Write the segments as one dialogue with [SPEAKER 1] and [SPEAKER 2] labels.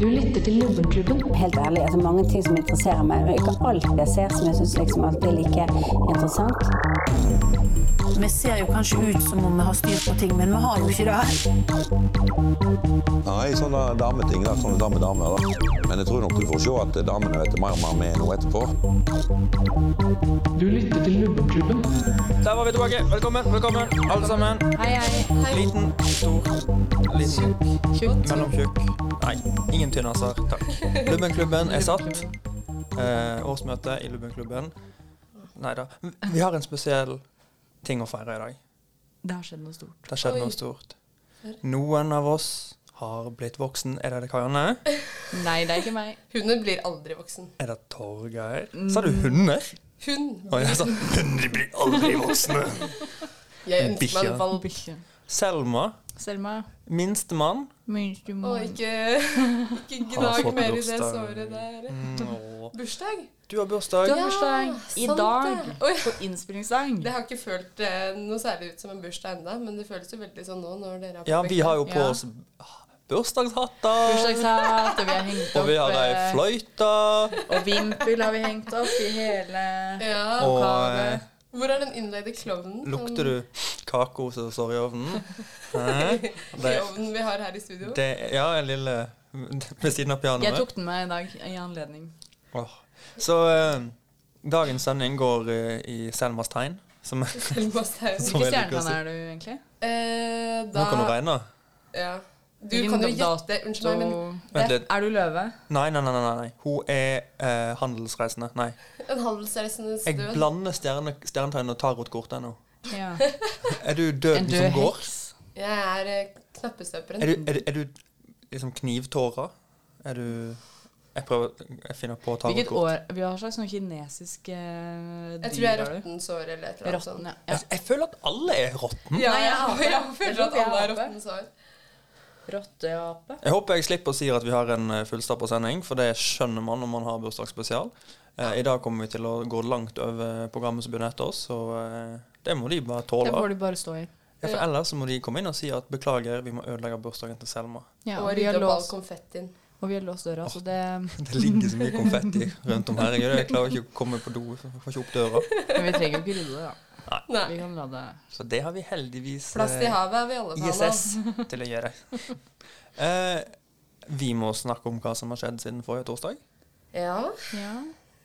[SPEAKER 1] Du lytter til Lubbenklubben.
[SPEAKER 2] Helt ærlig, altså mange ting som interesserer meg. Det er ikke alt jeg ser som jeg syns liksom alltid er like interessant.
[SPEAKER 3] Vi ser jo kanskje ut som om vi har styr på ting, men vi har jo ikke det.
[SPEAKER 4] Nei, sånne dameting. da, Sånne damedamer. da. Men jeg tror nok du får se at damene vet mer om hva vi er nå etterpå.
[SPEAKER 1] Du lytter til Lubbenklubben.
[SPEAKER 5] Der var vi tilbake. Velkommen, velkommen, alle sammen.
[SPEAKER 6] Hei, hei.
[SPEAKER 5] Liten, stor, liten, mellomtjukk. Nei, ingen tynnaser, takk. Lubbenklubben er satt. Eh, årsmøte i Lubbenklubben. Nei da. Vi har en spesiell ting å feire i dag.
[SPEAKER 6] Det har skjedd noe stort.
[SPEAKER 5] Det har skjedd noe stort. Noen av oss har blitt voksen. Er det det, Karianne?
[SPEAKER 6] Nei, det er ikke meg.
[SPEAKER 7] Hunden blir aldri voksen.
[SPEAKER 5] Er det Torgeir? Sa du hunder?
[SPEAKER 7] Hun!
[SPEAKER 5] Å, jeg sa hunder blir aldri voksne.
[SPEAKER 7] Jeg ønsker meg
[SPEAKER 5] Bikkja.
[SPEAKER 7] en valp.
[SPEAKER 6] Bikkje.
[SPEAKER 5] Selma,
[SPEAKER 6] Selma.
[SPEAKER 5] minstemann.
[SPEAKER 6] Minste
[SPEAKER 7] Å,
[SPEAKER 6] mann.
[SPEAKER 7] ikke, ikke
[SPEAKER 5] Har
[SPEAKER 7] gnag
[SPEAKER 5] fått Mm.
[SPEAKER 7] mer i det
[SPEAKER 5] bursdag.
[SPEAKER 7] såret der.
[SPEAKER 5] Åh.
[SPEAKER 7] Bursdag?
[SPEAKER 5] Du har bursdag.
[SPEAKER 6] Du har bursdag i
[SPEAKER 7] sant
[SPEAKER 6] dag.
[SPEAKER 7] det. Oi.
[SPEAKER 6] På innspillingsdag.
[SPEAKER 7] Det har ikke følt eh, noe særlig ut som en bursdag enda, men det føles jo veldig sånn nå når dere har
[SPEAKER 5] Ja, vi har jo på
[SPEAKER 6] Ja.
[SPEAKER 5] oss bursdagshatter.
[SPEAKER 6] Bursdagshatt, og vi har hengt opp
[SPEAKER 5] Og vi har ei
[SPEAKER 6] eh,
[SPEAKER 5] fløyte.
[SPEAKER 6] Og vimpel har vi hengt opp i hele
[SPEAKER 7] Ja.
[SPEAKER 5] Og
[SPEAKER 6] kake.
[SPEAKER 5] eh,
[SPEAKER 7] Hvor er den innleide klovnen?
[SPEAKER 5] lukter du kako som står i ovnen? Hæ? Det,
[SPEAKER 7] Klovnen vi har her i studio?
[SPEAKER 5] det, ja, en lille ved siden av
[SPEAKER 6] Jeg
[SPEAKER 5] pianoet.
[SPEAKER 6] tok den med i dag i anledning.
[SPEAKER 5] Åh. Så eh, dagens sending går eh, i Selmas tegn. Som, nå
[SPEAKER 7] Selma Staun.
[SPEAKER 5] Som-
[SPEAKER 6] Hvilken
[SPEAKER 5] jeg liker å
[SPEAKER 6] stjernemann
[SPEAKER 5] si.
[SPEAKER 6] er du egentlig?
[SPEAKER 7] Eh, da
[SPEAKER 5] kan du regne.
[SPEAKER 7] Ja. Du
[SPEAKER 6] Hvilken
[SPEAKER 7] kan jo
[SPEAKER 6] dato- Eh,
[SPEAKER 7] gjette Unnskyld meg, men
[SPEAKER 5] Vent litt.
[SPEAKER 6] Er du løve?
[SPEAKER 5] Nei, nei, nei. nei, nei. Hun er eh, handelsreisende. Nei.
[SPEAKER 7] en handelsreisendes
[SPEAKER 5] Jeg
[SPEAKER 7] død
[SPEAKER 5] blander stjerne, stjernetegn og tarotkort ennå.
[SPEAKER 6] Ja.
[SPEAKER 5] Er du
[SPEAKER 6] En
[SPEAKER 5] døden
[SPEAKER 6] død
[SPEAKER 5] som går?
[SPEAKER 6] heks.
[SPEAKER 7] Jeg er eh, knappestøperen.
[SPEAKER 5] Er du, er, du- er du liksom knivtårer? Er du Jeg prøver Jeg finner på
[SPEAKER 6] Hvilket
[SPEAKER 5] tarotkort.
[SPEAKER 6] år? Vi har slags sånn kinesisk eh,
[SPEAKER 7] Jeg tror jeg er
[SPEAKER 6] dyr, er du?
[SPEAKER 7] rottensår eller et eller annet sånt.
[SPEAKER 6] Rotten, altså. ja.
[SPEAKER 5] Jeg, jeg føler at alle er rotten.
[SPEAKER 7] Ja,
[SPEAKER 6] Nei, jeg
[SPEAKER 7] jeg,
[SPEAKER 6] aper.
[SPEAKER 7] jeg,
[SPEAKER 6] Jeg
[SPEAKER 7] føler
[SPEAKER 6] tror
[SPEAKER 7] at
[SPEAKER 6] jeg
[SPEAKER 7] alle har
[SPEAKER 6] aper.
[SPEAKER 7] rottensår.
[SPEAKER 6] Rotteape.
[SPEAKER 5] Jeg håper jeg slipper å si at vi har en eh, fullstappa sending, for det skjønner man når man har bursdagsspesial. Eh, I dag kommer vi til å gå langt over programmet som begynner etter oss, så eh, det må de bare
[SPEAKER 6] Det
[SPEAKER 5] tåle.
[SPEAKER 6] får de bare stå i.
[SPEAKER 5] Ja, for ellers så må de komme inn og si at beklager, vi må ødelegge bursdagen til Selma.
[SPEAKER 6] Ja,
[SPEAKER 7] og
[SPEAKER 6] og, vi har
[SPEAKER 7] rydde opp all
[SPEAKER 6] låst,
[SPEAKER 7] konfettien.
[SPEAKER 6] og vi har låst døra, så det
[SPEAKER 5] Det ligger så mye konfetti rundt om her. Jeg klarer ikke å komme på do, jeg får ikke opp døra.
[SPEAKER 6] Men vi trenger jo ikke rydde det, da. Vi
[SPEAKER 7] Nei.
[SPEAKER 6] kan la det
[SPEAKER 5] Så det har vi heldigvis
[SPEAKER 7] Plast i
[SPEAKER 5] eh,
[SPEAKER 7] havet er vi alle fan av.
[SPEAKER 5] ISS til å gjøre. Eh, vi må snakke om hva som har skjedd siden forrige torsdag.
[SPEAKER 7] Ja,
[SPEAKER 6] Ja.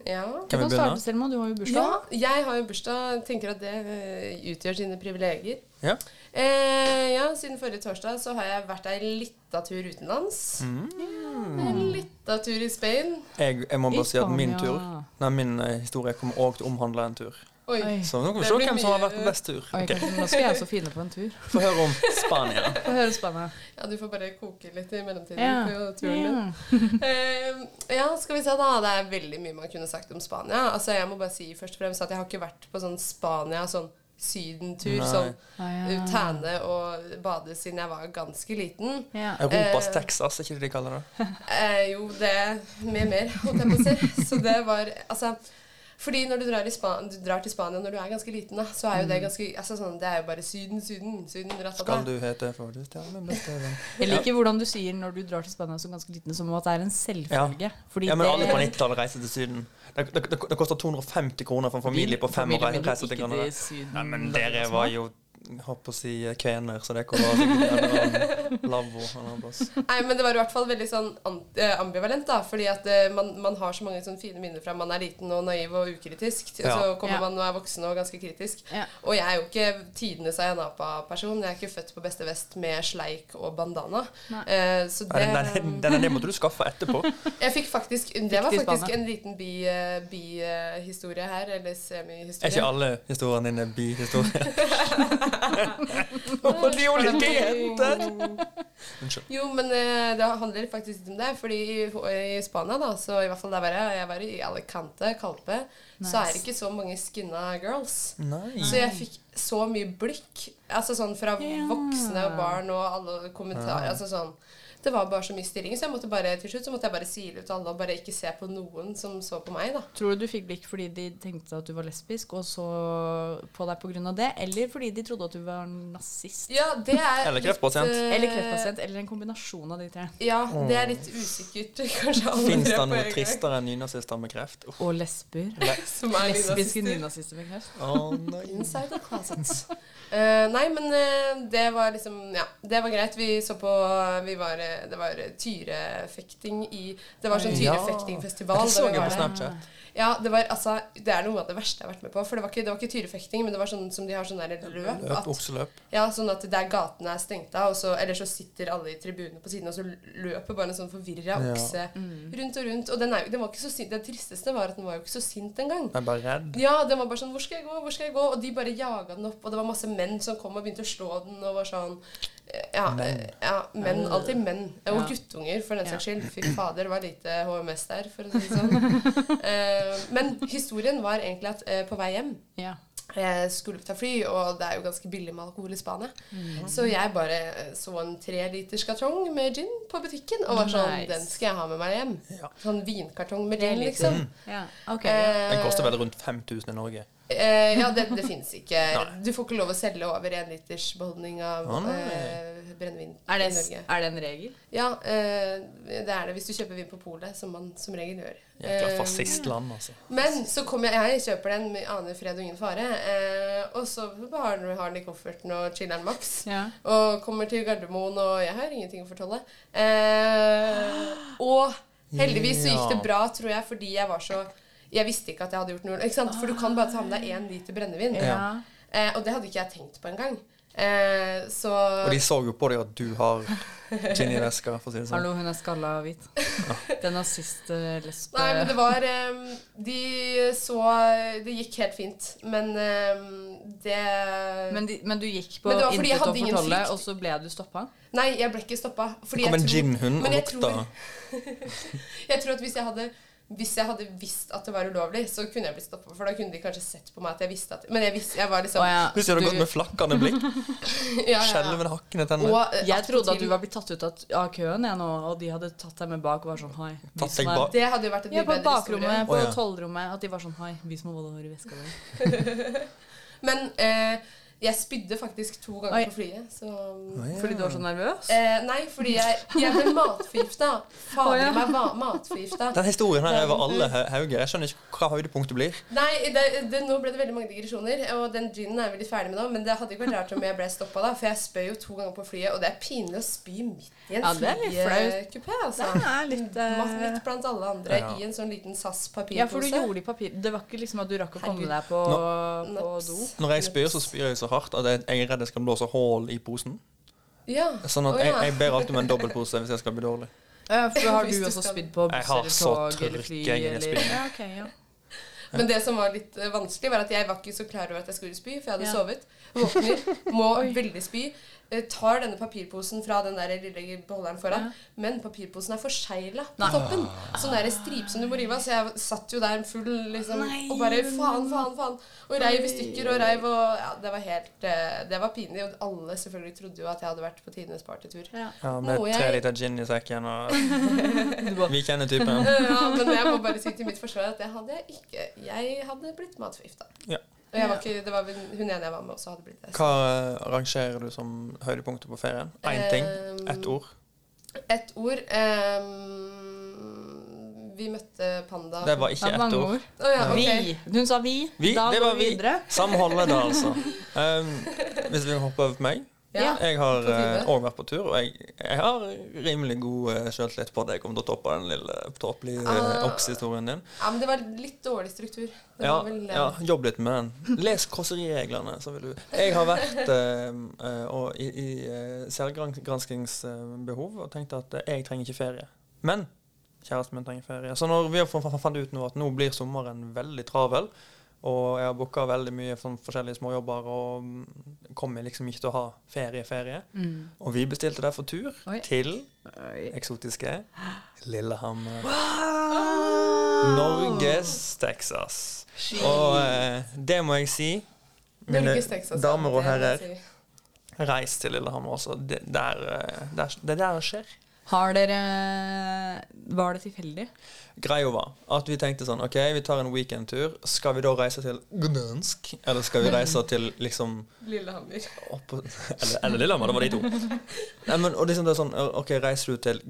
[SPEAKER 7] ja.
[SPEAKER 6] Du
[SPEAKER 5] Kan vi
[SPEAKER 6] kan starte,
[SPEAKER 5] begynne?
[SPEAKER 6] Selma. Du har jo
[SPEAKER 7] ja.
[SPEAKER 6] bursdag.
[SPEAKER 7] Jeg har jo bursdag. Tenker at det eh, utgjør sine privilegier.
[SPEAKER 5] Ja.
[SPEAKER 7] Eh, ja, siden forrige torsdag så har jeg vært ei lita tur utenlands.
[SPEAKER 5] Mm.
[SPEAKER 7] En lita tur i Spain.
[SPEAKER 5] Jeg, jeg må
[SPEAKER 6] I
[SPEAKER 5] bare si at min
[SPEAKER 6] Spania.
[SPEAKER 5] tur Nei, min eh, historie kommer òg til å omhandle en tur.
[SPEAKER 7] Oi.
[SPEAKER 6] Oi.
[SPEAKER 5] Så nå kan vi
[SPEAKER 7] Det
[SPEAKER 5] se
[SPEAKER 7] blir
[SPEAKER 5] hvem som har
[SPEAKER 7] mye-
[SPEAKER 5] vært på best tur.
[SPEAKER 6] Oi,
[SPEAKER 5] Ok,
[SPEAKER 6] kanskje, nå skal jeg også finne på en tur.
[SPEAKER 5] Få høre om Spania.
[SPEAKER 6] Få høre Spania.
[SPEAKER 7] Ja, du får bare koke litt i mellomtiden
[SPEAKER 6] Ja.
[SPEAKER 7] på turen din. Eh, ja, skal vi se da. Det er veldig mye man kunne sagt om Spania. Altså, jeg må bare si først og fremst at jeg har ikke vært på sånn Spania, sånn sydentur,
[SPEAKER 5] Nei.
[SPEAKER 7] sånn
[SPEAKER 6] Ah,
[SPEAKER 7] eh,
[SPEAKER 6] ja.
[SPEAKER 7] tæne og bade siden jeg var ganske liten.
[SPEAKER 6] Ja.
[SPEAKER 5] Europas
[SPEAKER 7] Eh.
[SPEAKER 5] Texas, er ikke det de kaller det?
[SPEAKER 7] Eh, jo, det med mer, holdt jeg på å si. Så det var Altså. Fordi når du drar, i Spa du drar til Spania når du er ganske liten, da, så er jo det ganske altså sånn, Det er jo bare Syden, Syden, Syden. ratata.
[SPEAKER 5] Mm. Skal du hete for det stjerne beste venn?
[SPEAKER 6] Jeg liker hvordan du sier når du drar til Spania som ganske liten, som om at det er en selvfølge. Fordi
[SPEAKER 5] Ja, men alle
[SPEAKER 6] det-
[SPEAKER 5] på 90-tallet reiser til Syden. Det, det, det, det koster 250 kroner for en familie på fem
[SPEAKER 6] familien
[SPEAKER 5] år å
[SPEAKER 6] min
[SPEAKER 5] reise til
[SPEAKER 6] gikk ikke
[SPEAKER 5] Granada.
[SPEAKER 6] til Syden.
[SPEAKER 5] Nei, men dere var jo Holdt på å si eh, kvener, så det kommer sikkert lavvo.
[SPEAKER 7] Nei, men det var i hvert fall veldig sånn an- eh, ambivalent, da. Fordi at eh, man, man har så mange sånne fine minner fra man er liten og naiv og ukritisk. Og så
[SPEAKER 5] Ja.
[SPEAKER 7] kommer
[SPEAKER 6] Ja.
[SPEAKER 7] man og er voksen og ganske kritisk.
[SPEAKER 6] Ja.
[SPEAKER 7] Og jeg er jo ikke tidenes Ayanapa-person. Jeg er ikke født på beste vest med sleik og bandana. Eh, så det
[SPEAKER 5] Den, den, den, den måtte du skaffe etterpå.
[SPEAKER 7] Jeg fikk faktisk Det var
[SPEAKER 6] Fikk du
[SPEAKER 7] faktisk
[SPEAKER 6] spane?
[SPEAKER 7] en liten bihistorie bi, eh, historie her. Eller
[SPEAKER 5] Er ikke
[SPEAKER 7] semihistorie.
[SPEAKER 5] alle historiene dine bihistorier? Og de ulike jentene! Unnskyld.
[SPEAKER 7] Jo, men eh, det handler faktisk litt om det. Fordi i, i Spania, da, så i hvert fall der var jeg, jeg var i Alicante, Kalpe, så er det ikke så mange skinna girls.
[SPEAKER 6] Mm.
[SPEAKER 5] Nei.
[SPEAKER 7] Så jeg fikk så mye blikk. Altså sånn fra voksne og barn og alle kommentarer. Altså sånn det var bare så mye stirring, så jeg måtte bare, til slutt så måtte jeg bare sile ut alle og bare ikke se på noen som så på meg, da.
[SPEAKER 6] Tror du du fikk blikk fordi de tenkte at du var lesbisk og så på deg pga. det, eller fordi de trodde at du var nazist?
[SPEAKER 7] Ja, det er
[SPEAKER 5] Eller
[SPEAKER 7] litt,
[SPEAKER 5] kreftpasient.
[SPEAKER 7] eh,
[SPEAKER 6] Eller kreftpasient, eller en kombinasjon av de tre.
[SPEAKER 7] Ja, det er litt usikkert, kanskje. alle
[SPEAKER 5] Fins
[SPEAKER 7] tre
[SPEAKER 5] Mm. det
[SPEAKER 7] på en
[SPEAKER 5] noe
[SPEAKER 7] gang,
[SPEAKER 5] tristere enn nynazister med kreft? Uff,
[SPEAKER 6] Og lesber.
[SPEAKER 7] Som er
[SPEAKER 6] Lesbiske
[SPEAKER 7] nynazister.
[SPEAKER 6] nynazister med kreft.
[SPEAKER 5] å nei.
[SPEAKER 7] Inside the closet. Eh, nei, men eh, det var liksom Ja, det var greit. Vi så på vi var, eh, Det var eh, tyrefekting i Det var sånn
[SPEAKER 5] Ja.
[SPEAKER 7] tyrefektingfestival.
[SPEAKER 5] Det så
[SPEAKER 7] da vi
[SPEAKER 5] jeg
[SPEAKER 7] var
[SPEAKER 5] på
[SPEAKER 7] der.
[SPEAKER 5] Snapchat.
[SPEAKER 7] Ja, det var altså Det er noe av det verste jeg har vært med på. For det var ikke, det var ikke tyrefekting, men det var sånn som de har sånn der løp.
[SPEAKER 5] Løp,
[SPEAKER 7] At,
[SPEAKER 5] okseløp.
[SPEAKER 7] ja, sånn at der gatene er stengt av, og så, eller så sitter alle i tribunene på siden, og så løper bare en sånn forvirra
[SPEAKER 5] Ja.
[SPEAKER 7] okse
[SPEAKER 5] Mm.
[SPEAKER 7] rundt og rundt. Og den, er, jo- den var ikke så sint. Det tristeste var at den var jo ikke så sint engang.
[SPEAKER 5] Jeg er bare redd.
[SPEAKER 7] Ja, den var bare sånn 'Hvor skal jeg gå?' hvor skal jeg gå? Og de bare jaga den opp, og det var masse menn som kom og begynte å slå den, og var sånn eh, Ja, menn. Ja, menn alltid menn. Ja, Og
[SPEAKER 6] Ja.
[SPEAKER 7] guttunger, for den
[SPEAKER 6] Ja.
[SPEAKER 7] saks skyld. Fy fader, det var lite HMS der, for å si det sånn. Eh, men historien var egentlig at eh, på vei hjem
[SPEAKER 6] Ja.
[SPEAKER 7] jeg skulle ta fly, og det er jo ganske billig med alkohol i Spania.
[SPEAKER 6] Mm.
[SPEAKER 7] Så jeg bare eh, så en treliters kartong med gin på butikken, og var sånn
[SPEAKER 6] Nice.
[SPEAKER 7] Den skal jeg ha med meg hjem.
[SPEAKER 5] Ja.
[SPEAKER 7] Sånn vinkartong med gin,
[SPEAKER 6] Tre liter.
[SPEAKER 7] liksom.
[SPEAKER 6] ja. Mm. Ok.
[SPEAKER 5] Den
[SPEAKER 7] Eh,
[SPEAKER 5] koster vel rundt 5000 i Norge.
[SPEAKER 7] Eh, ja, det, det fins ikke.
[SPEAKER 5] Nei.
[SPEAKER 7] Du får ikke lov å selge over en liters beholdning av
[SPEAKER 5] Å, nei.
[SPEAKER 7] eh, brennevin
[SPEAKER 6] Er det,
[SPEAKER 7] i Norge.
[SPEAKER 6] er det en regel?
[SPEAKER 7] Ja, eh, det er det hvis du kjøper vin på polet, som man som regel gjør.
[SPEAKER 5] Jækla
[SPEAKER 7] Eh,
[SPEAKER 5] fascistland, altså.
[SPEAKER 7] men så kommer jeg, jeg kjøper den med aner fred og ingen fare, eh, og så har den, har den i kofferten og chiller'n maks.
[SPEAKER 6] Ja.
[SPEAKER 7] Og kommer til Gardermoen, og jeg har ingenting å fortelle. Eh, og heldigvis så gikk det bra, tror jeg, fordi jeg var så Jeg visste ikke at jeg hadde gjort noe ikke sant? For du kan bare ta med deg én liter brennevin.
[SPEAKER 5] Ja.
[SPEAKER 7] Eh, og det hadde ikke jeg tenkt på engang. Eh, så
[SPEAKER 5] Og de så jo på deg at du har gin i veska, for å si det sånn.
[SPEAKER 6] Hallo, hun er skalla og hvit. Den nazist-lesbe...
[SPEAKER 7] Nei, men det var eh, De så Det gikk helt fint, men eh, det
[SPEAKER 6] Men, de, men du gikk på
[SPEAKER 7] Men det var fordi jeg
[SPEAKER 6] intet å
[SPEAKER 7] hadde ingen
[SPEAKER 6] fortolle,
[SPEAKER 7] frykt. Eh,
[SPEAKER 6] og så ble du stoppa?
[SPEAKER 7] Nei, jeg ble ikke stoppa.
[SPEAKER 5] Det kom en ginhund og
[SPEAKER 7] men jeg
[SPEAKER 5] lukta.
[SPEAKER 7] tror- Jeg tror at hvis jeg hadde hvis jeg hadde visst at det var ulovlig, så kunne jeg blitt stoppa. For da kunne de kanskje sett på meg at jeg visste at Men jeg, visste, jeg var liksom
[SPEAKER 6] Å, ja.
[SPEAKER 5] Hvis du hadde gått med flakkende blikk,
[SPEAKER 7] ja, ja, ja.
[SPEAKER 5] skjelvende, hakkende tenner,
[SPEAKER 7] Og, eh,
[SPEAKER 6] Jeg trodde at
[SPEAKER 7] attpåtil-
[SPEAKER 6] du var blitt tatt ut av, av køen, jeg nå, og de hadde tatt deg med bak og var sånn hei. vi
[SPEAKER 5] Tatt
[SPEAKER 6] som
[SPEAKER 5] deg
[SPEAKER 6] er-
[SPEAKER 5] bak?
[SPEAKER 7] Det hadde jo vært
[SPEAKER 6] Ja,
[SPEAKER 7] en mye
[SPEAKER 6] på
[SPEAKER 7] bedre historie.
[SPEAKER 6] bakrommet, på
[SPEAKER 5] Å, ja.
[SPEAKER 6] tollrommet. At de var sånn hei, vi som holde hår i veska di.
[SPEAKER 7] Men eh, jeg spydde faktisk to ganger
[SPEAKER 6] Oi.
[SPEAKER 7] på flyet, så
[SPEAKER 6] Fordi du var så nervøs?
[SPEAKER 7] eh, Nei, fordi jeg, jeg ble matforgifta.
[SPEAKER 6] Å,
[SPEAKER 7] Fader
[SPEAKER 6] ja.
[SPEAKER 7] meg, var matforgifta.
[SPEAKER 5] Den historien her er over alle hau- hauger. Jeg skjønner ikke hva høydepunktet blir.
[SPEAKER 7] Nei, det, det, nå ble det veldig mange digresjoner, og den ginen er vi litt ferdig med nå. Men det hadde ikke vært rart om jeg ble stoppa da, for jeg spøy jo to ganger på flyet, og det er pinlig å spy midt i en
[SPEAKER 6] Ja, det er litt flaut.
[SPEAKER 7] flykupé, altså.
[SPEAKER 6] Det er litt, eh,
[SPEAKER 7] Ma- Midt blant alle andre
[SPEAKER 5] Ja.
[SPEAKER 7] i en sånn liten SAS-papirpose.
[SPEAKER 6] Ja, for du gjorde det i papir. Det var ikke liksom at du rakk å komme
[SPEAKER 7] Herregud.
[SPEAKER 6] deg på, på
[SPEAKER 7] Naps.
[SPEAKER 6] do?
[SPEAKER 5] Når jeg spyr, så spyr jeg så hardt at jeg jeg er redd jeg skal blåse hull i posen.
[SPEAKER 7] Ja.
[SPEAKER 5] Sånn at
[SPEAKER 7] Å,
[SPEAKER 5] jeg,
[SPEAKER 7] ja.
[SPEAKER 5] jeg ber alltid om en dobbeltpose hvis jeg skal bli dårlig.
[SPEAKER 6] Ja, for har
[SPEAKER 7] Hvis
[SPEAKER 6] du
[SPEAKER 7] du
[SPEAKER 6] også
[SPEAKER 7] skal-
[SPEAKER 6] spydd på
[SPEAKER 5] Jeg
[SPEAKER 6] buss
[SPEAKER 5] har
[SPEAKER 6] eller
[SPEAKER 5] så
[SPEAKER 6] tog eller fly?
[SPEAKER 5] tørke jeg
[SPEAKER 6] Eller...
[SPEAKER 5] spyr.
[SPEAKER 6] Ja, ok, ja.
[SPEAKER 7] Men det som var litt eh, vanskelig, var at jeg var ikke så klar over at jeg skulle spy, for jeg hadde
[SPEAKER 6] Ja.
[SPEAKER 7] sovet. Våkner, må veldig spy. eh, Tar denne papirposen fra den der lille beholderen foran, men papirposen er forsegla på toppen. Sånn der stripe som du må rive av. Så jeg satt jo der full, liksom, og bare faen, faen, faen. Og reiv i stykker og reiv og Ja, det var helt eh, Det var pinlig. Og alle selvfølgelig trodde jo at jeg hadde vært på tidenes partytur.
[SPEAKER 6] Ja.
[SPEAKER 5] Ja, med
[SPEAKER 7] Må jeg-
[SPEAKER 5] tre liter gin i sekken og Vi kjenner typen.
[SPEAKER 7] Ja, men jeg må bare si til mitt forsvar at det hadde jeg ikke. Jeg hadde blitt matforgifta.
[SPEAKER 5] Ja.
[SPEAKER 7] Og jeg var ikke, det var vel hun ene jeg var med også, hadde blitt det.
[SPEAKER 5] Hva eh, rangerer du som høydepunktet på ferien? Én ting? Ett ord?
[SPEAKER 7] Et ord ehm, Vi møtte panda.
[SPEAKER 5] Det var
[SPEAKER 6] Det
[SPEAKER 5] ikke
[SPEAKER 6] var
[SPEAKER 5] ett
[SPEAKER 6] mange
[SPEAKER 5] ord.
[SPEAKER 6] ord.
[SPEAKER 7] Å ja, ok.
[SPEAKER 6] Vi. Hun sa vi.
[SPEAKER 5] Vi,
[SPEAKER 6] da
[SPEAKER 5] det
[SPEAKER 6] går
[SPEAKER 5] var
[SPEAKER 6] vi
[SPEAKER 5] vi.
[SPEAKER 6] videre.
[SPEAKER 5] Samholdet, da, altså. Um, hvis vi hopper over på meg
[SPEAKER 7] Ja.
[SPEAKER 5] Jeg har
[SPEAKER 7] På tide.
[SPEAKER 5] òg vært på tur, og jeg, jeg har rimelig god uh, sjøltillit på at jeg kommer til å toppe den lille tåpelige eh,
[SPEAKER 7] Ah.
[SPEAKER 5] okshistorien din.
[SPEAKER 7] ja, men det var litt dårlig struktur. Det
[SPEAKER 5] Ja,
[SPEAKER 7] var vel, eh,
[SPEAKER 5] ja, jobb litt med den. Les krosserireglene, så vil du Jeg har vært eh, eh, og i, i eh, særgranskingsbehov og tenkt at eh, jeg trenger ikke ferie. Men kjæresten min trenger ferie. Så når vi har fun- fun- fant ut nå at nå blir sommeren veldig travel, og jeg har booka veldig mye sånn forskjellige småjobber og mm, kommer liksom ikke til å ha ferie, ferie.
[SPEAKER 7] Mm.
[SPEAKER 5] Og vi bestilte derfor tur
[SPEAKER 6] Oi.
[SPEAKER 5] til eksotiske Lillehammer. Norges Texas. Og eh, det må jeg si. Mine
[SPEAKER 7] Norges Texas, ja,
[SPEAKER 5] damer og
[SPEAKER 7] det må
[SPEAKER 5] herrer,
[SPEAKER 7] jeg si.
[SPEAKER 5] reis til Lillehammer også. Det der, eh, der, det der skjer.
[SPEAKER 6] Har dere eh, Var det tilfeldig?
[SPEAKER 5] Greia var at vi tenkte sånn OK, vi tar en weekendtur. Skal vi da reise til Gdansk? Eller skal vi reise til liksom
[SPEAKER 7] Lillehammer.
[SPEAKER 5] opp, eller, eller Lillehammer, det var de to. Nei, men, og liksom det er sånn OK, reiser du til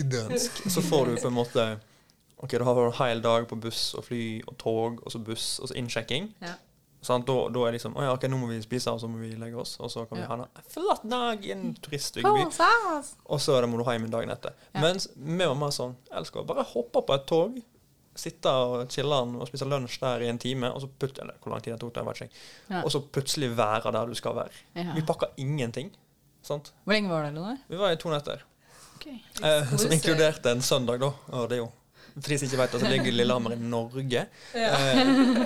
[SPEAKER 5] Gdansk, så får du på en måte OK, du har en hel dag på buss og fly og tog, og så buss, og så innsjekking.
[SPEAKER 6] Ja.
[SPEAKER 5] Sant? Da, da er liksom «Å ja, OK, nå må vi spise, og så må vi legge oss. Og så kan vi
[SPEAKER 6] Ja.
[SPEAKER 5] ha en flott dag i en turistbygby. Og så er det må du hjem dagen etter.
[SPEAKER 6] Ja.
[SPEAKER 5] Mens vi var mer sånn Elsker å bare hoppe på et tog, sitte og chille og spise lunsj der i en time, og så plut eller hvor lang tid det tok, det vet ikke jeg.
[SPEAKER 6] Ja.
[SPEAKER 5] Og så plutselig være der du skal være.
[SPEAKER 6] Ja.
[SPEAKER 5] Vi pakka ingenting. Sant?
[SPEAKER 6] Hvor lenge var det, Leonor?
[SPEAKER 5] Vi var i to netter. Eh, som inkluderte en søndag, da. Og det er jo for de som ikke vet det, så ligger Lillehammer i Norge. Eh,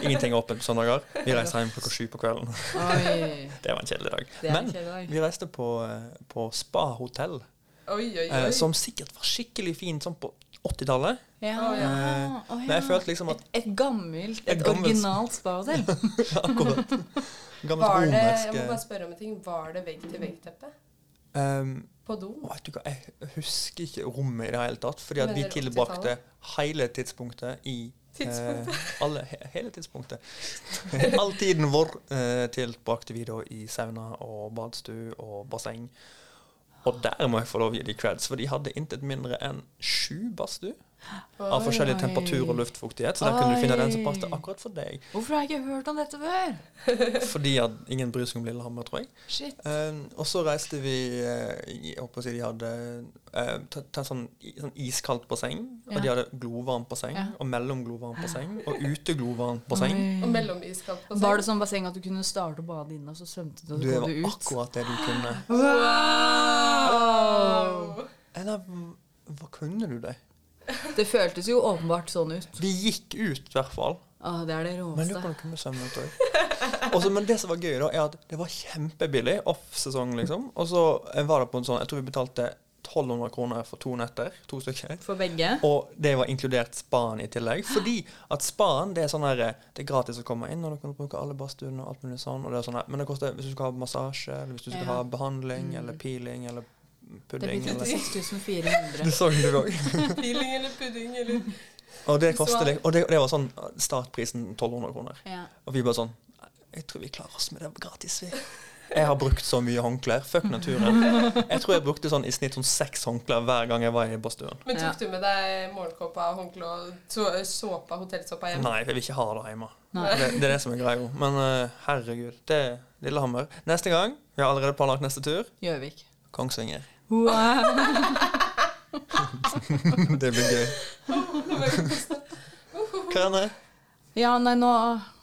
[SPEAKER 5] ingenting er åpent på søndager. Vi reiser hjem klokka sju på kvelden.
[SPEAKER 6] Oi.
[SPEAKER 5] Det var en kjedelig dag.
[SPEAKER 6] Det er en
[SPEAKER 5] Men
[SPEAKER 6] kjedelig dag.
[SPEAKER 5] vi reiste på, eh, på spa-hotell.
[SPEAKER 7] Oi, oi,
[SPEAKER 5] Eh,
[SPEAKER 7] oi.
[SPEAKER 5] som sikkert var skikkelig fint sånn på 80-tallet.
[SPEAKER 6] Ja.
[SPEAKER 7] Å, ja.
[SPEAKER 5] Eh,
[SPEAKER 6] Å,
[SPEAKER 5] Men jeg følte liksom at
[SPEAKER 6] Et, et gammelt, et,
[SPEAKER 5] Et gammelt-
[SPEAKER 6] originalt spahotell.
[SPEAKER 5] akkurat Gammelt
[SPEAKER 7] Var det, jeg
[SPEAKER 5] romersk
[SPEAKER 7] må
[SPEAKER 5] eh,
[SPEAKER 7] bare spørre om en ting. Var det vegg-til-vegg-teppe?
[SPEAKER 5] ehm,
[SPEAKER 7] På do?
[SPEAKER 5] å, vet du hva, Jeg husker ikke rommet i det hele tatt. Fordi at vi
[SPEAKER 7] Mener du
[SPEAKER 5] tilbrakte hele tidspunktet i eh, alle, he, Hele tidspunktet. All tiden vår eh, tilbrakte vi da i sauna og badstue og basseng. Og der må jeg få lov å gi de creds, for de hadde intet mindre enn sju badstue. Av forskjellig
[SPEAKER 6] Oi.
[SPEAKER 5] temperatur og luftfuktighet. Så der kunne du finne den som
[SPEAKER 6] Oi.
[SPEAKER 5] passet akkurat for deg.
[SPEAKER 6] Hvorfor har jeg ikke hørt om dette før?
[SPEAKER 5] Fordi at ingen bryr seg om Lillehammer, tror jeg.
[SPEAKER 6] Shit.
[SPEAKER 5] Eh, og så reiste vi eh, i- Jeg holdt på å si de hadde eh, tatt tatt sånn, i- sånn iskaldt basseng, og de
[SPEAKER 6] Ja.
[SPEAKER 5] hadde glovarmt basseng,
[SPEAKER 6] Ja.
[SPEAKER 5] og mellomglovarmt basseng, og uteglovarmt basseng.
[SPEAKER 7] Og mellomiskaldt på
[SPEAKER 6] Var det sånn basseng at du kunne starte å bade inne, og så svømte du, og
[SPEAKER 5] Du
[SPEAKER 6] så
[SPEAKER 5] det
[SPEAKER 6] kom
[SPEAKER 5] var
[SPEAKER 6] du ut?
[SPEAKER 5] akkurat det du kunne.
[SPEAKER 6] Wow!
[SPEAKER 5] Eller hva kunne du det?
[SPEAKER 6] Det føltes jo åpenbart sånn ut.
[SPEAKER 5] Vi gikk ut, i hvert fall.
[SPEAKER 6] Å, Ah, det er det
[SPEAKER 5] Men du
[SPEAKER 6] råeste.
[SPEAKER 5] kan kunne svømme ut òg. Også, men det som var gøy, da, er at det var kjempebillig off-sesong, liksom. Og så eh, var det på en sånn Jeg tror vi betalte 1200 kroner for to netter. To stykker.
[SPEAKER 6] For begge.
[SPEAKER 5] Og det var inkludert spaen i tillegg. Fordi at spaen det er sånn her, det er gratis å komme inn, og du kan bruke alle badstuene og alt mulig sånn. Og det er sånn her, men det koster hvis du skal ha massasje, eller hvis du skal
[SPEAKER 6] Ja. Mm.
[SPEAKER 5] ha behandling, eller peeling, eller
[SPEAKER 6] Det blir
[SPEAKER 5] pudding, eller sånn.
[SPEAKER 6] 36.400.
[SPEAKER 5] altså. Det så du også.
[SPEAKER 7] Peeling eller pudding eller
[SPEAKER 5] Og det koster litt. Og det, det var sånn startprisen 1200 kroner.
[SPEAKER 6] Ja.
[SPEAKER 5] Og vi bare sånn Jeg tror vi klarer oss med det gratis, vi. Jeg har brukt så mye håndklær. Fuck naturen. Jeg tror jeg brukte sånn i snitt sånn seks håndklær hver gang jeg var i badstuen.
[SPEAKER 7] Men
[SPEAKER 6] Ja.
[SPEAKER 7] tok du med deg morgenkåpa, håndkle og så- såpa, hotellsåpa hjem?
[SPEAKER 5] Nei, jeg vil ikke ha det hjemme.
[SPEAKER 6] Nei.
[SPEAKER 5] Det, det er det som er greia. Men eh, herregud, det er Lillehammer. Neste gang Vi har allerede planlagt neste tur.
[SPEAKER 6] Gjøvik.
[SPEAKER 5] Kongsvinger.
[SPEAKER 6] Wow.
[SPEAKER 5] Det blir gøy. Karene,
[SPEAKER 6] Ja, nei, nå,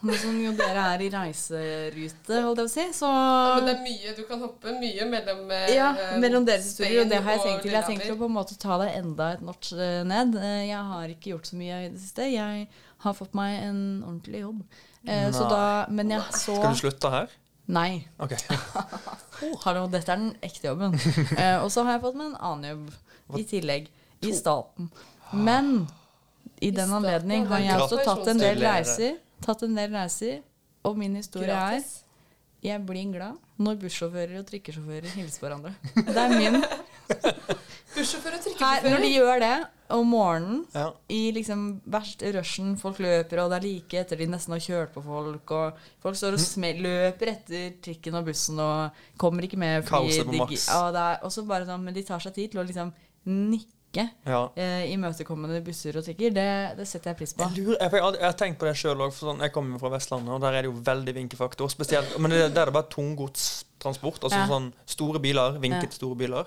[SPEAKER 6] nå som jo dere er i reiserute, holdt jeg å si, så
[SPEAKER 7] Ja, men det er mye, du kan hoppe mye mellom eh,
[SPEAKER 6] ja,
[SPEAKER 7] eh,
[SPEAKER 6] mellom deres historier, og det har jeg
[SPEAKER 7] Spain
[SPEAKER 6] tenkt til. Jeg
[SPEAKER 7] Lillehammer.
[SPEAKER 6] tenkte å på en måte ta det enda et notch eh, ned. Eh, Jeg har ikke gjort så mye i det siste. Jeg har fått meg en ordentlig jobb. Eh, Så
[SPEAKER 5] Nei.
[SPEAKER 6] da, men jeg så
[SPEAKER 5] skal du slutte her?
[SPEAKER 6] Nei. Oh,
[SPEAKER 5] OK.
[SPEAKER 6] Hallo, dette er den ekte jobben. Eh, og så har jeg fått meg en annen jobb i tillegg. I staten. Men i den
[SPEAKER 7] staten,
[SPEAKER 6] anledning
[SPEAKER 7] ja,
[SPEAKER 6] har
[SPEAKER 7] det er
[SPEAKER 6] jeg også tatt en del
[SPEAKER 5] gratulerer.
[SPEAKER 6] reiser. Tatt en del reiser. Og min historie er
[SPEAKER 7] Gratis.
[SPEAKER 6] jeg blir glad når bussjåfører og trikkesjåfører hilser på hverandre. Det er min.
[SPEAKER 7] Bussjåfør
[SPEAKER 6] Her, når
[SPEAKER 7] og
[SPEAKER 6] de
[SPEAKER 7] trikkesjåfør.
[SPEAKER 6] gjør det om morgenen,
[SPEAKER 5] Ja.
[SPEAKER 6] i liksom verst rushen, folk løper, og det er like etter de nesten har kjørt på folk, og folk
[SPEAKER 5] Mm.
[SPEAKER 6] står og sme løper etter trikken og bussen og kommer ikke med. fordi
[SPEAKER 5] Kaoset på
[SPEAKER 6] de-
[SPEAKER 5] maks.
[SPEAKER 6] Ja, det er også bare sånn, men de tar seg tid til å liksom nikke
[SPEAKER 5] ja.
[SPEAKER 6] eh, imøtekommende busser og trikker. Det, det setter jeg pris på.
[SPEAKER 5] Jeg, lurer, jeg, for jeg, har aldri- jeg har tenkt på det sjøl òg. Sånn, jeg kommer fra Vestlandet, og der er det jo veldig vinkefaktor. Spesielt, men det, der er det bare tunggodstransport. Altså
[SPEAKER 6] Ja.
[SPEAKER 5] sånn store biler. Vinket
[SPEAKER 6] Ja.
[SPEAKER 5] store biler.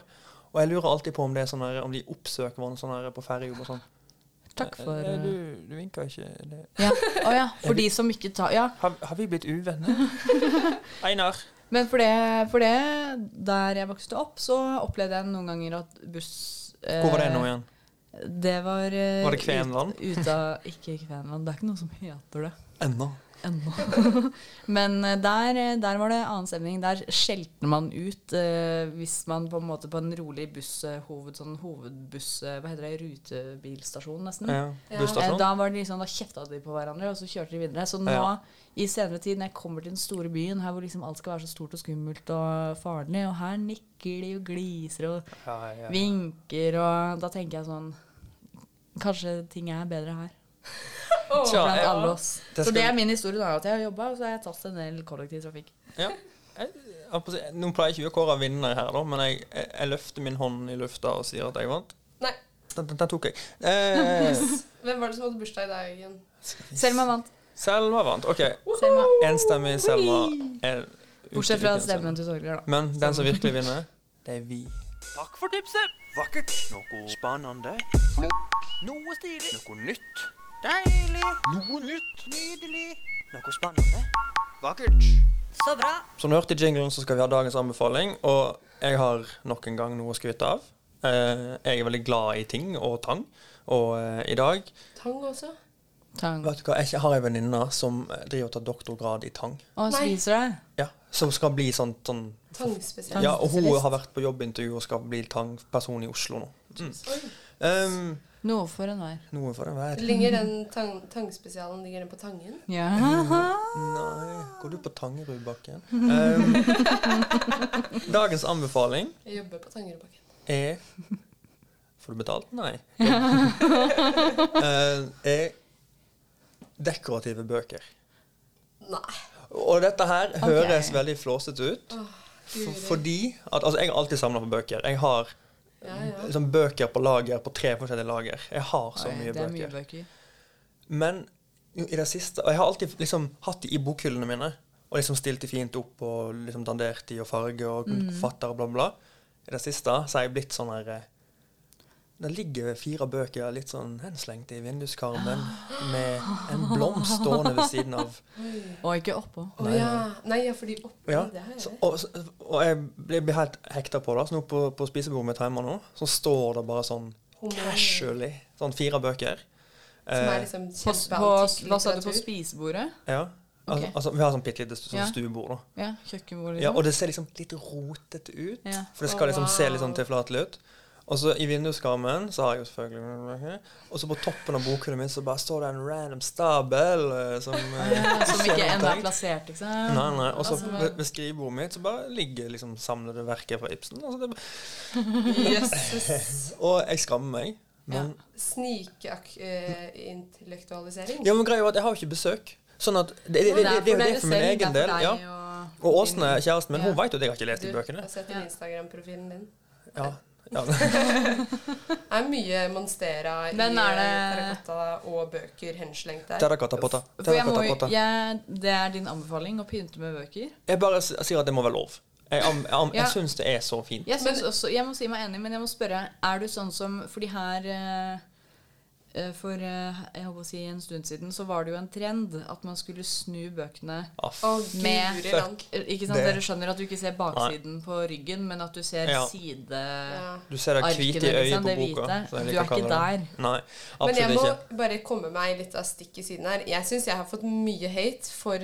[SPEAKER 5] Og jeg lurer alltid på om, det er sånn her, om de oppsøker hverandre sånn her på ferjejobb og sånn.
[SPEAKER 6] Takk for
[SPEAKER 5] Eh,
[SPEAKER 6] eh,
[SPEAKER 5] Du, du vinka ikke. Det.
[SPEAKER 6] ja. Å ja, for de som ikke tar Ja,
[SPEAKER 5] Har, har vi blitt uvenner? Einar.
[SPEAKER 6] Men for det, for det, der jeg vokste opp, så opplevde jeg noen ganger at buss eh,
[SPEAKER 5] Hvor var det nå igjen?
[SPEAKER 6] det var eh,
[SPEAKER 5] Var det Kvenland?
[SPEAKER 6] ut- Ut av, ikke Kvenland. Det er ikke noe som heter det
[SPEAKER 5] Ennå.
[SPEAKER 6] ennå. Men eh, der, eh, der var det annen stemning. Der skjelte man ut eh, hvis man på en måte på en rolig buss, eh, hoved, sånn hovedbuss, eh, hva heter det, rutebilstasjon nesten.
[SPEAKER 5] Ja.
[SPEAKER 6] Eh,
[SPEAKER 5] Busstasjon?
[SPEAKER 6] Da var det liksom, da kjefta de på hverandre, og så kjørte de videre. Så nå,
[SPEAKER 5] Ja.
[SPEAKER 6] i senere tid, når jeg kommer til den store byen, her hvor liksom alt skal være så stort og skummelt og farlig, og her nikker de og gliser og
[SPEAKER 5] Ja, ja.
[SPEAKER 6] vinker, og da tenker jeg sånn Kanskje ting er bedre her.
[SPEAKER 5] Tja,
[SPEAKER 6] blant
[SPEAKER 5] ja.
[SPEAKER 6] alle oss.
[SPEAKER 5] Det
[SPEAKER 6] så
[SPEAKER 5] skal
[SPEAKER 6] det er
[SPEAKER 5] vi-
[SPEAKER 6] min historie, da. At jeg har jobba, og så har jeg tatt en del kollektivtrafikk.
[SPEAKER 5] Ja. Jeg- jeg på å si- Nå pleier jeg ikke å kåre vinner her, da, men jeg, jeg, jeg løfter min hånd i lufta og sier at jeg vant.
[SPEAKER 7] Nei.
[SPEAKER 5] Den, den, den tok jeg. Eh,
[SPEAKER 7] Hvem var det som hadde bursdag i dag igjen?
[SPEAKER 6] Selma vant.
[SPEAKER 5] Selma vant. OK.
[SPEAKER 6] Selma.
[SPEAKER 5] Enstemmig Selma. er
[SPEAKER 6] Bortsett fra
[SPEAKER 5] utelukkende Selma.
[SPEAKER 6] stemmen til Torgeir, da.
[SPEAKER 5] Men den som virkelig vinner, det er vi.
[SPEAKER 8] Takk for tipset. Vakkert. Noe spennende. Noe stilig. Noe nytt. Deilig. Noe nytt. Nydelig. Noe spennende. Vakkert. Så bra.
[SPEAKER 5] Som du hørte i jinglen, så skal vi ha dagens anbefaling, og jeg har nok en gang noe å skryte av. Eh, jeg er veldig glad i ting og tang, og eh, i dag
[SPEAKER 7] Tang også?
[SPEAKER 6] Tang.
[SPEAKER 5] Vet du hva, jeg har ei venninne som driver og tar doktorgrad i tang.
[SPEAKER 6] Og
[SPEAKER 7] Nei.
[SPEAKER 6] spiser deg.
[SPEAKER 5] Ja, Som skal bli sånn, sånn
[SPEAKER 7] Tangspesial.
[SPEAKER 5] Ja, og hun har vært på jobbintervju og skal bli tangperson i Oslo nå. Mm. Um,
[SPEAKER 6] Noe for enhver.
[SPEAKER 5] noe for enhver.
[SPEAKER 7] Ligger den tang tangspesialen ligger den på Tangen?
[SPEAKER 6] Ja.
[SPEAKER 5] Mm, Nei Går du på Tangerudbakken? Um, dagens anbefaling
[SPEAKER 7] Jeg jobber på Tangerudbakken.
[SPEAKER 5] er E. Får du betalt? Nei. Eh, er dekorative bøker.
[SPEAKER 7] Nei.
[SPEAKER 5] Og dette her høres veldig flåsete ut, for, fordi at Altså, jeg har alltid samla på bøker. Jeg har
[SPEAKER 7] Ja, ja.
[SPEAKER 5] sånn bøker på lager på tre forskjellige lager. Jeg har så
[SPEAKER 6] Oi,
[SPEAKER 5] mye
[SPEAKER 6] det er
[SPEAKER 5] bøker.
[SPEAKER 6] mye bøker.
[SPEAKER 5] Men jo, i det siste Og jeg har alltid liksom hatt de i bokhyllene mine. Og liksom stilt de fint opp og liksom dandert de og farge og fatter og bla, bla. I det siste så har jeg blitt sånn her eh, Det ligger fire bøker litt sånn henslengt i vinduskarmen med en blomst stående ved siden av.
[SPEAKER 6] Og ikke oppå.
[SPEAKER 7] Å ja. Nei, ja, fordi oppi
[SPEAKER 5] Ja.
[SPEAKER 7] det her
[SPEAKER 5] Så, og, så- og jeg blir blir helt hekta på det. Så nå på, på spisebordet mitt hjemme nå, så står det bare sånn casually sånn fire bøker.
[SPEAKER 7] Som
[SPEAKER 5] Eh,
[SPEAKER 7] er liksom
[SPEAKER 6] På, på,
[SPEAKER 7] kjempeantikk
[SPEAKER 6] hva sa du, på
[SPEAKER 7] litteratur.
[SPEAKER 6] spisebordet?
[SPEAKER 5] Ja. Al
[SPEAKER 6] Ok.
[SPEAKER 5] altså, vi har sånn bitte lite sånn
[SPEAKER 6] Ja.
[SPEAKER 5] stuebord, da.
[SPEAKER 6] Ja, kjøkkenbordet.
[SPEAKER 5] Ja, og det ser liksom litt rotete ut.
[SPEAKER 6] Ja.
[SPEAKER 5] For det skal
[SPEAKER 7] Å,
[SPEAKER 5] liksom se litt sånn
[SPEAKER 7] wow.
[SPEAKER 5] tilflatelig ut. Og så i vinduskarmen så har jeg jo selvfølgelig Og så på toppen av bokhyllen min så bare står det en random stabel eh, som, eh,
[SPEAKER 6] Som
[SPEAKER 5] ser
[SPEAKER 6] ikke ennå er
[SPEAKER 5] omtenkt.
[SPEAKER 6] plassert, ikke sant?
[SPEAKER 5] Nei, nei. Og så
[SPEAKER 6] Altså,
[SPEAKER 5] ved, ved skrivebordet mitt så bare ligger liksom samlede verker fra Ibsen. Altså det,
[SPEAKER 7] Jøsses.
[SPEAKER 5] og jeg skammer meg. Men,
[SPEAKER 7] eh, Snikintellektualisering.
[SPEAKER 5] ja, men greia er jo at jeg har jo ikke besøk. Sånn at det, det, det, det, det, er jo det for min egen del. Ja. Og Åsne, kjæresten min, hun vet jo at jeg har ikke lest de
[SPEAKER 7] Du
[SPEAKER 5] bøkene.
[SPEAKER 7] har sett den Instagram-profilen din.
[SPEAKER 5] Ja. Ja.
[SPEAKER 7] Det er mye Monstera i
[SPEAKER 6] Men er det-
[SPEAKER 7] terrakotta og bøker henslengt der.
[SPEAKER 5] Terrakotta-potta.
[SPEAKER 6] For jeg må,
[SPEAKER 5] Terrakotta-potta.
[SPEAKER 6] jeg, det er din anbefaling å pynte med bøker.
[SPEAKER 5] Jeg bare s- sier at det må være lov. Jeg, am, jeg, am,
[SPEAKER 6] Ja.
[SPEAKER 5] jeg syns det er så fint.
[SPEAKER 6] Jeg, synes også, jeg må si meg enig, men jeg må spørre Er du sånn som Fordi her eh, eh, For eh, jeg håper å si en stund siden så var det jo en trend at man skulle snu bøkene
[SPEAKER 5] Ah,
[SPEAKER 7] Å,
[SPEAKER 5] f-
[SPEAKER 6] Med- Eh,
[SPEAKER 7] guri land.
[SPEAKER 6] Ikke sant,
[SPEAKER 5] Det-
[SPEAKER 6] Dere skjønner at du ikke ser baksiden på ryggen, men at du ser
[SPEAKER 5] Ja.
[SPEAKER 6] side...
[SPEAKER 7] Ja.
[SPEAKER 5] du ser det hvite i
[SPEAKER 6] Arkene,
[SPEAKER 5] øyet
[SPEAKER 6] liksom,
[SPEAKER 5] på
[SPEAKER 6] det
[SPEAKER 5] boka.
[SPEAKER 6] hvite.
[SPEAKER 5] som jeg
[SPEAKER 6] Du
[SPEAKER 5] liker
[SPEAKER 6] er
[SPEAKER 5] å kalle
[SPEAKER 6] ikke
[SPEAKER 5] det. Nei,
[SPEAKER 7] Men jeg
[SPEAKER 5] absolutt
[SPEAKER 7] må
[SPEAKER 5] ikke.
[SPEAKER 7] bare komme meg litt av stikk i siden her. Jeg syns jeg har fått mye hate for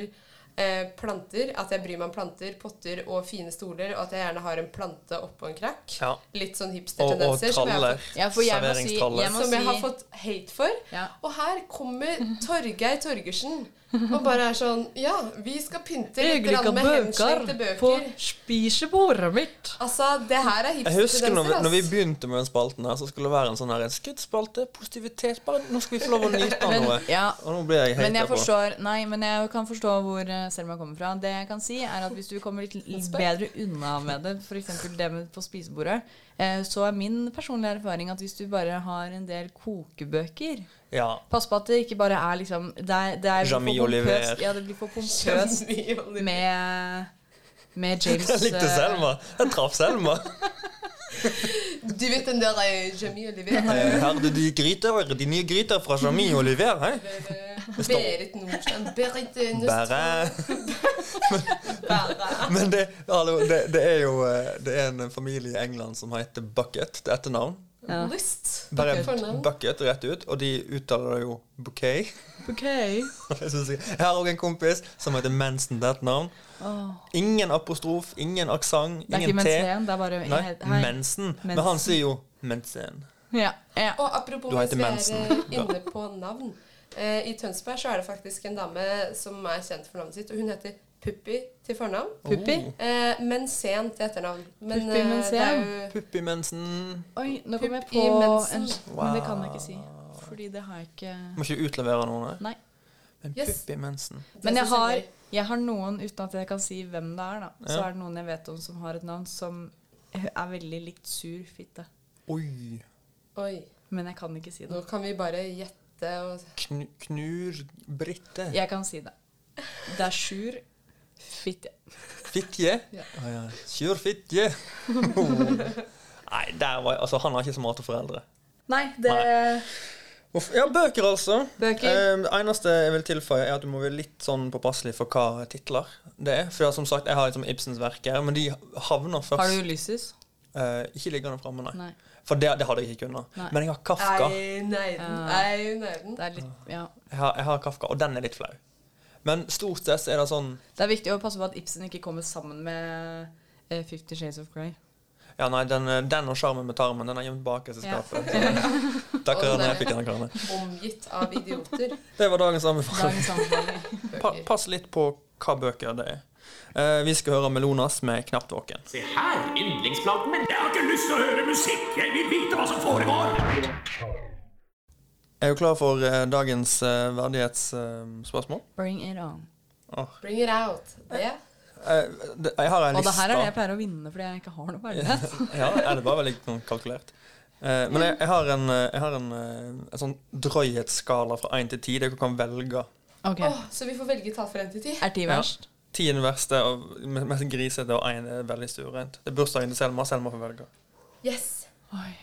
[SPEAKER 7] eh, planter. At jeg bryr meg om planter, potter og fine stoler, og at jeg gjerne har en plante oppå en krakk.
[SPEAKER 5] Ja.
[SPEAKER 7] Litt sånn
[SPEAKER 5] Og, og
[SPEAKER 7] hipstertendenser som, jeg har
[SPEAKER 5] traller.
[SPEAKER 7] fått-
[SPEAKER 6] Ja, for jeg må si-
[SPEAKER 5] Serveringstraller.
[SPEAKER 6] jeg må-
[SPEAKER 7] som jeg har
[SPEAKER 6] si-
[SPEAKER 7] fått hate for.
[SPEAKER 6] Ja.
[SPEAKER 7] Og her kommer Torgeir Torgersen og bare er sånn Ja, vi skal pynte litt grann med henslengte bøker.
[SPEAKER 6] spisebordet mitt.
[SPEAKER 7] Altså, det her er
[SPEAKER 5] Jeg husker når vi,
[SPEAKER 7] hipstertendenser,
[SPEAKER 5] når vi
[SPEAKER 7] ass.
[SPEAKER 5] begynte med den spalten her, så skulle det være en sånn her en skrittspalte, positivitet bare, Nå skal vi få lov å nyte av
[SPEAKER 6] Men,
[SPEAKER 5] noe.
[SPEAKER 6] ja,
[SPEAKER 5] Og nå blir jeg
[SPEAKER 6] Men jeg
[SPEAKER 5] hata på.
[SPEAKER 6] forstår Nei, men jeg kan forstå hvor eh, Selma kommer fra. Det jeg kan si, er at hvis du kommer litt, litt bedre unna med det, f.eks. det med på spisebordet, eh, så er min personlige erfaring at hvis du bare har en del kokebøker
[SPEAKER 5] Ja.
[SPEAKER 6] Pass på at det ikke bare er liksom Det, er, det er
[SPEAKER 5] Jamie
[SPEAKER 6] for pompøst-
[SPEAKER 5] Oliver.
[SPEAKER 6] Ja, det blir for pompøst med med James
[SPEAKER 5] Jeg likte
[SPEAKER 6] eh,
[SPEAKER 5] Selma. Jeg traff Selma.
[SPEAKER 7] Du vet den der eh, Jamie Oliver?
[SPEAKER 5] Eh, Her er de gryter, de nye gryter fra Jamie Oliver. Hei.
[SPEAKER 7] eh, Berit Nordstrand. Berit eh, Nordstrand.
[SPEAKER 5] Bare Men det, hallo, det, det er jo eh, Det er en familie i England som heter Bucket til etternavn.
[SPEAKER 6] Ja.
[SPEAKER 7] Lyst.
[SPEAKER 5] Bare
[SPEAKER 7] Fornavn.
[SPEAKER 5] bucket rett ut, og de uttaler det jo bouquet.
[SPEAKER 6] Ok.
[SPEAKER 5] Jeg synes jeg- jeg har òg en kompis som heter Mensen det er et navn. Ingen apostrof, ingen aksent,
[SPEAKER 6] Det er ikke
[SPEAKER 5] ingen T.
[SPEAKER 6] mensen, det er bare
[SPEAKER 5] Nei,
[SPEAKER 6] Hei.
[SPEAKER 5] mensen. Men han sier jo mensen.
[SPEAKER 6] Ja, ja.
[SPEAKER 7] Og apropos
[SPEAKER 5] Du
[SPEAKER 7] mens
[SPEAKER 5] heter
[SPEAKER 7] vi
[SPEAKER 5] mensen.
[SPEAKER 7] er eh, inne på navn. Eh, I Tønsberg så er det faktisk en dame som er kjent for navnet sitt, og hun heter Puppi til fornavn.
[SPEAKER 6] Puppi?
[SPEAKER 7] Eh, men sen til etternavn. Men,
[SPEAKER 6] Puppi, men
[SPEAKER 7] eh, det er jo
[SPEAKER 5] Puppi-mensen.
[SPEAKER 6] Oi, nå kom jeg
[SPEAKER 7] Pupp
[SPEAKER 6] på
[SPEAKER 7] i mensen.
[SPEAKER 6] en Men det kan jeg ikke si. Fordi det har jeg ikke
[SPEAKER 5] Må ikke utlevere noen.
[SPEAKER 6] Nei.
[SPEAKER 5] Men
[SPEAKER 7] Yes.
[SPEAKER 5] Puppi-mensen.
[SPEAKER 6] Men jeg
[SPEAKER 7] synes
[SPEAKER 6] har,
[SPEAKER 7] jeg
[SPEAKER 6] jeg har noen, uten at jeg kan si hvem det er, da, så
[SPEAKER 5] Ja.
[SPEAKER 6] er det noen jeg vet om som har et navn som er veldig likt sur fitte.
[SPEAKER 5] Oi.
[SPEAKER 7] Oi,
[SPEAKER 6] Men jeg kan ikke si det.
[SPEAKER 7] nå kan vi bare gjette og
[SPEAKER 5] Knu, Knur-Britte.
[SPEAKER 6] Jeg kan si det. Det er sur fitte.
[SPEAKER 5] Fittje?
[SPEAKER 6] Ja.
[SPEAKER 5] Å ja. Kjør fittje! Nei, der var jeg, altså, han har ikke smarte foreldre.
[SPEAKER 6] Nei, det
[SPEAKER 5] Uff, ja, bøker, altså.
[SPEAKER 6] Bøker.
[SPEAKER 5] Eh, Det eneste jeg vil tilføye, er at du må være litt sånn påpasselig for hva titler det er. For som sagt, jeg har liksom Ibsens verker, men de havner først
[SPEAKER 6] Har du Ulysses?
[SPEAKER 5] Eh, Ikke liggende framme, nei.
[SPEAKER 6] Nei.
[SPEAKER 5] For det, det hadde jeg ikke kunnet.
[SPEAKER 6] Nei.
[SPEAKER 5] Men jeg har Kafka.
[SPEAKER 7] Ei, nei den.
[SPEAKER 6] Ja.
[SPEAKER 7] Ei, nei den.
[SPEAKER 6] Det er litt Ja.
[SPEAKER 5] Jeg har, jeg har Kafka, Og den er litt flau. Men stort sett er det sånn
[SPEAKER 6] Det er viktig å passe på at Ibsen ikke kommer sammen med eh, Fifty Shades of Grey.
[SPEAKER 5] Ja, nei, den, eh, den og Sjarmen med tarmen, den er gjemt bak i
[SPEAKER 6] Ja.
[SPEAKER 5] skapet. Så- Takk for at jeg fikk denne karene.
[SPEAKER 7] Omgitt av idioter.
[SPEAKER 5] Det var dagens anbefaling.
[SPEAKER 6] Dagens samtale.
[SPEAKER 5] Pa pass litt på hva bøker det er. Eh, vi skal høre Melonas med 'Knapt våken'.
[SPEAKER 9] Se her, yndlingsplanten min. Jeg har ikke lyst til å høre musikk. Jeg vil vite hva som foregår.
[SPEAKER 5] Er du klar for eh, dagens verdighetsspørsmål?
[SPEAKER 6] Bring it on.
[SPEAKER 7] Bring it out. Det.
[SPEAKER 5] eh, jeg har en
[SPEAKER 6] Og det
[SPEAKER 5] liste.
[SPEAKER 6] her er det jeg pleier å vinne fordi jeg ikke har noe verdighet.
[SPEAKER 5] ja, er det var veldig sånn kalkulert. Eh, men jeg, jeg har en, eh, jeg har en, eh, en sånn drøyhetsskala fra 1 til 10 der du kan velge.
[SPEAKER 6] Ok.
[SPEAKER 7] Åh, så vi får velge tall fra 1 til 10.
[SPEAKER 6] Er ti verst?
[SPEAKER 5] 10 er den verste, og me- mest grisete, og 1 er veldig stuerent. Det er bursdagen til Selma. Selma får velge.
[SPEAKER 7] Yes.
[SPEAKER 6] Oi.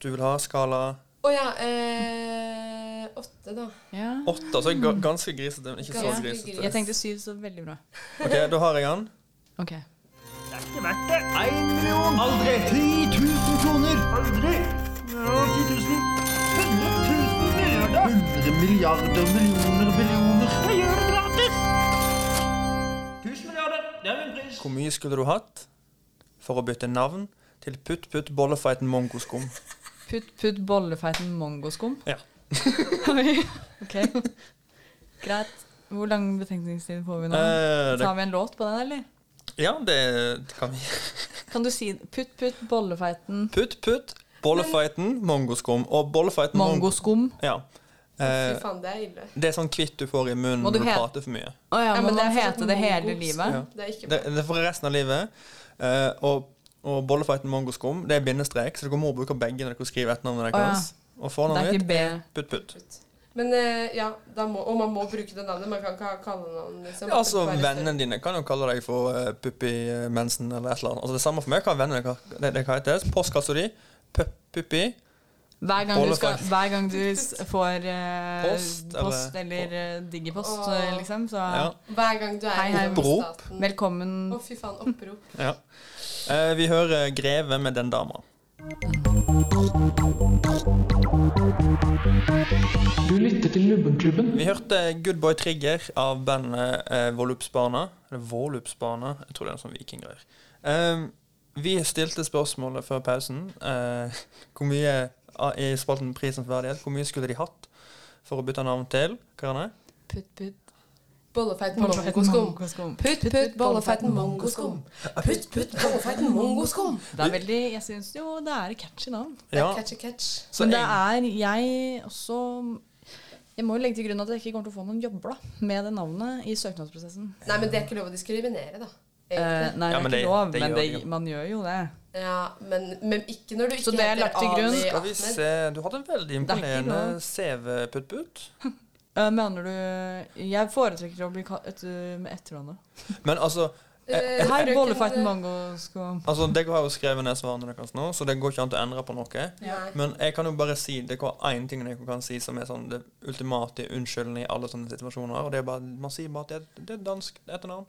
[SPEAKER 5] Du vil ha skala
[SPEAKER 7] Å ja. Eh, åtte, da.
[SPEAKER 6] Ja.
[SPEAKER 5] 8, altså ga- ganske grisete, men ikke så
[SPEAKER 7] Ganske
[SPEAKER 5] grisete.
[SPEAKER 7] grisete.
[SPEAKER 6] Jeg tenkte syv, så veldig bra.
[SPEAKER 5] Ok, Da har jeg den.
[SPEAKER 6] Ok.
[SPEAKER 9] Det er ikke verdt det. Én million. Aldri. 10 000 kroner. Aldri. Ja, 10 000. 100 000 milliarder. 100 milliarder, millioner, billioner. Jeg gjør det gratis. 1000 milliarder. Det er min pris.
[SPEAKER 5] Hvor mye skulle du hatt for å bytte navn til Putt Putt Bollefeiten Mongoskum?
[SPEAKER 6] Putt, putt bollefeiten mongoskum.
[SPEAKER 5] Ja.
[SPEAKER 6] Oi. ok. Greit. Hvor lang betenkningstid får vi nå?
[SPEAKER 5] Eh, det,
[SPEAKER 6] Tar vi en låt på den, eller?
[SPEAKER 5] ja, det kan vi.
[SPEAKER 6] Kan du si putt, putt, bollefeiten
[SPEAKER 5] Putt Putt Bollefeiten Mongoskum. Og Bollefeiten Mong-
[SPEAKER 6] mongoskum?
[SPEAKER 5] Ja.
[SPEAKER 7] Fy
[SPEAKER 5] Eh,
[SPEAKER 7] faen, det er ille.
[SPEAKER 5] det er sånn kvitt du får i munnen
[SPEAKER 6] Må
[SPEAKER 5] når
[SPEAKER 6] du
[SPEAKER 5] du
[SPEAKER 6] he-
[SPEAKER 5] prater for mye.
[SPEAKER 6] Å ja,
[SPEAKER 7] Ja,
[SPEAKER 6] men
[SPEAKER 7] men det
[SPEAKER 6] må
[SPEAKER 7] er
[SPEAKER 6] hete
[SPEAKER 7] fortsatt
[SPEAKER 6] det hele
[SPEAKER 7] mongos.
[SPEAKER 6] livet?
[SPEAKER 5] Ja.
[SPEAKER 7] Det er ikke
[SPEAKER 5] Det,
[SPEAKER 7] bra.
[SPEAKER 5] det er for resten av livet. Eh, og og bollefeiten mongoskum, det er bindestrek, så dere må bruke begge når dere skriver
[SPEAKER 6] Å,
[SPEAKER 5] etternavnet
[SPEAKER 6] ja.
[SPEAKER 5] deres. Og
[SPEAKER 6] Det er
[SPEAKER 5] fornavnet
[SPEAKER 6] ikke
[SPEAKER 5] ditt
[SPEAKER 6] B.
[SPEAKER 5] Putt Putt.
[SPEAKER 7] Men eh, ja, da må, og man må bruke det navnet. Man kan ikke ha kallenavn. Liksom.
[SPEAKER 5] Ja, altså,
[SPEAKER 7] Bare-
[SPEAKER 5] Vennene dine kan jo kalle deg for eh, Puppi eh, Mensen eller et eller annet. Altså, det samme for meg hva vennene ka- det, det kan hete. Postkassa di Pup- Puppi.
[SPEAKER 6] Hver gang du, skal,
[SPEAKER 5] Bollefeiten.
[SPEAKER 6] hver gang du s- får eh,
[SPEAKER 5] Post, eller-
[SPEAKER 6] post eller eh, digipost,
[SPEAKER 7] Åh.
[SPEAKER 6] eh, liksom, så
[SPEAKER 5] Ja.
[SPEAKER 7] Hver gang du er
[SPEAKER 6] Hei, hei.
[SPEAKER 7] innom
[SPEAKER 5] Opprop.
[SPEAKER 7] staten.
[SPEAKER 6] Velkommen.
[SPEAKER 7] Å, fy faen. Opprop.
[SPEAKER 5] ja. Eh, vi hører Greve med den dama.
[SPEAKER 1] Du lytter til Lubbenklubben.
[SPEAKER 5] Vi hørte Good Boy Trigger av bandet eh, Volupsbana. Eller Volupsbana. Jeg tror det er noe sånn vikinggreier. Eh, vi stilte spørsmålet før pausen. Eh, hvor mye ah, i spalten Prisen for verdighet, hvor mye skulle de hatt for å bytte navn til? Karane?
[SPEAKER 6] Putt, putt,
[SPEAKER 7] Bollefeiten
[SPEAKER 6] bollefeiten
[SPEAKER 7] mongoskum.
[SPEAKER 6] mongoskum.
[SPEAKER 7] Putt, putt, bollefeiten mongoskum. Putt, putt, bollefeiten mongoskum.
[SPEAKER 6] Det er veldig Jeg syns jo det er et catchy navn.
[SPEAKER 7] Det er catchy catch.
[SPEAKER 5] så
[SPEAKER 6] Men det
[SPEAKER 5] jeg,
[SPEAKER 6] er jeg også Jeg må jo legge til grunn at jeg ikke kommer til å få noen jobber da, med det navnet i søknadsprosessen.
[SPEAKER 7] Nei, men det er ikke lov å diskriminere, da.
[SPEAKER 6] Eh,
[SPEAKER 7] Egentlig.
[SPEAKER 6] nei,
[SPEAKER 5] Ja, men
[SPEAKER 6] det er
[SPEAKER 5] det-
[SPEAKER 6] ikke lov,
[SPEAKER 5] det
[SPEAKER 6] men
[SPEAKER 5] gjør
[SPEAKER 6] det,
[SPEAKER 5] vi jo.
[SPEAKER 6] man gjør jo det.
[SPEAKER 7] Ja, men, men ikke når du ikke
[SPEAKER 6] Så det er lagt til grunn.
[SPEAKER 7] Ali
[SPEAKER 5] skal vi
[SPEAKER 7] Ahmed.
[SPEAKER 5] se Du hadde en veldig
[SPEAKER 6] Det er ikke
[SPEAKER 5] imponerende
[SPEAKER 6] lov.
[SPEAKER 5] CV, Putt-Putt.
[SPEAKER 6] Eh, mener du Jeg foretrekker å bli kalt et, med etternavnet.
[SPEAKER 5] Men altså
[SPEAKER 7] Eh,
[SPEAKER 6] Hei,
[SPEAKER 7] frøken-
[SPEAKER 6] bollefeiten mangoskum.
[SPEAKER 5] Altså, Dere har jo skrevet ned svarene deres nå, så det går ikke an til å endre på noe.
[SPEAKER 7] Nei.
[SPEAKER 5] Men jeg kan jo bare si det er én ting jeg kan si som er sånn det ultimate unnskyldende i alle sånne situasjoner, og det er bare man sier bare at det, det er dansk etternavn.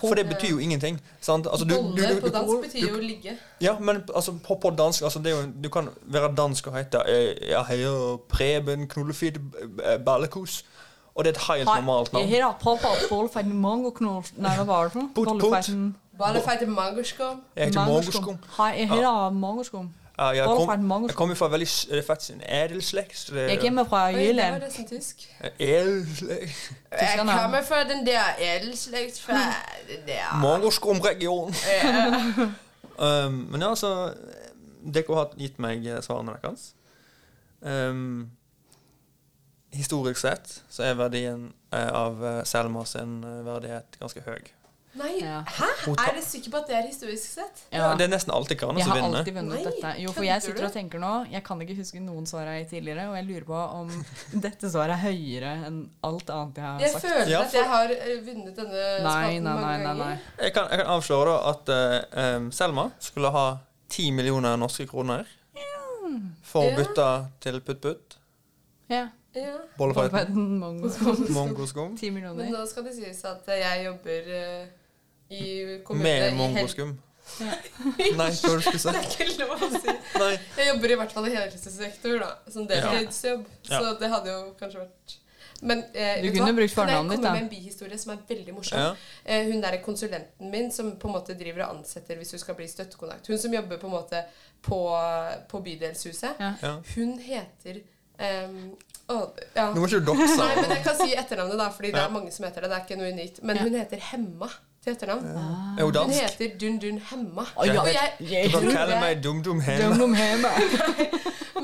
[SPEAKER 5] For det betyr jo ingenting. Sant? Altså, du, du,
[SPEAKER 7] Bolle
[SPEAKER 5] du,
[SPEAKER 7] på dansk
[SPEAKER 5] du,
[SPEAKER 7] betyr jo ligge.
[SPEAKER 5] ja, men altså, på, på dansk altså, det er jo, Du kan være dansk og hete eh, Jeg heier Preben Knollefid eh, Ballekos. Og det er et helt normalt navn.
[SPEAKER 6] Her har pappa bollfeiten mange knor... Nei, hva var det for noe?
[SPEAKER 5] Put, put.
[SPEAKER 6] Bollfeiten-
[SPEAKER 7] Bare feite mangerskum.
[SPEAKER 5] Jeg heter
[SPEAKER 6] Mangoskum.
[SPEAKER 5] Mangoskum.
[SPEAKER 6] Hei, jeg heter Mangoskum.
[SPEAKER 5] Ja, Ah, jeg
[SPEAKER 6] Bolle
[SPEAKER 5] kom-
[SPEAKER 6] fra en mangoskum.
[SPEAKER 5] jeg kommer fra veldig s- eh, fett sin edelslekt. så det-
[SPEAKER 6] Jeg kommer fra
[SPEAKER 7] Oi, det var
[SPEAKER 6] Jylland.
[SPEAKER 7] nesten tysk.
[SPEAKER 5] Edelslekt.
[SPEAKER 7] Jeg
[SPEAKER 6] Tyskerne.
[SPEAKER 7] kommer fra den der edelslekt fra den der
[SPEAKER 5] Mangoskum-region. um, men ja, altså Dere har gitt meg eh, svarene deres. Um, historisk sett så er verdien eh, av eh, Selma sin eh, verdighet ganske høy.
[SPEAKER 7] Nei,
[SPEAKER 6] Ja.
[SPEAKER 7] hæ? Er du sikker på at det er historisk sett?
[SPEAKER 5] Ja. Det er nesten alltid Karne
[SPEAKER 6] Jeg
[SPEAKER 5] som
[SPEAKER 6] har
[SPEAKER 5] vinner.
[SPEAKER 6] alltid vunnet
[SPEAKER 7] Nei,
[SPEAKER 6] dette. Jo, for
[SPEAKER 7] kødder
[SPEAKER 6] jeg sitter
[SPEAKER 7] du?
[SPEAKER 6] og tenker nå Jeg kan ikke huske noen svar jeg har gitt tidligere, og jeg lurer på om dette svaret er høyere enn alt annet jeg
[SPEAKER 7] Jeg
[SPEAKER 6] har sagt.
[SPEAKER 7] føler
[SPEAKER 5] Ja,
[SPEAKER 7] at jeg har eh, vunnet denne
[SPEAKER 6] Nei,
[SPEAKER 7] spalten
[SPEAKER 6] nei, nei,
[SPEAKER 7] mange
[SPEAKER 6] nei, nei.
[SPEAKER 7] ganger.
[SPEAKER 5] Jeg kan, jeg kan avsløre da at eh, um, Selma skulle ha 10 millioner norske kroner for å
[SPEAKER 7] Ja.
[SPEAKER 5] bytte til putt-putt.
[SPEAKER 6] Ja.
[SPEAKER 7] Ja.
[SPEAKER 6] Bollfeiten
[SPEAKER 5] Bollefeiten.
[SPEAKER 6] Mangoskum.
[SPEAKER 5] Mongoskum.
[SPEAKER 6] Ti
[SPEAKER 7] Men
[SPEAKER 6] millioner.
[SPEAKER 7] nå skal det sies at eh, jeg jobber eh, i kommunene
[SPEAKER 5] Med
[SPEAKER 7] i hel-
[SPEAKER 5] mongoskum. Nei, hva var det du skulle
[SPEAKER 7] Det
[SPEAKER 5] si?
[SPEAKER 7] er ikke lov å si.
[SPEAKER 5] Nei.
[SPEAKER 7] Jeg jobber i hvert fall i helsesektor, da. Som deltidsjobb.
[SPEAKER 5] Ja.
[SPEAKER 7] Så det hadde jo kanskje vært Men eh,
[SPEAKER 6] Du
[SPEAKER 7] vet
[SPEAKER 6] kunne
[SPEAKER 7] hva?
[SPEAKER 6] brukt
[SPEAKER 7] Kan jeg
[SPEAKER 6] fornavnet ditt,
[SPEAKER 7] komme
[SPEAKER 6] da.
[SPEAKER 7] med en bihistorie som er veldig morsom.
[SPEAKER 5] Ja.
[SPEAKER 7] Eh, hun der konsulenten min som på en måte driver og ansetter hvis du skal bli støttekontakt. Hun som jobber på en måte på, på bydelshuset.
[SPEAKER 6] Ja.
[SPEAKER 5] Ja.
[SPEAKER 7] Hun heter ehm, å, ja.
[SPEAKER 5] Nå må ikke du dokse.
[SPEAKER 7] Nei, men jeg kan si etternavnet, da, fordi det
[SPEAKER 5] Ja.
[SPEAKER 7] er mange som heter det. Det er ikke noe unikt. Men hun heter Hemma til etternavn.
[SPEAKER 6] Ah.
[SPEAKER 5] Er hun
[SPEAKER 7] Hun
[SPEAKER 5] dansk?
[SPEAKER 7] heter Dun Dun Hemma.
[SPEAKER 6] Å, ja.
[SPEAKER 7] Og jeg,
[SPEAKER 5] Du
[SPEAKER 6] Jeg
[SPEAKER 5] kan
[SPEAKER 7] tror
[SPEAKER 5] kalle
[SPEAKER 7] jeg-
[SPEAKER 5] meg Dum-Dum
[SPEAKER 6] Dum
[SPEAKER 5] Hemma.
[SPEAKER 6] dum hema.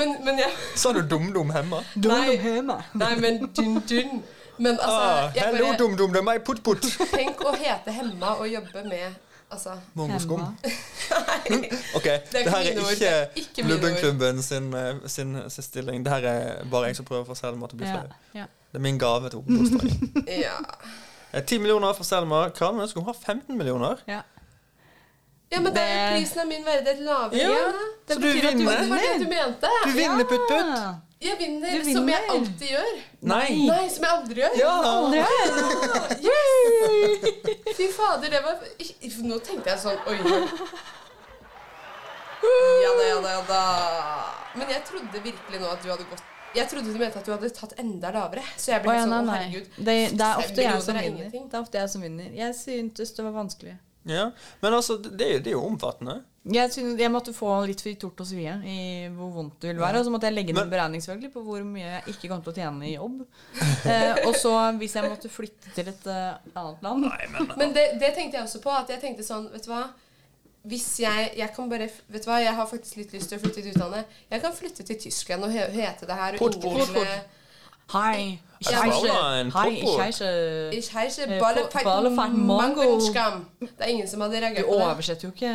[SPEAKER 7] men, men jeg
[SPEAKER 5] Sa du Dum-Dum Hemma?
[SPEAKER 6] Dum
[SPEAKER 7] Nei.
[SPEAKER 6] dum hema.
[SPEAKER 7] Nei, men Dun Dun. Men altså
[SPEAKER 5] Ah,
[SPEAKER 7] jeg
[SPEAKER 5] hello,
[SPEAKER 7] bare,
[SPEAKER 5] Dum-Dum. Det er meg, Putt-Putt.
[SPEAKER 7] Tenk å hete Hemma og jobbe med Altså
[SPEAKER 5] Mongoskum.
[SPEAKER 6] Hemma.
[SPEAKER 5] OK,
[SPEAKER 7] er
[SPEAKER 5] det
[SPEAKER 7] ikke
[SPEAKER 5] her
[SPEAKER 7] mine ord, det
[SPEAKER 5] er
[SPEAKER 7] er ikke
[SPEAKER 5] ikke
[SPEAKER 7] mine ord.
[SPEAKER 5] Lubbenklubben sin, eh, sin, sin stilling. Det her er bare jeg som prøver å få Selma til å bli
[SPEAKER 6] Ja.
[SPEAKER 5] flau.
[SPEAKER 6] Ja.
[SPEAKER 5] Det er min gave til oppblomstring.
[SPEAKER 7] Ja.
[SPEAKER 5] Eh, 10 millioner for Selma. Karen ønsker hun har 15 millioner.
[SPEAKER 6] ja.
[SPEAKER 7] ja, men da er jo
[SPEAKER 6] Det-
[SPEAKER 7] prisen av min verdighet lavere.
[SPEAKER 5] Ja,
[SPEAKER 7] Ja,
[SPEAKER 5] så du vinner.
[SPEAKER 7] Det var det du mente.
[SPEAKER 5] Du vinner Putt-Putt.
[SPEAKER 6] Ah,
[SPEAKER 7] Jeg vinner,
[SPEAKER 6] Du
[SPEAKER 7] som jeg
[SPEAKER 6] vinner.
[SPEAKER 7] alltid gjør.
[SPEAKER 5] Nei.
[SPEAKER 7] Nei, som jeg aldri gjør.
[SPEAKER 5] Ja.
[SPEAKER 6] aldri hørt.
[SPEAKER 7] Fy fader, det var Nå tenkte jeg sånn Oi. Ja da, ja da, ja da. Men jeg trodde virkelig nå at du hadde gått Jeg trodde du mente at du hadde tatt enda lavere. Så jeg ble
[SPEAKER 6] Å, ja,
[SPEAKER 7] helt
[SPEAKER 6] nei,
[SPEAKER 7] sånn Å,
[SPEAKER 6] nei.
[SPEAKER 7] herregud.
[SPEAKER 6] Det, det er ofte jeg
[SPEAKER 7] Millioner
[SPEAKER 6] som
[SPEAKER 7] er
[SPEAKER 6] vinner.
[SPEAKER 7] ingenting.
[SPEAKER 6] Det er ofte jeg som vinner. Jeg syntes det var vanskelig.
[SPEAKER 5] Ja. Men altså, det er jo, det er jo omfattende.
[SPEAKER 6] Jeg, synes, jeg måtte få litt for tort og svie i hvor vondt det vil være. Og så måtte jeg legge inn en
[SPEAKER 5] Men-
[SPEAKER 6] beregning selvfølgelig på hvor mye jeg ikke kom til å tjene i jobb. Eh, og så hvis jeg måtte flytte til et eh, annet land
[SPEAKER 7] Men det, det tenkte jeg også på. At jeg tenkte sånn, vet du hva Hvis jeg Jeg kan bare Vet du hva, jeg har faktisk litt lyst til å flytte til utlandet. Jeg kan flytte til Tyskland og he hete det her. og
[SPEAKER 5] Port,
[SPEAKER 7] ingen
[SPEAKER 5] port,
[SPEAKER 7] ville-
[SPEAKER 6] Hei, ich
[SPEAKER 7] Ja,
[SPEAKER 6] heiße,
[SPEAKER 5] Fraulein,
[SPEAKER 6] hei, ich
[SPEAKER 5] Popo.
[SPEAKER 6] heiße
[SPEAKER 7] Ich heiße
[SPEAKER 6] Eh,
[SPEAKER 7] Ballefeit
[SPEAKER 6] Ballefeit Mango.
[SPEAKER 7] Mangenskam. Det er ingen som hadde
[SPEAKER 6] Du
[SPEAKER 7] reagert på det.
[SPEAKER 6] oversetter jo ikke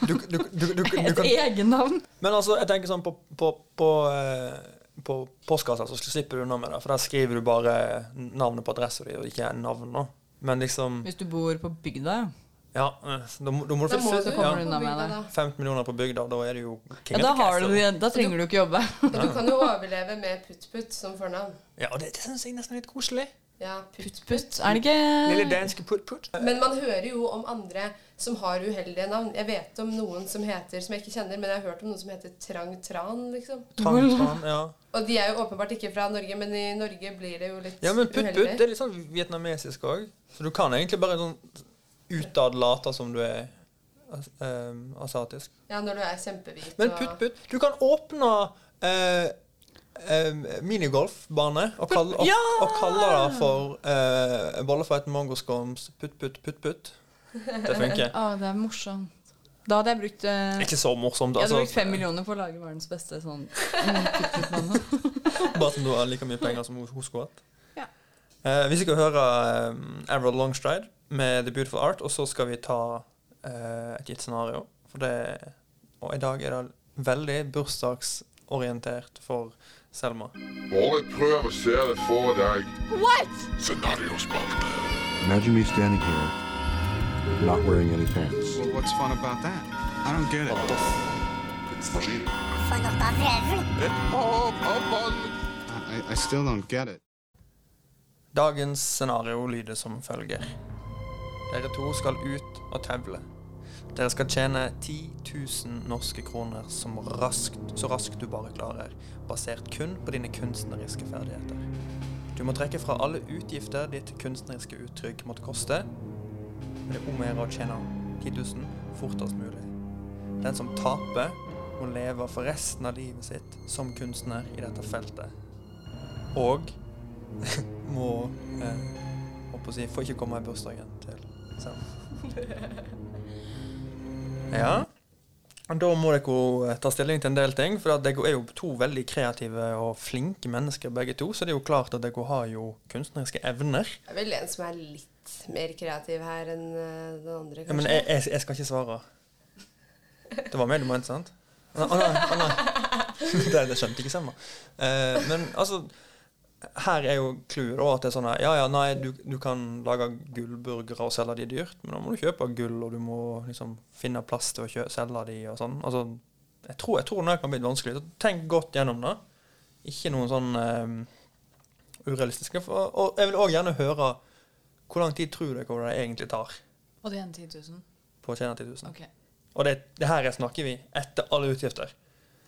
[SPEAKER 5] Du, du, du, du, du
[SPEAKER 6] et
[SPEAKER 5] kan
[SPEAKER 6] egennavn.
[SPEAKER 5] Men altså, jeg tenker sånn på, på, på, eh, på postkassa så slipper du unna med det, for der skriver du bare navnet på adressen din, og ikke navn nå. Men liksom
[SPEAKER 6] Hvis du bor på bygda, ja.
[SPEAKER 5] Ja, eh, da må, da må du
[SPEAKER 7] Da må
[SPEAKER 5] flytte.
[SPEAKER 7] du
[SPEAKER 6] kommer
[SPEAKER 7] komme
[SPEAKER 6] unna
[SPEAKER 5] ja.
[SPEAKER 7] på
[SPEAKER 6] med
[SPEAKER 7] bygda,
[SPEAKER 6] det.
[SPEAKER 7] da.
[SPEAKER 5] 15 millioner på bygda, da er du jo
[SPEAKER 6] ja
[SPEAKER 5] king of
[SPEAKER 6] da,
[SPEAKER 5] the
[SPEAKER 6] har du,
[SPEAKER 5] castle.
[SPEAKER 6] det. da trenger du ikke jobbe.
[SPEAKER 7] Og du kan jo overleve med putt-putt som fornavn.
[SPEAKER 5] Ja, og det, det syns jeg nesten er litt koselig.
[SPEAKER 7] Ja, putt-putt.
[SPEAKER 6] Putt, er det ikke
[SPEAKER 5] Lille danske eh, putt-putt.
[SPEAKER 7] Men man hører jo om andre som har uheldige navn. Jeg vet om noen som heter som jeg ikke kjenner, men jeg har hørt om noen som heter Trang Tran, liksom.
[SPEAKER 5] Tang-tang, ja.
[SPEAKER 7] Og de er jo åpenbart ikke fra Norge, men i Norge blir det jo litt
[SPEAKER 5] ja, men putt-putt det
[SPEAKER 7] uheldig.
[SPEAKER 5] er litt sånn vietnamesisk òg. Så du kan egentlig bare sånn utad late som du er as- eh, asiatisk.
[SPEAKER 7] Ja, når du er kjempehvit.
[SPEAKER 5] Men
[SPEAKER 7] og-
[SPEAKER 5] putt, putt. Du kan åpne eh, eh, minigolfbane og kalle, og, og kalle det for eh, Bollefeit mangoscoms putt, putt, putt, putt. Det funker.
[SPEAKER 6] Å, det er morsomt. Da hadde jeg brukt eh,
[SPEAKER 5] Ikke så morsomt,
[SPEAKER 6] Jeg hadde
[SPEAKER 5] altså.
[SPEAKER 6] brukt fem millioner på å lage verdens beste sånn
[SPEAKER 5] Bare som du har like mye penger som hun- hun skulle hatt.
[SPEAKER 6] Ja.
[SPEAKER 5] Eh, vi skal høre eh, Avril Longstride med The Beautiful Art, og så skal vi ta eh, et gitt scenario. For det, og i dag er det veldig bursdagsorientert for Selma.
[SPEAKER 10] Bare prøv å se det for deg.
[SPEAKER 11] Imagine me standing here, not wearing any pants.
[SPEAKER 8] What's fun about that? I don't get it. I, I still don't get it.
[SPEAKER 5] Dagens scenario lyder som følger. Dere to skal ut og tevle. Dere skal tjene 10 000 norske kroner som raskt, så raskt du bare klarer, basert kun på dine kunstneriske ferdigheter. Du må trekke fra alle utgifter ditt kunstneriske uttrykk måtte koste. Men det er om å gjøre å tjene 10 000 fortest mulig. Den som taper, må leve for resten av livet sitt som kunstner i dette feltet. Og må eh, holdt på å si, får ikke komme i bursdagen til Sam. Ja. Da må dere eh, ta stilling til en del ting, for at dere er jo to veldig kreative og flinke mennesker begge to, så det er jo klart at dere har jo kunstneriske evner.
[SPEAKER 7] Det er vel en som er litt mer kreativ her enn eh, den andre,
[SPEAKER 5] Ja, men
[SPEAKER 7] kanskje.
[SPEAKER 5] jeg, jeg, jeg skal ikke svare. Det var meg du mente, sant? Å nei, å nei. Det, det skjønte ikke Selma. Eh, men altså Her er jo clouet da, at det er sånn her, Ja, ja, nei, du, du kan lage gullburgere og selge de dyrt, men da må du kjøpe gull, og du må liksom finne plass til å kjø selge de og sånn. Altså, jeg tror, jeg tror det kan bli litt vanskelig. Så tenk godt gjennom det. Ikke noen sånn eh, urealistiske. For, og jeg vil òg gjerne høre hvor lang tid tror dere det egentlig tar
[SPEAKER 6] Og det er en 10 000.
[SPEAKER 5] på å tjene 10 000?
[SPEAKER 6] Ok.
[SPEAKER 5] Og det, det her snakker vi etter alle utgifter.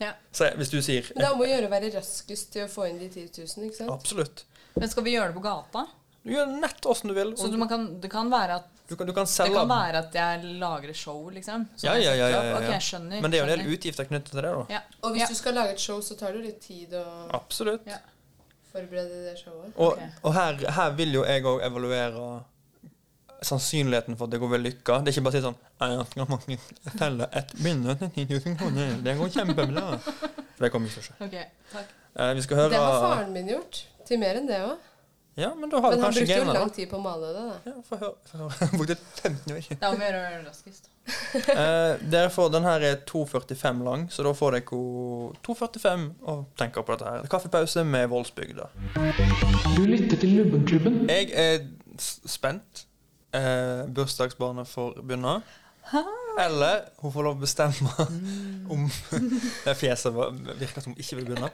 [SPEAKER 6] Ja.
[SPEAKER 5] Så jeg- hvis du sier
[SPEAKER 7] Men det er om å gjøre å være raskest til å få inn de 10 000, ikke sant?
[SPEAKER 5] Absolutt.
[SPEAKER 6] Men skal vi gjøre det på gata?
[SPEAKER 5] Du gjør nett åssen du vil.
[SPEAKER 6] Så du, man kan, det kan være at
[SPEAKER 5] Du kan, du kan
[SPEAKER 6] det
[SPEAKER 5] selge
[SPEAKER 6] kan være at jeg lager et show, liksom? som
[SPEAKER 5] ja,
[SPEAKER 6] jeg
[SPEAKER 5] ja, ja,
[SPEAKER 6] setter
[SPEAKER 5] ja,
[SPEAKER 6] opp?
[SPEAKER 5] ja, ja.
[SPEAKER 6] Ok, jeg skjønner.
[SPEAKER 5] Men det er jo en del
[SPEAKER 6] skjønner.
[SPEAKER 5] utgifter knyttet til det, da.
[SPEAKER 6] Ja.
[SPEAKER 7] Og hvis
[SPEAKER 6] Ja.
[SPEAKER 7] du skal lage et show, så tar det jo litt tid å
[SPEAKER 5] Absolutt.
[SPEAKER 7] forberede det showet.
[SPEAKER 5] Og, og her, her vil jo jeg òg evaluere sannsynligheten for at det går vellykka. Det er ikke bare å si sånn «Jeg skal mange- jeg teller ett minutt til 10 000 kroner. Det går kjempebra. For det kommer ikke til å skje.
[SPEAKER 6] Ok, takk.
[SPEAKER 5] Eh, vi skal
[SPEAKER 7] Det har
[SPEAKER 5] høre
[SPEAKER 7] faren min gjort. Til mer enn det òg.
[SPEAKER 5] Ja, men da har
[SPEAKER 7] Men
[SPEAKER 5] du
[SPEAKER 7] han
[SPEAKER 5] kanskje
[SPEAKER 7] brukte jo
[SPEAKER 5] gamene, da.
[SPEAKER 7] lang tid på å male det, da.
[SPEAKER 5] Ja, få høre. få høre. Brukte 15 år.
[SPEAKER 6] Det er om å gjøre det raskest.
[SPEAKER 5] Eh, dere får, den her er 2,45 lang, så da får dere 2,45 og tenker på dette her. Kaffepause med Voldsbygda.
[SPEAKER 1] Du lytter til Lubbenklubben.
[SPEAKER 5] Jeg er s- spent. Eh, bursdagsbarnet får begynne. Eller hun får lov å bestemme
[SPEAKER 6] Mm.
[SPEAKER 5] om Det fjeset var- virker som hun ikke vil begynne.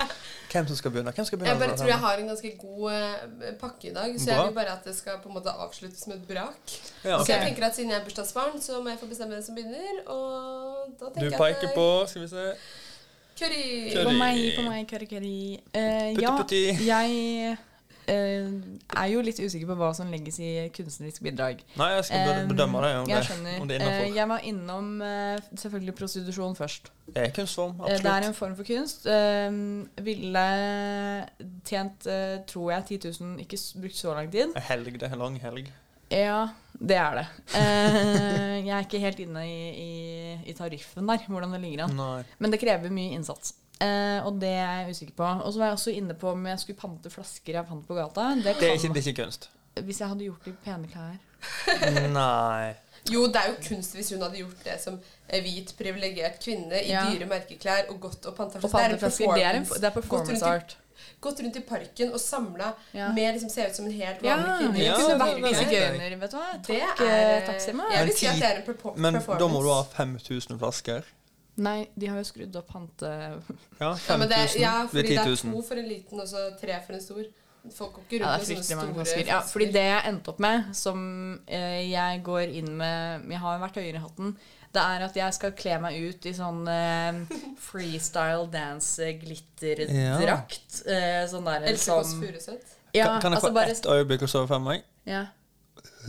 [SPEAKER 5] Hvem som skal begynne? Hvem skal begynne?
[SPEAKER 7] Jeg bare tror jeg har en ganske god eh, pakke i dag, så
[SPEAKER 5] altså Bra.
[SPEAKER 7] jeg vil bare at det skal på en måte avsluttes med et brak.
[SPEAKER 5] Ja,
[SPEAKER 7] Så jeg
[SPEAKER 5] ok.
[SPEAKER 7] tenker at siden jeg er bursdagsbarn, så må jeg få bestemme hvem som begynner. Og da
[SPEAKER 5] Du
[SPEAKER 7] tenker
[SPEAKER 5] peker
[SPEAKER 7] jeg
[SPEAKER 5] på Skal vi se.
[SPEAKER 7] Curry.
[SPEAKER 5] Curry.
[SPEAKER 6] På meg, på meg, curry, curry. Eh,
[SPEAKER 5] Putti,
[SPEAKER 6] ja,
[SPEAKER 5] putti.
[SPEAKER 6] jeg eh, er jo litt usikker på hva som legges i kunstnerisk bidrag.
[SPEAKER 5] Nei, jeg skal be-
[SPEAKER 6] Eh,
[SPEAKER 5] bedømme det, om
[SPEAKER 6] jeg
[SPEAKER 5] det-
[SPEAKER 6] skjønner.
[SPEAKER 5] om det er innenfor.
[SPEAKER 6] Eh, jeg var innom eh, selvfølgelig prostitusjon først.
[SPEAKER 5] Det er kunstform,
[SPEAKER 6] Eh, Det er
[SPEAKER 5] absolutt.
[SPEAKER 6] en form for kunst. Eh, ville tjent, eh, tror jeg, 10 000, ikke s- brukt så lang tid.
[SPEAKER 5] En helg, det er en lang helg.
[SPEAKER 6] Ja, det er det. Eh, jeg er ikke helt inne i, i, i tariffen der, hvordan det ligger an.
[SPEAKER 5] Nei.
[SPEAKER 6] Men det krever mye innsats. Eh, og det er jeg usikker på. Og så var jeg også inne på om jeg skulle pante flasker jeg fant på gata. Det
[SPEAKER 5] Det er
[SPEAKER 6] kan,
[SPEAKER 5] ikke, det er ikke kunst.
[SPEAKER 6] Hvis jeg hadde gjort det i pene klær.
[SPEAKER 5] Nei.
[SPEAKER 7] Jo, det er jo kunst hvis hun hadde gjort det som eh, hvit, privilegert kvinne i
[SPEAKER 6] Ja.
[SPEAKER 7] dyre merkeklær og gått og panta
[SPEAKER 6] Og panteflasker, det er en- det er performance
[SPEAKER 7] art. Gått rundt i parken og samla
[SPEAKER 6] Ja.
[SPEAKER 7] med liksom se ut som en helt
[SPEAKER 6] Ja,
[SPEAKER 7] vanlig kvinne.
[SPEAKER 6] jeg
[SPEAKER 5] Ja,
[SPEAKER 6] kunne
[SPEAKER 5] det er
[SPEAKER 6] vært
[SPEAKER 5] veldig
[SPEAKER 6] sigøyner, vet du hva.
[SPEAKER 7] Det
[SPEAKER 6] Takk,
[SPEAKER 7] er-
[SPEAKER 6] eh, takk Selma.
[SPEAKER 7] Jeg vil
[SPEAKER 5] Men
[SPEAKER 7] si at
[SPEAKER 5] ti-
[SPEAKER 7] det er en perpo-
[SPEAKER 5] Men da må du
[SPEAKER 7] performance.
[SPEAKER 5] ha 5000 flasker.
[SPEAKER 6] Nei, de har jo skrudd opp pante...
[SPEAKER 5] Ja,
[SPEAKER 7] Ja, men
[SPEAKER 5] 5000
[SPEAKER 7] det, ja,
[SPEAKER 5] blir
[SPEAKER 7] fordi det
[SPEAKER 5] 10
[SPEAKER 7] er
[SPEAKER 5] 000.
[SPEAKER 7] to for en liten og så tre for en stor. Folk går ikke
[SPEAKER 6] Ja, det er
[SPEAKER 7] rundt med
[SPEAKER 6] fryktelig mange
[SPEAKER 7] sånne store
[SPEAKER 6] flasker. Ja, fordi det jeg endte opp med, som eh, jeg går inn med Jeg har vært høyere i hatten. Det er at jeg skal kle meg ut i sånn eh, freestyle dance-glitterdrakt. Eh, sånn der
[SPEAKER 7] Else Kåss
[SPEAKER 6] som
[SPEAKER 7] Furuseth.
[SPEAKER 6] ja,
[SPEAKER 5] Kan- kan jeg
[SPEAKER 6] altså
[SPEAKER 5] få
[SPEAKER 6] bare,
[SPEAKER 5] ett øyeblikk å sove for meg?
[SPEAKER 6] ja,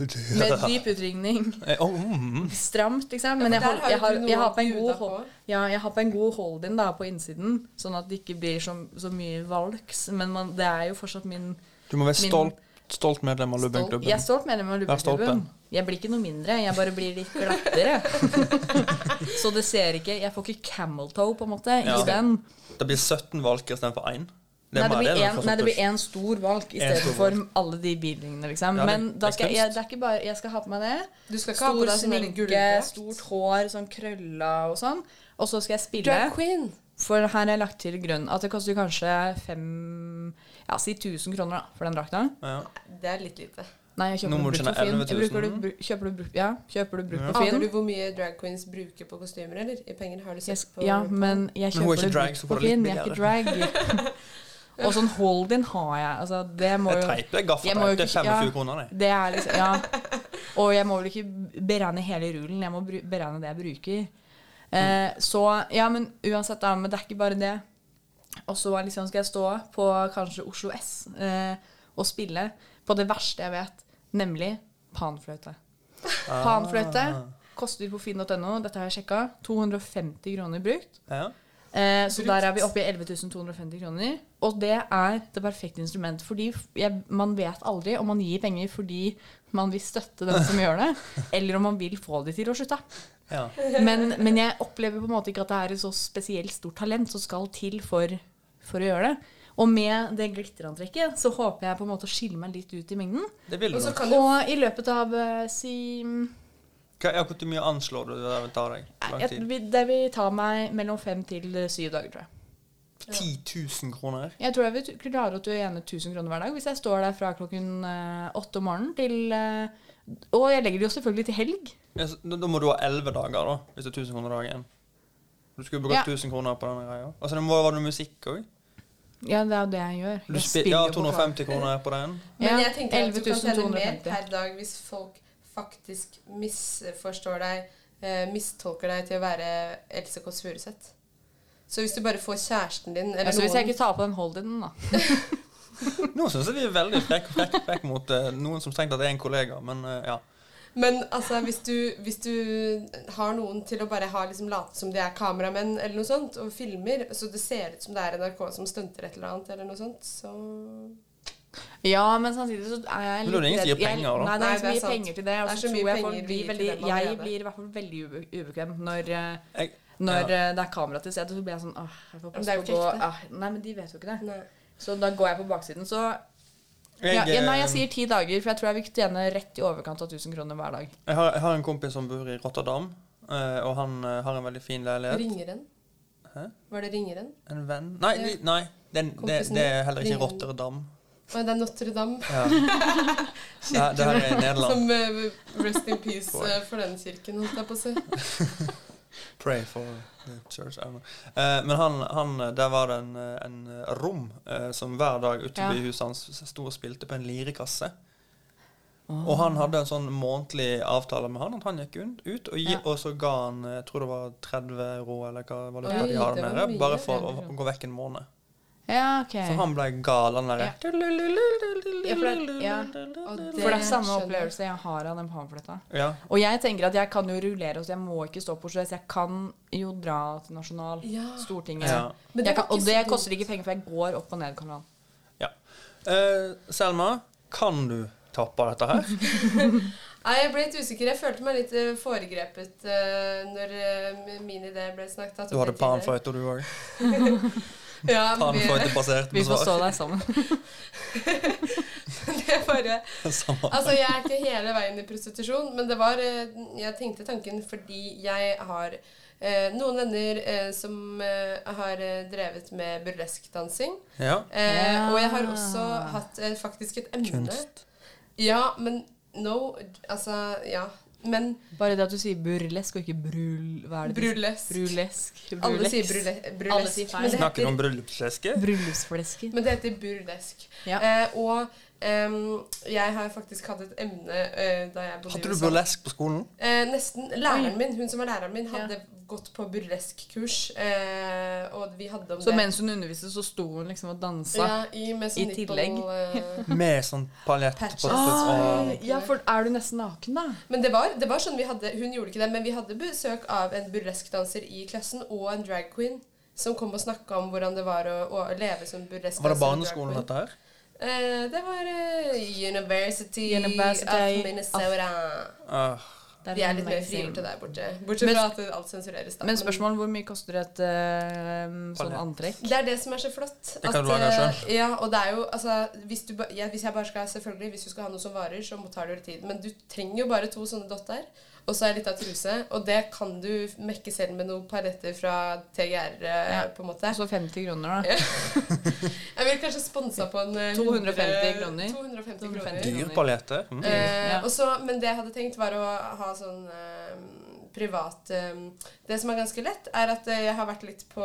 [SPEAKER 6] Med dyp utringning.
[SPEAKER 5] Eh, oh, mm.
[SPEAKER 6] Stramt, liksom. Men jeg,
[SPEAKER 7] der
[SPEAKER 6] hold,
[SPEAKER 7] har jo
[SPEAKER 6] jeg, har,
[SPEAKER 7] du noe
[SPEAKER 6] jeg, har på en
[SPEAKER 7] å bjuda
[SPEAKER 6] god
[SPEAKER 7] på.
[SPEAKER 6] hold, ja, jeg har på en god hold-in da, på innsiden, sånn at det ikke blir så, så mye valks. Men man, det er jo fortsatt min
[SPEAKER 5] Du må være
[SPEAKER 6] Min-
[SPEAKER 5] stolt, stolt medlem av Lubbenklubben.
[SPEAKER 6] Jeg er stolt medlem av
[SPEAKER 5] Vær stolt,
[SPEAKER 6] Lubbenklubben. Jeg blir ikke noe mindre, jeg bare blir litt glattere. så det ser ikke Jeg får ikke camel toe, på en måte,
[SPEAKER 5] Ja.
[SPEAKER 6] i den.
[SPEAKER 5] Det blir 17 valker istedenfor én.
[SPEAKER 6] Nei, det blir en- nei, det blir
[SPEAKER 5] én.
[SPEAKER 6] én stor valk
[SPEAKER 5] En stor
[SPEAKER 6] istedenfor alle de bilringene, liksom.
[SPEAKER 5] Ja, det-
[SPEAKER 6] Men da
[SPEAKER 5] det er
[SPEAKER 6] skal jeg,
[SPEAKER 5] kunst.
[SPEAKER 6] det er ikke bare, jeg skal ha på meg det.
[SPEAKER 7] Du skal ikke ha på
[SPEAKER 6] Stor
[SPEAKER 7] deg sånn der
[SPEAKER 6] sminke,
[SPEAKER 7] gulldrakt.
[SPEAKER 6] stort hår, sånn krølla og sånn. Og så skal jeg
[SPEAKER 7] Drag
[SPEAKER 6] spille.
[SPEAKER 7] queen.
[SPEAKER 6] For her har jeg lagt til grunn at det koster kanskje fem Ja, si 1000 kroner da, for den drakta.
[SPEAKER 5] Ja.
[SPEAKER 7] Det er litt lite.
[SPEAKER 6] Nei, jeg kjøper
[SPEAKER 5] Nå må
[SPEAKER 6] det
[SPEAKER 5] du
[SPEAKER 6] brukt på
[SPEAKER 5] tjene
[SPEAKER 6] Finn.
[SPEAKER 5] 11 000.
[SPEAKER 6] Jeg bruker det bru- Kjøper du brukt ja, kjøper det brukt på
[SPEAKER 7] Aner
[SPEAKER 6] Finn?
[SPEAKER 7] du hvor mye drag queens bruker på kostymer, eller? I penger har du
[SPEAKER 6] Jeg,
[SPEAKER 7] sett
[SPEAKER 6] s-
[SPEAKER 7] på
[SPEAKER 6] ja, men jeg
[SPEAKER 5] Men hun
[SPEAKER 6] kjøper
[SPEAKER 5] er ikke
[SPEAKER 6] det
[SPEAKER 5] drag,
[SPEAKER 6] brukt
[SPEAKER 5] så
[SPEAKER 6] på
[SPEAKER 5] får du litt
[SPEAKER 6] Finn. Jeg er ikke drag. Og sånn hold-in har jeg. Altså, det må
[SPEAKER 5] Det er
[SPEAKER 6] jo
[SPEAKER 5] teip. Det er
[SPEAKER 6] Jeg må jo
[SPEAKER 5] gaffateip. Det er
[SPEAKER 6] ikke- ja.
[SPEAKER 5] 25 kroner, det.
[SPEAKER 6] Det er liksom Ja. Og jeg må vel ikke beregne hele rullen, jeg må bru- beregne det jeg bruker. Eh, så ja, men uansett, da, men det er ikke bare det. Og så liksom skal jeg stå på kanskje Oslo S eh, og spille på det verste jeg vet, nemlig panfløyte.
[SPEAKER 5] Ah.
[SPEAKER 6] Panfløyte koster på finn.no, dette har jeg sjekka, 250 kroner brukt.
[SPEAKER 5] Ja.
[SPEAKER 6] Eh, så
[SPEAKER 5] Brukt.
[SPEAKER 6] der er vi oppe i 11.250 kroner. Og det er det perfekte instrument. Fordi f- jeg, man vet aldri om man gir penger fordi man vil støtte den som gjør det, eller om man vil få de til å slutte.
[SPEAKER 5] Ja.
[SPEAKER 6] Men, men jeg opplever på en måte ikke at det er et så spesielt stort talent som skal til for, for å gjøre det. Og med det glitterantrekket så håper jeg på en måte å skille meg litt ut i mengden.
[SPEAKER 5] Det vil du
[SPEAKER 6] og, så
[SPEAKER 5] nok.
[SPEAKER 6] kan du- og i løpet av eh, si
[SPEAKER 5] Hva, ja, hvor mye anslår du det vil ta deg? Hvor Lang
[SPEAKER 6] jeg,
[SPEAKER 5] tid?
[SPEAKER 6] vil- Det vil ta meg mellom fem til eh, syv dager, tror jeg.
[SPEAKER 5] 10 000 kroner?
[SPEAKER 6] Jeg tror jeg vil klare å tjene 1000 kroner hver dag hvis jeg står der fra klokken eh, åtte om morgenen til eh, Og jeg legger det jo selvfølgelig til helg.
[SPEAKER 5] Ja, så, da, da må du ha 11 dager, da, hvis det er 1000 kroner dagen. Du skulle brukt
[SPEAKER 6] Ja.
[SPEAKER 5] 1000 kroner på denne greia. Altså, det må være noe musikk òg.
[SPEAKER 6] Ja, det er jo det jeg gjør.
[SPEAKER 5] Du
[SPEAKER 6] Jeg
[SPEAKER 5] spil-
[SPEAKER 6] spiller
[SPEAKER 5] ja,
[SPEAKER 6] jo på
[SPEAKER 5] 250
[SPEAKER 6] klar.
[SPEAKER 5] kroner på den.
[SPEAKER 7] Men
[SPEAKER 6] Ja,
[SPEAKER 7] jeg tenker at du kan tjene mer
[SPEAKER 6] 11.250.
[SPEAKER 7] per dag hvis folk faktisk misforstår deg, eh, mistolker deg til å være Else Kåss Furuseth. Så hvis du bare får kjæresten din eller
[SPEAKER 6] Altså, hvis jeg
[SPEAKER 7] noen-
[SPEAKER 6] ikke tar på den hold-in-en, da.
[SPEAKER 5] Nå syns jeg vi er veldig frekke frekk, frekk mot eh, noen som strengt tatt er en kollega, men eh, ja.
[SPEAKER 7] Men altså, hvis du, hvis du har noen til å bare ha liksom, late som de er kameramenn eller noe sånt, og filmer, så det ser ut som det er NRK som stunter et eller annet, eller noe sånt, så
[SPEAKER 6] Ja, men samtidig så er jeg
[SPEAKER 5] Men
[SPEAKER 6] litt
[SPEAKER 5] det er ingen som gir
[SPEAKER 6] redd. Jeg-
[SPEAKER 5] penger, da.
[SPEAKER 6] Nei, det
[SPEAKER 7] Nei,
[SPEAKER 6] er ikke så
[SPEAKER 7] det er
[SPEAKER 6] mye
[SPEAKER 7] sant.
[SPEAKER 6] penger til det. Og
[SPEAKER 7] Det er
[SPEAKER 6] så
[SPEAKER 7] så
[SPEAKER 6] tror
[SPEAKER 7] mye
[SPEAKER 6] jeg
[SPEAKER 7] penger
[SPEAKER 6] folk
[SPEAKER 7] vi
[SPEAKER 6] blir
[SPEAKER 7] gir
[SPEAKER 6] veldig
[SPEAKER 7] til dem
[SPEAKER 6] Jeg
[SPEAKER 7] allerede.
[SPEAKER 6] blir i hvert fall veldig ube- ubekvem når, eh,
[SPEAKER 5] Jeg-
[SPEAKER 6] når
[SPEAKER 5] ja.
[SPEAKER 6] eh, det er kamera til stede. Så blir jeg sånn Åh, jeg får
[SPEAKER 7] Men det er
[SPEAKER 6] passe
[SPEAKER 7] jo
[SPEAKER 6] på å
[SPEAKER 7] ikke
[SPEAKER 6] gå
[SPEAKER 7] ekte.
[SPEAKER 6] ah, Nei, men de vet jo ikke det. Så da går jeg på baksiden. Så
[SPEAKER 5] Jeg,
[SPEAKER 6] ja, ja, Nei,
[SPEAKER 5] eh,
[SPEAKER 6] jeg sier ti dager, for jeg tror jeg vil tjene rett i overkant av 1000 kroner hver dag.
[SPEAKER 5] eh, Jeg har, jeg har en kompis som bor i Rotterdam, eh, og han eh, har en veldig fin leilighet.
[SPEAKER 7] Ringeren?
[SPEAKER 5] Hæ?
[SPEAKER 7] Var det Ringeren?
[SPEAKER 5] En venn Nei,
[SPEAKER 7] Ja.
[SPEAKER 5] de- nei det, det, det
[SPEAKER 7] Kompisen din?
[SPEAKER 5] er heller ikke
[SPEAKER 7] Ringeren.
[SPEAKER 5] Rotterdam.
[SPEAKER 7] Å, det er Notre-Dame.
[SPEAKER 5] Ja. Ja, det her er Nederland.
[SPEAKER 7] Som eh, Rest in peace eh, for den kirken, holdt jeg på å si.
[SPEAKER 5] Pray for the church. I don't know. Eh, men han, han, der var det en, eh, en rom eh, som hver dag ute
[SPEAKER 6] Ja.
[SPEAKER 5] i huset hans sto og spilte på en lirekasse. Og han hadde en sånn månedlig avtale med han at han gikk un- ut, og, gi,
[SPEAKER 6] Ja.
[SPEAKER 5] og så ga han eh, jeg tror det var 30 euro eller hva valuta
[SPEAKER 6] Oi,
[SPEAKER 5] de har
[SPEAKER 6] det
[SPEAKER 5] der
[SPEAKER 6] var
[SPEAKER 5] nede,
[SPEAKER 6] mye.
[SPEAKER 5] bare for å, å gå vekk en måned.
[SPEAKER 6] Ja, ok.
[SPEAKER 5] Så han ble gal, han derre.
[SPEAKER 6] Ja, for det, ja. For det er samme opplevelse jeg har av den pamfletta.
[SPEAKER 5] Ja.
[SPEAKER 6] Og jeg tenker at jeg kan jo rullere, så jeg må ikke stå på Oslo S. Jeg kan jo dra til Nasjonal,
[SPEAKER 7] Ja.
[SPEAKER 6] Stortinget.
[SPEAKER 5] Ja.
[SPEAKER 7] Men det
[SPEAKER 6] Jeg kan,
[SPEAKER 7] var ikke
[SPEAKER 6] og
[SPEAKER 7] så
[SPEAKER 6] det
[SPEAKER 7] dumt.
[SPEAKER 6] koster ikke penger, for jeg går opp og ned kanalen.
[SPEAKER 5] ja. Eh, Selma, kan du tappe dette her?
[SPEAKER 7] Nei, jeg ble litt usikker. Jeg følte meg litt eh, foregrepet eh, når eh, min idé ble snakket
[SPEAKER 5] Du hadde panfløyte, du òg.
[SPEAKER 7] Ja, men vi-
[SPEAKER 5] Panfløytebasert
[SPEAKER 6] Vi får stå
[SPEAKER 5] besvar.
[SPEAKER 6] der sammen.
[SPEAKER 7] det er bare
[SPEAKER 5] Samme.
[SPEAKER 7] Altså, jeg er ikke hele veien i prostitusjon, men det var eh, Jeg tenkte tanken fordi jeg har eh, noen venner eh, som eh, har eh, drevet med burleskdansing.
[SPEAKER 5] Ja.
[SPEAKER 7] Eh,
[SPEAKER 6] Ja.
[SPEAKER 7] Og jeg har også hatt eh, faktisk et emne.
[SPEAKER 5] Kunst.
[SPEAKER 7] Ja, men no Altså, ja. Men
[SPEAKER 6] Bare det at du sier burlesk og ikke brul... Hva er det?
[SPEAKER 7] brulesk.
[SPEAKER 6] Brulesk.
[SPEAKER 7] Alle
[SPEAKER 6] Brulex.
[SPEAKER 7] sier brule- brulesk.
[SPEAKER 6] Alle sier feil.
[SPEAKER 7] Men det
[SPEAKER 5] Snakker
[SPEAKER 7] heter-
[SPEAKER 5] du om bryllupsleske?
[SPEAKER 6] Bryllupsflesker.
[SPEAKER 7] Men det heter burlesk.
[SPEAKER 6] Ja.
[SPEAKER 7] Eh, og ehm, jeg har faktisk hatt et emne eh, da jeg bodde i
[SPEAKER 5] Hadde du
[SPEAKER 7] USA.
[SPEAKER 5] burlesk på skolen?
[SPEAKER 7] Eh, nesten. Læreren
[SPEAKER 6] Oi.
[SPEAKER 7] min, hun som var læreren min, hadde gått på burleskkurs. Eh, og vi hadde om
[SPEAKER 6] Så
[SPEAKER 7] det
[SPEAKER 6] mens hun underviste, så sto hun liksom og dansa.
[SPEAKER 7] ja, i, med sånn
[SPEAKER 6] i tillegg.
[SPEAKER 7] nipple, eh,
[SPEAKER 5] Med sånn paljett på
[SPEAKER 7] Patches.
[SPEAKER 5] dette.
[SPEAKER 6] Ah,
[SPEAKER 5] og-
[SPEAKER 6] ja, for er du nesten naken, da?
[SPEAKER 7] men det var, det var sånn vi hadde Hun gjorde ikke det, men vi hadde besøk av en burleskdanser i klassen og en drag queen. Som kom og snakka om hvordan det var å, å leve som burleskdanser.
[SPEAKER 5] Var det
[SPEAKER 7] og drag
[SPEAKER 5] barneskolen
[SPEAKER 7] queen.
[SPEAKER 5] dette her?
[SPEAKER 7] Eh, det var eh, University,
[SPEAKER 6] University
[SPEAKER 7] of
[SPEAKER 6] of-
[SPEAKER 7] Minnesota.
[SPEAKER 5] Ah,
[SPEAKER 6] Det er
[SPEAKER 7] Vi er litt mer
[SPEAKER 6] amazing.
[SPEAKER 7] frigjorte der borte. Bortsett
[SPEAKER 6] Men-
[SPEAKER 7] fra at alt sensureres. da.
[SPEAKER 6] Men spørsmålet hvor mye koster et eh, sånn
[SPEAKER 5] Paljett.
[SPEAKER 6] antrekk?
[SPEAKER 7] Det er det som er så flott.
[SPEAKER 5] Det kan du
[SPEAKER 7] at,
[SPEAKER 5] lage
[SPEAKER 7] eh,
[SPEAKER 5] selv.
[SPEAKER 7] Ja, og det er jo, altså, hvis, du, ba- ja, hvis jeg bare skal, selvfølgelig, hvis du skal ha noe som varer, så må- tar det litt tid. Men du trenger jo bare to sånne dotter, og så er litt av truse. Og det kan du mekke selv med noen paretter fra TGR, eh,
[SPEAKER 6] Ja.
[SPEAKER 7] på en måte.
[SPEAKER 6] Altså 50 kroner, da.
[SPEAKER 7] Jeg vil kanskje sponsa på en eh,
[SPEAKER 6] 250 kroner.
[SPEAKER 7] 250 kroner.
[SPEAKER 6] 250.
[SPEAKER 5] Dyr paljette. Mm.
[SPEAKER 7] Eh,
[SPEAKER 6] Ja.
[SPEAKER 7] og så- men det jeg hadde tenkt, var å ha sånn eh, privat ehm, Det som er ganske lett, er at eh, jeg har vært litt på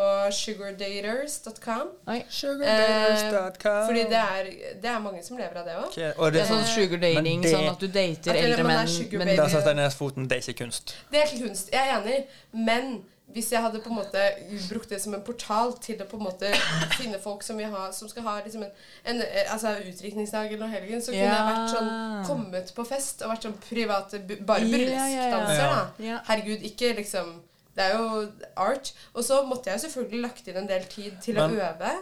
[SPEAKER 7] sugardaters.com.
[SPEAKER 5] Sugardaters.com.
[SPEAKER 7] Eh, fordi det er, det er mange som lever av det òg.
[SPEAKER 5] Ok, og det-
[SPEAKER 6] sånn sugar dating,
[SPEAKER 5] Men det- sånn
[SPEAKER 6] sånn at du dater
[SPEAKER 7] At eller
[SPEAKER 6] eldre
[SPEAKER 7] man er
[SPEAKER 6] menn.
[SPEAKER 7] sugar
[SPEAKER 6] men-
[SPEAKER 7] baby.
[SPEAKER 5] Der setter jeg ned foten. Det er ikke kunst.
[SPEAKER 7] Det er ikke kunst, jeg er enig. Men hvis jeg hadde på en måte brukt det som en portal til å på en måte finne folk som, vil ha, som skal ha liksom en, en eh, altså utdrikningsdag eller noe helgen, så kunne jeg vært sånn
[SPEAKER 6] Ja.
[SPEAKER 7] kommet på fest og vært sånn private bu- Bare
[SPEAKER 6] Ja, ja, ja.
[SPEAKER 7] burleskdanser, da.
[SPEAKER 6] Ja.
[SPEAKER 7] Herregud, ikke liksom Det er jo art. Og så måtte jeg jo selvfølgelig lagt inn en del tid til
[SPEAKER 5] Men-
[SPEAKER 7] å øve.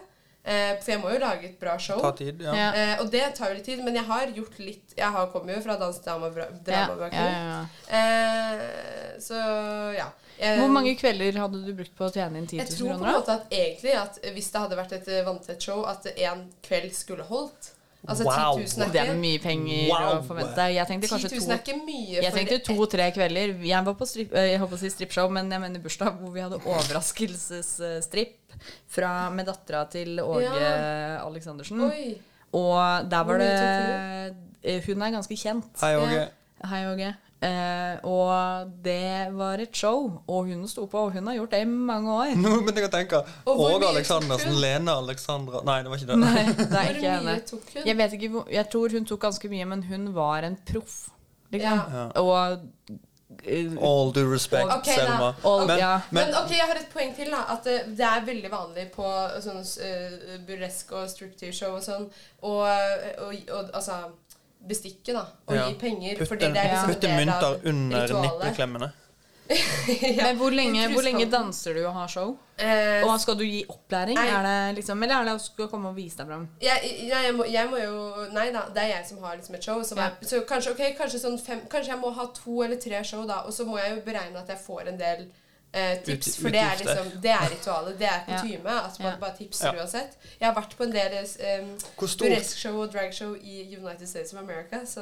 [SPEAKER 7] eh, For jeg må jo lage et bra show.
[SPEAKER 5] Ta tid, ja.
[SPEAKER 6] Ja.
[SPEAKER 7] Eh, Og det tar jo litt tid, men jeg har gjort litt Jeg har kommer jo fra dans, dame og bra-
[SPEAKER 6] Ja,
[SPEAKER 7] drama
[SPEAKER 6] ja,
[SPEAKER 7] bakgrunn.
[SPEAKER 6] ja.
[SPEAKER 7] Eh, så ja. Jeg,
[SPEAKER 6] Hvor mange kvelder hadde du brukt på å tjene inn 10
[SPEAKER 7] jeg
[SPEAKER 6] 000
[SPEAKER 7] tror på en
[SPEAKER 6] kroner? da?
[SPEAKER 7] måte at egentlig at hvis det hadde vært et eh, vanntett show, at én kveld skulle holdt. Altså
[SPEAKER 5] Wow.
[SPEAKER 7] 10 000
[SPEAKER 6] Det er
[SPEAKER 7] er ikke
[SPEAKER 6] mye penger
[SPEAKER 5] Wow.
[SPEAKER 6] å forvente. Jeg tenkte
[SPEAKER 7] 10
[SPEAKER 6] kanskje
[SPEAKER 7] 000
[SPEAKER 6] to
[SPEAKER 7] er ikke mye.
[SPEAKER 6] Jeg
[SPEAKER 7] for
[SPEAKER 6] tenkte
[SPEAKER 7] det-
[SPEAKER 6] to-tre kvelder. Jeg var på strip, eh, jeg holdt på å si strippshow, men jeg mener bursdag hvor vi hadde overraskelsesstripp fra- med dattera til Åge Aleksandersen.
[SPEAKER 7] Oi.
[SPEAKER 6] Og der
[SPEAKER 7] Hvor
[SPEAKER 6] var
[SPEAKER 7] mye
[SPEAKER 6] det eh, Hun er ganske kjent.
[SPEAKER 5] Hei, Åge.
[SPEAKER 6] Hei, Åge. Eh, og det var et show, og hun sto på, og hun har gjort det i mange år.
[SPEAKER 5] Nå begynte jeg å tenke.
[SPEAKER 7] Og hvor
[SPEAKER 5] Åge
[SPEAKER 7] mye
[SPEAKER 5] Aleksandersen,
[SPEAKER 7] tok hun?
[SPEAKER 5] Lene Alexandra Nei, det var ikke det.
[SPEAKER 6] Nei, det er
[SPEAKER 7] Hvor
[SPEAKER 6] ikke henne.
[SPEAKER 7] mye tok hun?
[SPEAKER 6] Jeg vet ikke, hvor- jeg tror hun tok ganske mye, men hun var en proff.
[SPEAKER 7] ja.
[SPEAKER 6] Liksom. Og eh,
[SPEAKER 5] All due respect,
[SPEAKER 7] Ok, da.
[SPEAKER 5] Selma.
[SPEAKER 6] All-
[SPEAKER 5] men,
[SPEAKER 6] ja.
[SPEAKER 7] Men,
[SPEAKER 5] men,
[SPEAKER 7] ok, jeg har et poeng til. da At eh, det er veldig vanlig på sånn eh, burlesk og striptease-show og sånn å og, og, altså, bestikke, da. Og
[SPEAKER 5] Ja.
[SPEAKER 7] gi penger.
[SPEAKER 5] putte,
[SPEAKER 7] fordi det er liksom en
[SPEAKER 5] putte
[SPEAKER 7] del av
[SPEAKER 5] mynter under
[SPEAKER 7] ritualet.
[SPEAKER 5] nippeklemmene.
[SPEAKER 7] Ja.
[SPEAKER 6] Men hvor lenge, hvor lenge
[SPEAKER 7] Kruskanten.
[SPEAKER 6] danser du og har show?
[SPEAKER 7] Eh,
[SPEAKER 6] Og skal du gi opplæring?
[SPEAKER 7] Nei.
[SPEAKER 6] Er det liksom, eller er det å skulle komme og vise deg fram?
[SPEAKER 7] jeg, jeg, jeg, må, jeg må jo Nei da, det er jeg som har liksom et show. Som
[SPEAKER 6] Ja.
[SPEAKER 7] er, så kanskje, ok, kanskje, sånn fem, kanskje jeg må ha to eller tre show, da. Og så må jeg jo beregne at jeg får en del eh, tips.
[SPEAKER 5] Ut-
[SPEAKER 7] for det er
[SPEAKER 5] utgifter.
[SPEAKER 7] liksom Det er ritualet. Det er
[SPEAKER 6] Ja.
[SPEAKER 7] kutyme. At man
[SPEAKER 6] Ja.
[SPEAKER 7] bare tipser
[SPEAKER 5] Ja.
[SPEAKER 7] uansett. Jeg har vært på en del eh,
[SPEAKER 5] Hvor stort-
[SPEAKER 7] burlesque-show og dragshow i United States of America, så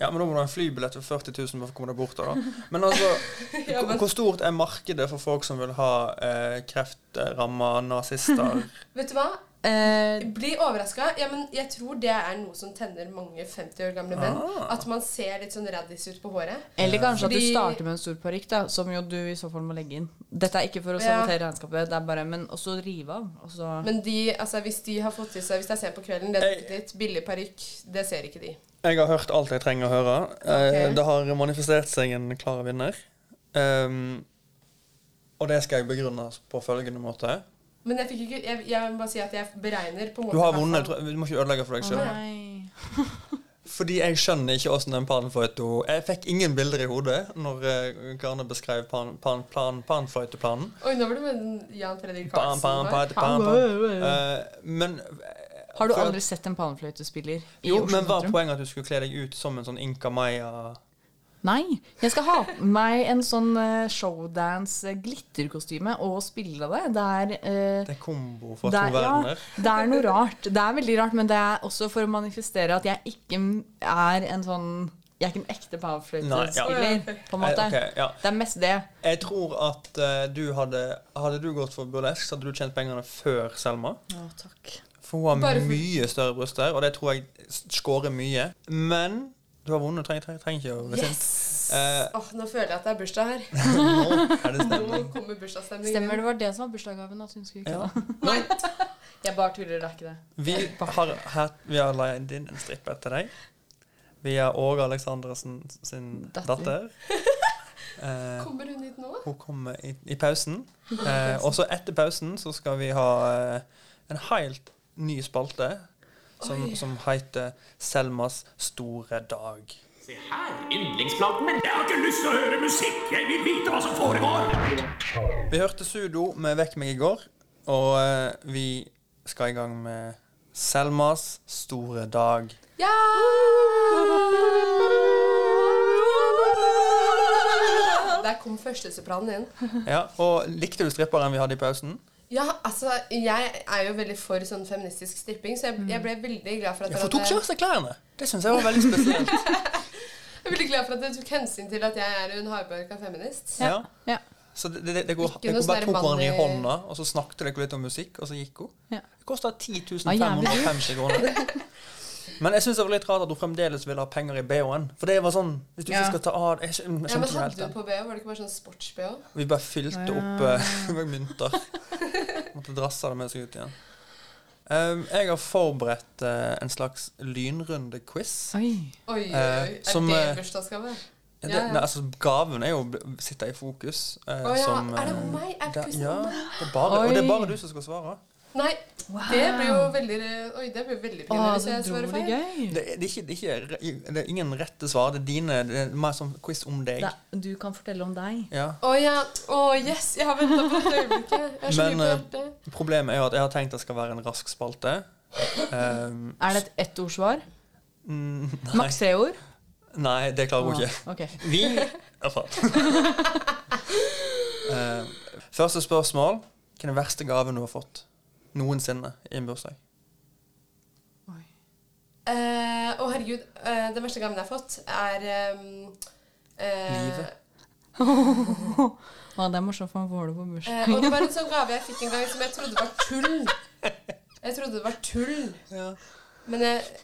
[SPEAKER 5] Ja, men da må du ha en flybillett for 40 000 for å komme deg bort. da, da. Men altså, hvor- Hvor stort er markedet for folk som vil ha eh, kreftramma nazister?
[SPEAKER 7] Vet du hva?
[SPEAKER 6] Eh,
[SPEAKER 7] Bli overraska. Ja, men jeg tror det er noe som tenner mange 50 år gamle menn.
[SPEAKER 5] Ah.
[SPEAKER 7] At man ser litt sånn raddis ut på håret.
[SPEAKER 6] eller kanskje at du
[SPEAKER 7] Fordi-
[SPEAKER 6] starter med en stor parykk, da, som jo du i så fall må legge inn. Dette er ikke for å
[SPEAKER 7] Ja.
[SPEAKER 6] sabotere regnskapet, det er bare Men også rive av. Og så
[SPEAKER 7] Men de, altså, hvis de har fått til seg Hvis det er sent på kvelden, det er
[SPEAKER 5] Jeg-
[SPEAKER 7] litt billig parykk, det ser ikke de.
[SPEAKER 5] Jeg har hørt alt jeg trenger å høre. Eh,
[SPEAKER 7] Ok.
[SPEAKER 5] Det har manifestert seg en klar vinner. Ehm, og det skal jeg begrunne på følgende måte.
[SPEAKER 7] Men jeg fikk ikke Jeg, jeg må bare si at jeg beregner på en måte
[SPEAKER 5] Du har
[SPEAKER 7] hvertfall-
[SPEAKER 5] vunnet. tror jeg. Du må ikke ødelegge for deg sjøl.
[SPEAKER 6] Nei.
[SPEAKER 5] Fordi jeg skjønner ikke åssen den panfløyta Jeg fikk ingen bilder i hodet når eh, Garne beskrev pan- pan- plan- panfløyteplanen.
[SPEAKER 7] Oi, nå var det med den Jan Fredrik
[SPEAKER 5] Pan,
[SPEAKER 7] Karlsen.
[SPEAKER 5] pan,
[SPEAKER 7] her.
[SPEAKER 5] pan, pan, pan. Eh, Men
[SPEAKER 6] Har du
[SPEAKER 5] For at-
[SPEAKER 6] aldri sett en panfløytespiller i
[SPEAKER 5] Jo,
[SPEAKER 6] Oslo
[SPEAKER 5] men var
[SPEAKER 6] sentrum?
[SPEAKER 5] poenget at du skulle kle deg ut som en sånn Inka Maya
[SPEAKER 6] Nei. Jeg skal ha på meg en sånn eh, showdance-glitterkostyme og spille det. Det er eh,
[SPEAKER 5] Det er kombo fra
[SPEAKER 6] Det
[SPEAKER 5] to
[SPEAKER 6] er-
[SPEAKER 5] verdener.
[SPEAKER 6] Ja, det er noe rart. Det er veldig rart, men det er også for å manifestere at jeg ikke m- er en sånn Jeg er ikke en ekte
[SPEAKER 5] Nei, ja.
[SPEAKER 6] powerfløytespiller, på en måte.
[SPEAKER 5] Eh, ok, ja.
[SPEAKER 6] Det er mest det.
[SPEAKER 5] Jeg tror at eh, du hadde Hadde du gått for burlesk, så hadde du tjent pengene før Selma. For hun har
[SPEAKER 7] Bare for-
[SPEAKER 5] mye større bryster, og det tror jeg s- skårer mye. Men du har vunnet. Trenger, trenger, trenger ikke å bli sint.
[SPEAKER 7] Yes!
[SPEAKER 5] Eh,
[SPEAKER 7] Åh, nå føler jeg at det er bursdag her.
[SPEAKER 5] Nå er det
[SPEAKER 7] Nå
[SPEAKER 5] stemning.
[SPEAKER 7] kommer bursdagsstemningen.
[SPEAKER 6] Stemmer det var det som var bursdagsgaven? At hun skulle ikke
[SPEAKER 5] Ja.
[SPEAKER 6] Nei. Jeg bare tuller, det er ikke det.
[SPEAKER 5] Vi har, hatt- vi har leid inn en stripper til deg. Vi har Åge Aleksandersen sin
[SPEAKER 6] Datter.
[SPEAKER 5] datter. Eh,
[SPEAKER 7] Kommer hun hit nå?
[SPEAKER 5] hun kommer i, i pausen. Eh, og så etter pausen så skal vi ha eh, en helt ny spalte som, som heter Selmas store dag. Vi hørte Sudo med Vekk meg i går, og eh, vi skal i gang med Selmas store dag.
[SPEAKER 7] Ja! Der kom førstesopranen inn.
[SPEAKER 5] Ja, og likte du stripperen vi hadde i pausen?
[SPEAKER 7] Ja, altså, jeg er jo veldig for sånn feministisk stripping, så jeg, jeg ble veldig glad for at
[SPEAKER 5] Ja,
[SPEAKER 7] dere
[SPEAKER 5] for hun Mm. tok
[SPEAKER 7] hadde-
[SPEAKER 5] ikke av seg klærne. Det syns jeg var veldig spesielt.
[SPEAKER 7] Jeg er veldig glad for at du tok hensyn til at jeg er en hardbarka feminist.
[SPEAKER 5] Ja.
[SPEAKER 6] Ja.
[SPEAKER 5] Så det, det, det går,
[SPEAKER 7] Ikke
[SPEAKER 5] det
[SPEAKER 7] noe
[SPEAKER 5] går bare
[SPEAKER 7] sånn
[SPEAKER 5] tok hverandre i
[SPEAKER 7] mann i-
[SPEAKER 5] hånda, og så snakket dere litt om musikk, og så gikk hun.
[SPEAKER 6] Ja.
[SPEAKER 5] Det kosta 10
[SPEAKER 6] Ah, jævlig.
[SPEAKER 5] 550 kroner. Men jeg syns det var litt rart at hun fremdeles ville ha penger i BH-en. For det var sånn Hvis du
[SPEAKER 7] Ja.
[SPEAKER 5] ikke skal ta av Jeg skj- jeg
[SPEAKER 7] Ja,
[SPEAKER 5] skjønte
[SPEAKER 7] men
[SPEAKER 5] ikke helt
[SPEAKER 7] hadde
[SPEAKER 5] det.
[SPEAKER 7] du på BH? Var det ikke bare sånn sports-BH?
[SPEAKER 5] Vi bare fylte opp
[SPEAKER 7] Ja.
[SPEAKER 5] eh, med mynter. Måtte drasse det med seg ut igjen. Um, jeg har forberedt eh, en slags lynrunde-quiz.
[SPEAKER 6] Oi.
[SPEAKER 7] Oi, oi, oi.
[SPEAKER 5] eh,
[SPEAKER 7] Er
[SPEAKER 5] som,
[SPEAKER 7] det
[SPEAKER 5] eh,
[SPEAKER 7] bursdagsgave?
[SPEAKER 5] det-
[SPEAKER 7] Ja, ja.
[SPEAKER 5] Nei, altså, gaven er jo å bli- sitte i fokus. eh,
[SPEAKER 7] Å ja,
[SPEAKER 5] som,
[SPEAKER 7] er det
[SPEAKER 5] eh,
[SPEAKER 7] meg? Er
[SPEAKER 5] det-
[SPEAKER 7] quizen
[SPEAKER 5] ja,
[SPEAKER 7] om meg?
[SPEAKER 5] det er bare, Og det er bare du som skal svare.
[SPEAKER 7] Nei, det blir jo veldig Oi, det blir veldig pinlig hvis jeg svarer feil.
[SPEAKER 5] Det, er- det, er ikke, det, er ikke, det er ingen rette svar. Det er dine Det er mer sånn quiz om deg.
[SPEAKER 6] Nei, du kan fortelle om deg.
[SPEAKER 5] Ja.
[SPEAKER 7] Å ja. Å yes, jeg har venta på dette øyeblikket. Jeg har så
[SPEAKER 5] Men
[SPEAKER 7] mye på
[SPEAKER 5] eh,
[SPEAKER 7] hjertet.
[SPEAKER 5] problemet er jo at jeg har tenkt det skal være en rask spalte. Um,
[SPEAKER 6] Er det et ettordssvar?
[SPEAKER 5] Mm, nei.
[SPEAKER 6] Maks tre ord?
[SPEAKER 5] Nei, det klarer hun
[SPEAKER 6] Ah,
[SPEAKER 5] ikke.
[SPEAKER 6] ok.
[SPEAKER 5] Vi Ja, faen. Eh, første spørsmål. Hva er den verste gaven du har fått noensinne i en bursdag?
[SPEAKER 7] Eh, Å, herregud. eh, den verste gaven jeg har fått, er um,
[SPEAKER 5] Livet.
[SPEAKER 6] Å, det er morsomt, for man får det på
[SPEAKER 7] Eh, og det var
[SPEAKER 6] bursdagen.
[SPEAKER 7] en sånn gave jeg fikk en gang som jeg trodde var tull. Jeg trodde det var tull. Men jeg,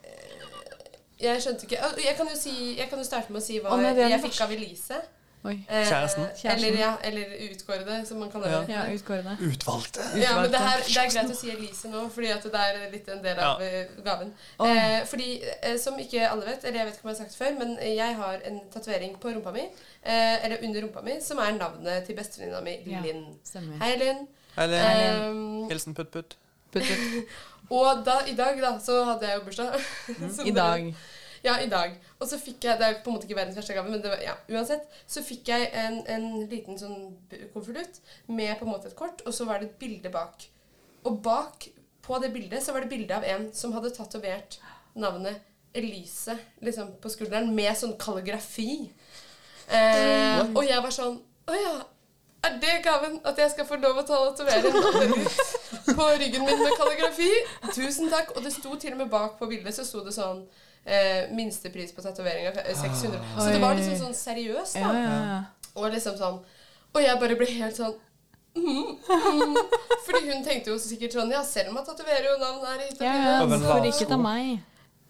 [SPEAKER 7] jeg skjønte ikke Å, Jeg kan jo, si, jeg kan jo starte med å si hva
[SPEAKER 6] Å, nei, det er
[SPEAKER 7] jeg,
[SPEAKER 6] den
[SPEAKER 7] fikk av Elise.
[SPEAKER 6] Oi.
[SPEAKER 7] Eh,
[SPEAKER 5] Kjæresten.
[SPEAKER 7] Eller, ja, eller utkårede, som man kaller det.
[SPEAKER 6] Ja, utkårede.
[SPEAKER 5] Utvalgte.
[SPEAKER 7] Ja, men det, her, det er greit å si Elise nå, fordi at det er litt en del av
[SPEAKER 5] Ja.
[SPEAKER 7] eh, gaven.
[SPEAKER 6] Åh.
[SPEAKER 7] Eh, fordi, eh, som ikke alle vet, eller jeg vet ikke om jeg har sagt det før, men jeg har en tatovering på rumpa mi, eh, eller under rumpa mi, som er navnet til bestevenninna mi,
[SPEAKER 5] Ja,
[SPEAKER 7] Linn.
[SPEAKER 5] stemmer.
[SPEAKER 7] Hei, Linn.
[SPEAKER 5] Eller
[SPEAKER 7] Ehm,
[SPEAKER 5] Hilsen Putt-Putt.
[SPEAKER 7] og da, i dag, da, så hadde jeg jo bursdag.
[SPEAKER 6] Mhm.
[SPEAKER 7] Så
[SPEAKER 6] I
[SPEAKER 7] det-
[SPEAKER 6] dag.
[SPEAKER 7] Ja, i dag. Og så fikk jeg Det er på en måte ikke verdens verste gave, men det var, ja, uansett. Så fikk jeg en, en liten sånn b- konvolutt med på en måte et kort, og så var det et bilde bak. Og bak på det bildet så var det bilde av en som hadde tatovert navnet Elise liksom, på skulderen med sånn kalligrafi. Eh,
[SPEAKER 6] What?
[SPEAKER 7] og jeg var sånn Å ja. Er det gaven? At jeg skal få lov å ta tatovere en navnegutt på ryggen min med kalligrafi? Tusen takk. Og det sto til og med bak på bildet så sto det sånn eh, Minstepris på tatoveringa 600. Så det var liksom sånn seriøst,
[SPEAKER 6] Ja,
[SPEAKER 7] da.
[SPEAKER 6] ja, ja.
[SPEAKER 7] Og liksom sånn Og jeg bare ble helt sånn mm, mm. Fordi hun tenkte jo sikkert sånn Ja, Selma tatoverer jo navn her. i
[SPEAKER 6] Ja,
[SPEAKER 7] tatueringen,
[SPEAKER 6] ja,
[SPEAKER 7] så-
[SPEAKER 6] hvorfor ikke ta meg?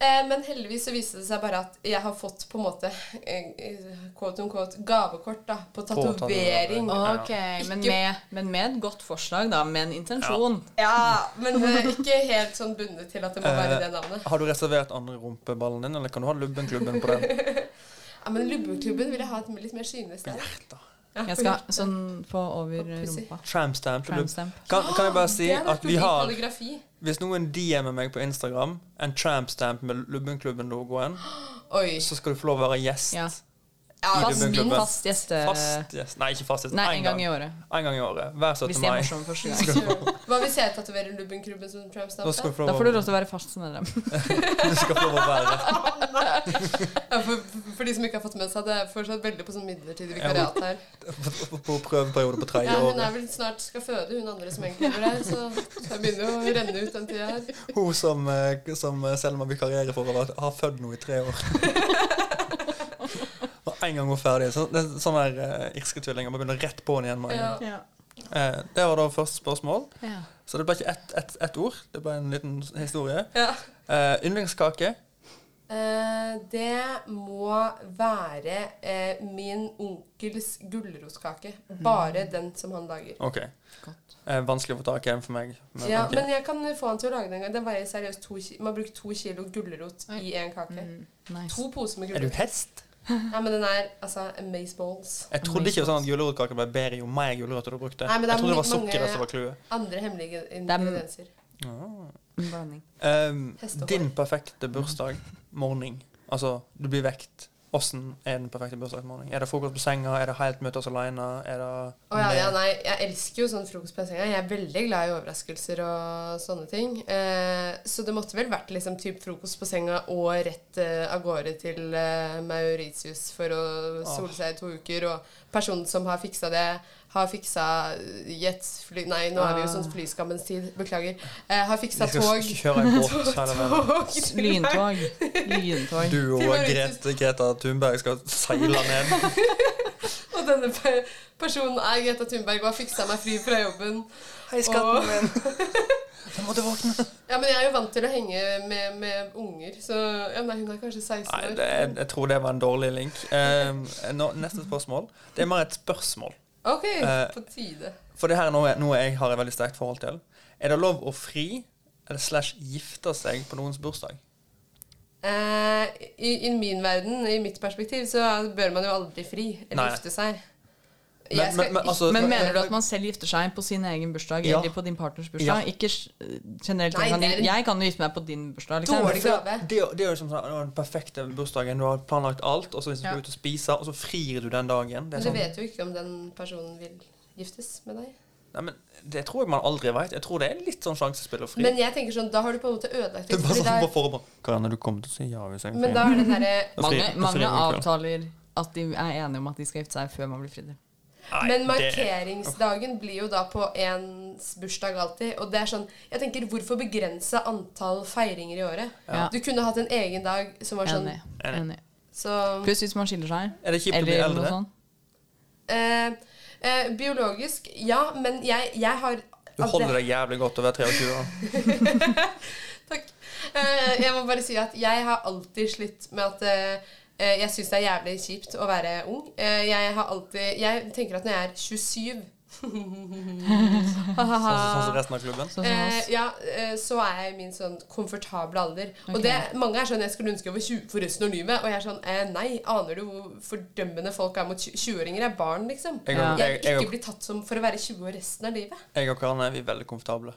[SPEAKER 7] Eh, Men heldigvis så viste det seg bare at jeg har fått på en måte eh, quote on quote gavekort da, på tatovering.
[SPEAKER 6] Ok, men
[SPEAKER 7] Ikke-
[SPEAKER 6] med, men med et godt forslag, da. Med en intensjon.
[SPEAKER 7] Ja, men eh, ikke helt sånn bundet til at det må være
[SPEAKER 5] Eh,
[SPEAKER 7] det navnet.
[SPEAKER 5] har du reservert andre rumpeballen din, eller kan du ha Lubbenklubben på den?
[SPEAKER 7] Ja, Men Lubbeklubben vil jeg ha et litt mer synlig sted. Ja,
[SPEAKER 6] Jeg skal sånn på over rumpa.
[SPEAKER 5] Tramstamp.
[SPEAKER 6] Tramp stamp.
[SPEAKER 5] Kan, kan jeg bare si
[SPEAKER 7] Det hadde vært
[SPEAKER 5] at vi
[SPEAKER 7] fin
[SPEAKER 5] har
[SPEAKER 7] kalligrafi.
[SPEAKER 5] Hvis noen DM-er meg på Instagram en trampstamp med Lubbenklubben-logoen,
[SPEAKER 7] Oi.
[SPEAKER 5] så skal du få lov å være gjest.
[SPEAKER 6] Ja.
[SPEAKER 5] i
[SPEAKER 6] Fast-
[SPEAKER 5] Lubbenklubben.
[SPEAKER 6] fast gjeste-
[SPEAKER 5] Fast gjest. Nei, ikke fast gjest.
[SPEAKER 6] Nei,
[SPEAKER 5] En
[SPEAKER 6] en gang i året.
[SPEAKER 5] En gang i året. Hver 17.
[SPEAKER 6] Hvis
[SPEAKER 5] mai.
[SPEAKER 6] jeg er morsom første gang.
[SPEAKER 5] Skal du få-
[SPEAKER 7] Hva hvis jeg tatoverer Lubbenklubben som Tramp-stampe?
[SPEAKER 5] Da skal du få lov
[SPEAKER 6] Da
[SPEAKER 5] å-
[SPEAKER 6] får du lov til å være fast medlem.
[SPEAKER 5] Du skal få lov å være der.
[SPEAKER 7] Ja, for, for de som ikke har fått med seg det, er fortsatt veldig på sånn midlertidig vikariat her.
[SPEAKER 5] På- På prøveperiode på tredje
[SPEAKER 7] Ja, hun er
[SPEAKER 5] året.
[SPEAKER 7] vel snart skal føde, hun andre som egentlig bor her, så det begynner jo å renne ut den tida her.
[SPEAKER 5] Hun som, eh, som eh, Selma vikarierer for, har vært- har født noe i tre år. Og en gang hun er ferdig, så, det er sånn der eh, irske tvillinger bare begynner rett på henne igjen. med en gang.
[SPEAKER 6] Ja.
[SPEAKER 5] Eh, det var da første spørsmål.
[SPEAKER 6] Ja.
[SPEAKER 5] Så det ble ikke ett ett- ett ord, det ble en liten historie.
[SPEAKER 7] Ja.
[SPEAKER 5] Eh, yndlingskake.
[SPEAKER 7] Eh, det må være eh, min onkels gulrotkake.
[SPEAKER 5] Mhm.
[SPEAKER 7] Bare den som han lager.
[SPEAKER 5] OK. Eh, vanskelig å få tak i en for meg. Men,
[SPEAKER 7] ja,
[SPEAKER 5] ok.
[SPEAKER 7] Men jeg kan få han til å lage den en gang. Den veier seriøst to ki Man bruker to kilo gulrot i én kake. To poser med
[SPEAKER 5] Mm. Er
[SPEAKER 7] gulrot.
[SPEAKER 5] du hest?
[SPEAKER 7] Nei, men den er altså amaze balls.
[SPEAKER 5] Jeg trodde ikke sånn at gulrotkake ble bedre jo mer gulrøtter du brukte.
[SPEAKER 7] Nei, men det
[SPEAKER 5] jeg
[SPEAKER 7] er
[SPEAKER 5] trodde det var
[SPEAKER 7] mange-
[SPEAKER 5] sukkeret som var clouet.
[SPEAKER 7] Andre hemmelige ingredienser.
[SPEAKER 5] Ah.
[SPEAKER 6] Blanding.
[SPEAKER 5] Ehm,
[SPEAKER 7] Hest og
[SPEAKER 5] din perfekte bursdag morning. Altså, du blir vekt. Åssen er den perfekte bursdagsmorning? Er det frokost på senga? Er det helt møte oss alene? Er det
[SPEAKER 7] Å ja, ja, nei, jeg elsker jo sånn frokost på senga. Jeg er veldig glad i overraskelser og sånne ting. Eh, så det måtte vel vært liksom typ frokost på senga og rett eh, av gårde til eh, Mauritius for å sole seg i to uker. Og personen som har fiksa det, har fiksa jetfly... Nei, nå er vi jo sånn flyskammens tid. Beklager. Eh, har fiksa
[SPEAKER 5] Ah. Vi skal
[SPEAKER 7] tog.
[SPEAKER 5] kjøre en båt hele veien.
[SPEAKER 7] til-
[SPEAKER 6] Lyntog. Lyntog.
[SPEAKER 5] Du og
[SPEAKER 7] Til Mauritius.
[SPEAKER 5] Grete, Greta Thunberg skal seile ned.
[SPEAKER 7] Og denne pe- personen er Greta Thunberg og har fiksa meg fri fra jobben.
[SPEAKER 5] Hei, skatten
[SPEAKER 7] min.
[SPEAKER 5] Jeg måtte våkne.
[SPEAKER 7] Ja, men jeg er jo vant til å henge med, med unger, så ja, nei, hun er kanskje 16
[SPEAKER 5] Nei,
[SPEAKER 7] år.
[SPEAKER 5] det, jeg, jeg tror det var en dårlig link. Ehm, nå, neste spørsmål. Det er mer et spørsmål.
[SPEAKER 7] Ok,
[SPEAKER 5] Eh,
[SPEAKER 7] på tide.
[SPEAKER 5] For det her er noe, noe jeg har et veldig sterkt forhold til. Er det lov å fri eller slash gifte seg på noens bursdag?
[SPEAKER 7] Eh, i, I min verden, i mitt perspektiv, så bør man jo aldri fri eller
[SPEAKER 5] Nei.
[SPEAKER 7] gifte seg.
[SPEAKER 5] Men-
[SPEAKER 7] Jeg skal
[SPEAKER 5] men- men
[SPEAKER 7] ikke-
[SPEAKER 5] altså-
[SPEAKER 6] Men mener du at man selv gifter seg på sin egen bursdag
[SPEAKER 5] Ja.
[SPEAKER 6] eller på din partners bursdag?
[SPEAKER 5] Ja.
[SPEAKER 6] Ikke s- generelt
[SPEAKER 7] Nei,
[SPEAKER 6] jeg kan,
[SPEAKER 7] det er en-
[SPEAKER 6] Jeg kan jo gifte meg på din bursdag. Liksom.
[SPEAKER 5] det, det, er jo- det er jo som sånn, det var den perfekte bursdagen. Du har planlagt alt, og så hvis du
[SPEAKER 7] Ja.
[SPEAKER 5] skal ut og spise, og så frir du den dagen. Det,
[SPEAKER 7] Men
[SPEAKER 5] er
[SPEAKER 7] du
[SPEAKER 5] sånn,
[SPEAKER 7] vet jo ikke om den personen vil giftes med deg.
[SPEAKER 5] nei, men, det tror jeg man aldri veit. Jeg tror det er litt sånn sjansespill å fri.
[SPEAKER 7] Men jeg tenker sånn, da har du på en måte ødelagt
[SPEAKER 5] det er bare
[SPEAKER 7] fordi
[SPEAKER 5] sånn
[SPEAKER 7] det
[SPEAKER 5] på forhånd. Karianne, du kommer til å si ja hvis jeg
[SPEAKER 7] er- Men da er det den derre
[SPEAKER 5] Da frir-
[SPEAKER 6] Mange,
[SPEAKER 5] da frir
[SPEAKER 6] mange
[SPEAKER 5] jeg i kveld.
[SPEAKER 6] avtaler at de er enige om at de skal gifte seg før man blir fridd.
[SPEAKER 5] Nei,
[SPEAKER 7] Men
[SPEAKER 5] det-
[SPEAKER 7] markeringsdagen blir jo da på ens bursdag alltid. Og det er sånn Jeg tenker, hvorfor begrense antall feiringer i året?
[SPEAKER 6] Ja.
[SPEAKER 7] Du kunne hatt en egen dag som var sånn
[SPEAKER 6] Enig. Enig.
[SPEAKER 7] Så
[SPEAKER 6] Pluss hvis man skiller seg.
[SPEAKER 5] Er det kjipt å bli
[SPEAKER 6] eller noe
[SPEAKER 5] eldre?
[SPEAKER 6] sånt.
[SPEAKER 7] eh, eh, Biologisk, ja. Men jeg, jeg har
[SPEAKER 5] Du holder deg jævlig godt over 23 år.
[SPEAKER 7] Eh, jeg må bare si at jeg har alltid slitt med at eh, eh, jeg syns det er jævlig kjipt å være ung. Eh, jeg har alltid Jeg tenker at når jeg er 27
[SPEAKER 5] Sånn som sånn som resten av klubben.
[SPEAKER 7] Eh, ja, eh, så er jeg i min sånn komfortable alder. Og
[SPEAKER 6] Ok.
[SPEAKER 7] det, mange er sånn 'Jeg skulle ønske jeg var 20 for resten av livet'. Og jeg er sånn eh, Nei, aner du hvor fordømmende folk er mot tju- 20-åringer? Jeg er barn, liksom.
[SPEAKER 5] Jeg-
[SPEAKER 7] Jeg vil
[SPEAKER 5] jeg- jeg-
[SPEAKER 7] ikke bli tatt som for å være 20 år resten av livet.
[SPEAKER 5] Jeg og Karianne vi er veldig komfortable.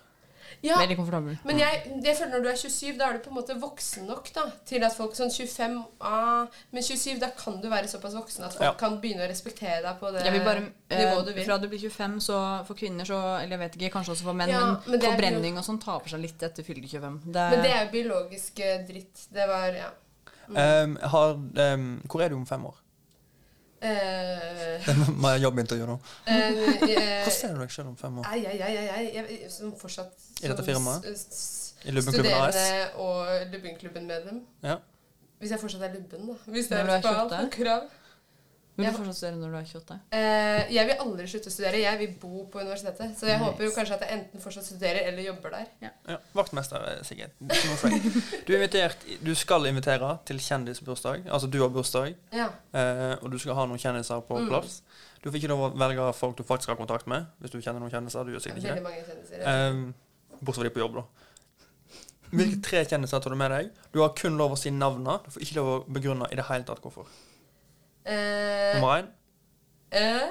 [SPEAKER 7] Ja,
[SPEAKER 6] Veldig komfortabel.
[SPEAKER 7] men jeg, jeg føler når du er 27, da er du på en måte voksen nok da, til at folk sånn 25 ah, Men 27, da kan du være såpass voksen at folk
[SPEAKER 5] Ja.
[SPEAKER 7] kan begynne å respektere deg på det
[SPEAKER 6] Jeg vil bare, eh,
[SPEAKER 7] nivået du vil.
[SPEAKER 6] fra du blir 25, så for kvinner så Eller jeg vet ikke, kanskje også for menn,
[SPEAKER 7] Ja, men
[SPEAKER 6] men
[SPEAKER 7] det er
[SPEAKER 6] forbrenning og sånn taper seg litt etter fylte 25. Det er,
[SPEAKER 7] Men det er jo biologisk eh, dritt. Det var Ja. Mm.
[SPEAKER 5] Ehm, har, ehm, hvor er du om fem år?
[SPEAKER 7] Eh,
[SPEAKER 5] Det må jeg jobbintervjue nå.
[SPEAKER 7] eh, eh,
[SPEAKER 5] Hvor ser du deg selv om fem år?
[SPEAKER 7] Ai, ai, ai, ai, ai. Jeg, som fortsatt
[SPEAKER 5] I dette
[SPEAKER 7] som
[SPEAKER 5] firmaet?
[SPEAKER 7] s- s-
[SPEAKER 5] I Lubbenklubben AS?
[SPEAKER 7] Studerende og Lubbenklubben-medlem.
[SPEAKER 5] Ja.
[SPEAKER 7] Hvis jeg fortsatt er lubben, da. Hvis det
[SPEAKER 6] Når
[SPEAKER 7] er
[SPEAKER 6] du er
[SPEAKER 7] et krav-
[SPEAKER 6] 28?
[SPEAKER 7] krav.
[SPEAKER 6] vil
[SPEAKER 7] jeg-
[SPEAKER 6] du fortsatt studere når du er 28?
[SPEAKER 7] Eh, jeg vil aldri slutte å studere. Jeg vil bo på universitetet. Så jeg håper jo kanskje at jeg enten fortsatt studerer eller jobber der.
[SPEAKER 5] Ja, Vaktmester, eh, Sigrid. Det er ikke noe feil. Du, er invitert, du skal invitere til kjendisbursdag. Altså, du har bursdag,
[SPEAKER 7] Ja.
[SPEAKER 5] eh, og du skal ha noen kjendiser på
[SPEAKER 7] Mm.
[SPEAKER 5] plass. Du får ikke lov å velge folk du faktisk har kontakt med, hvis du kjenner noen kjendiser. Du gjør sikkert ikke
[SPEAKER 7] Veldig
[SPEAKER 5] det.
[SPEAKER 7] mange kjendiser. ja.
[SPEAKER 5] Ehm, bortsett fra de på jobb, da. Hvilke tre kjendiser tar du med deg? Du har kun lov å si navnene. Du får ikke lov å begrunne i det hele tatt hvorfor.
[SPEAKER 7] Eh,
[SPEAKER 5] Nummer én,
[SPEAKER 7] eh,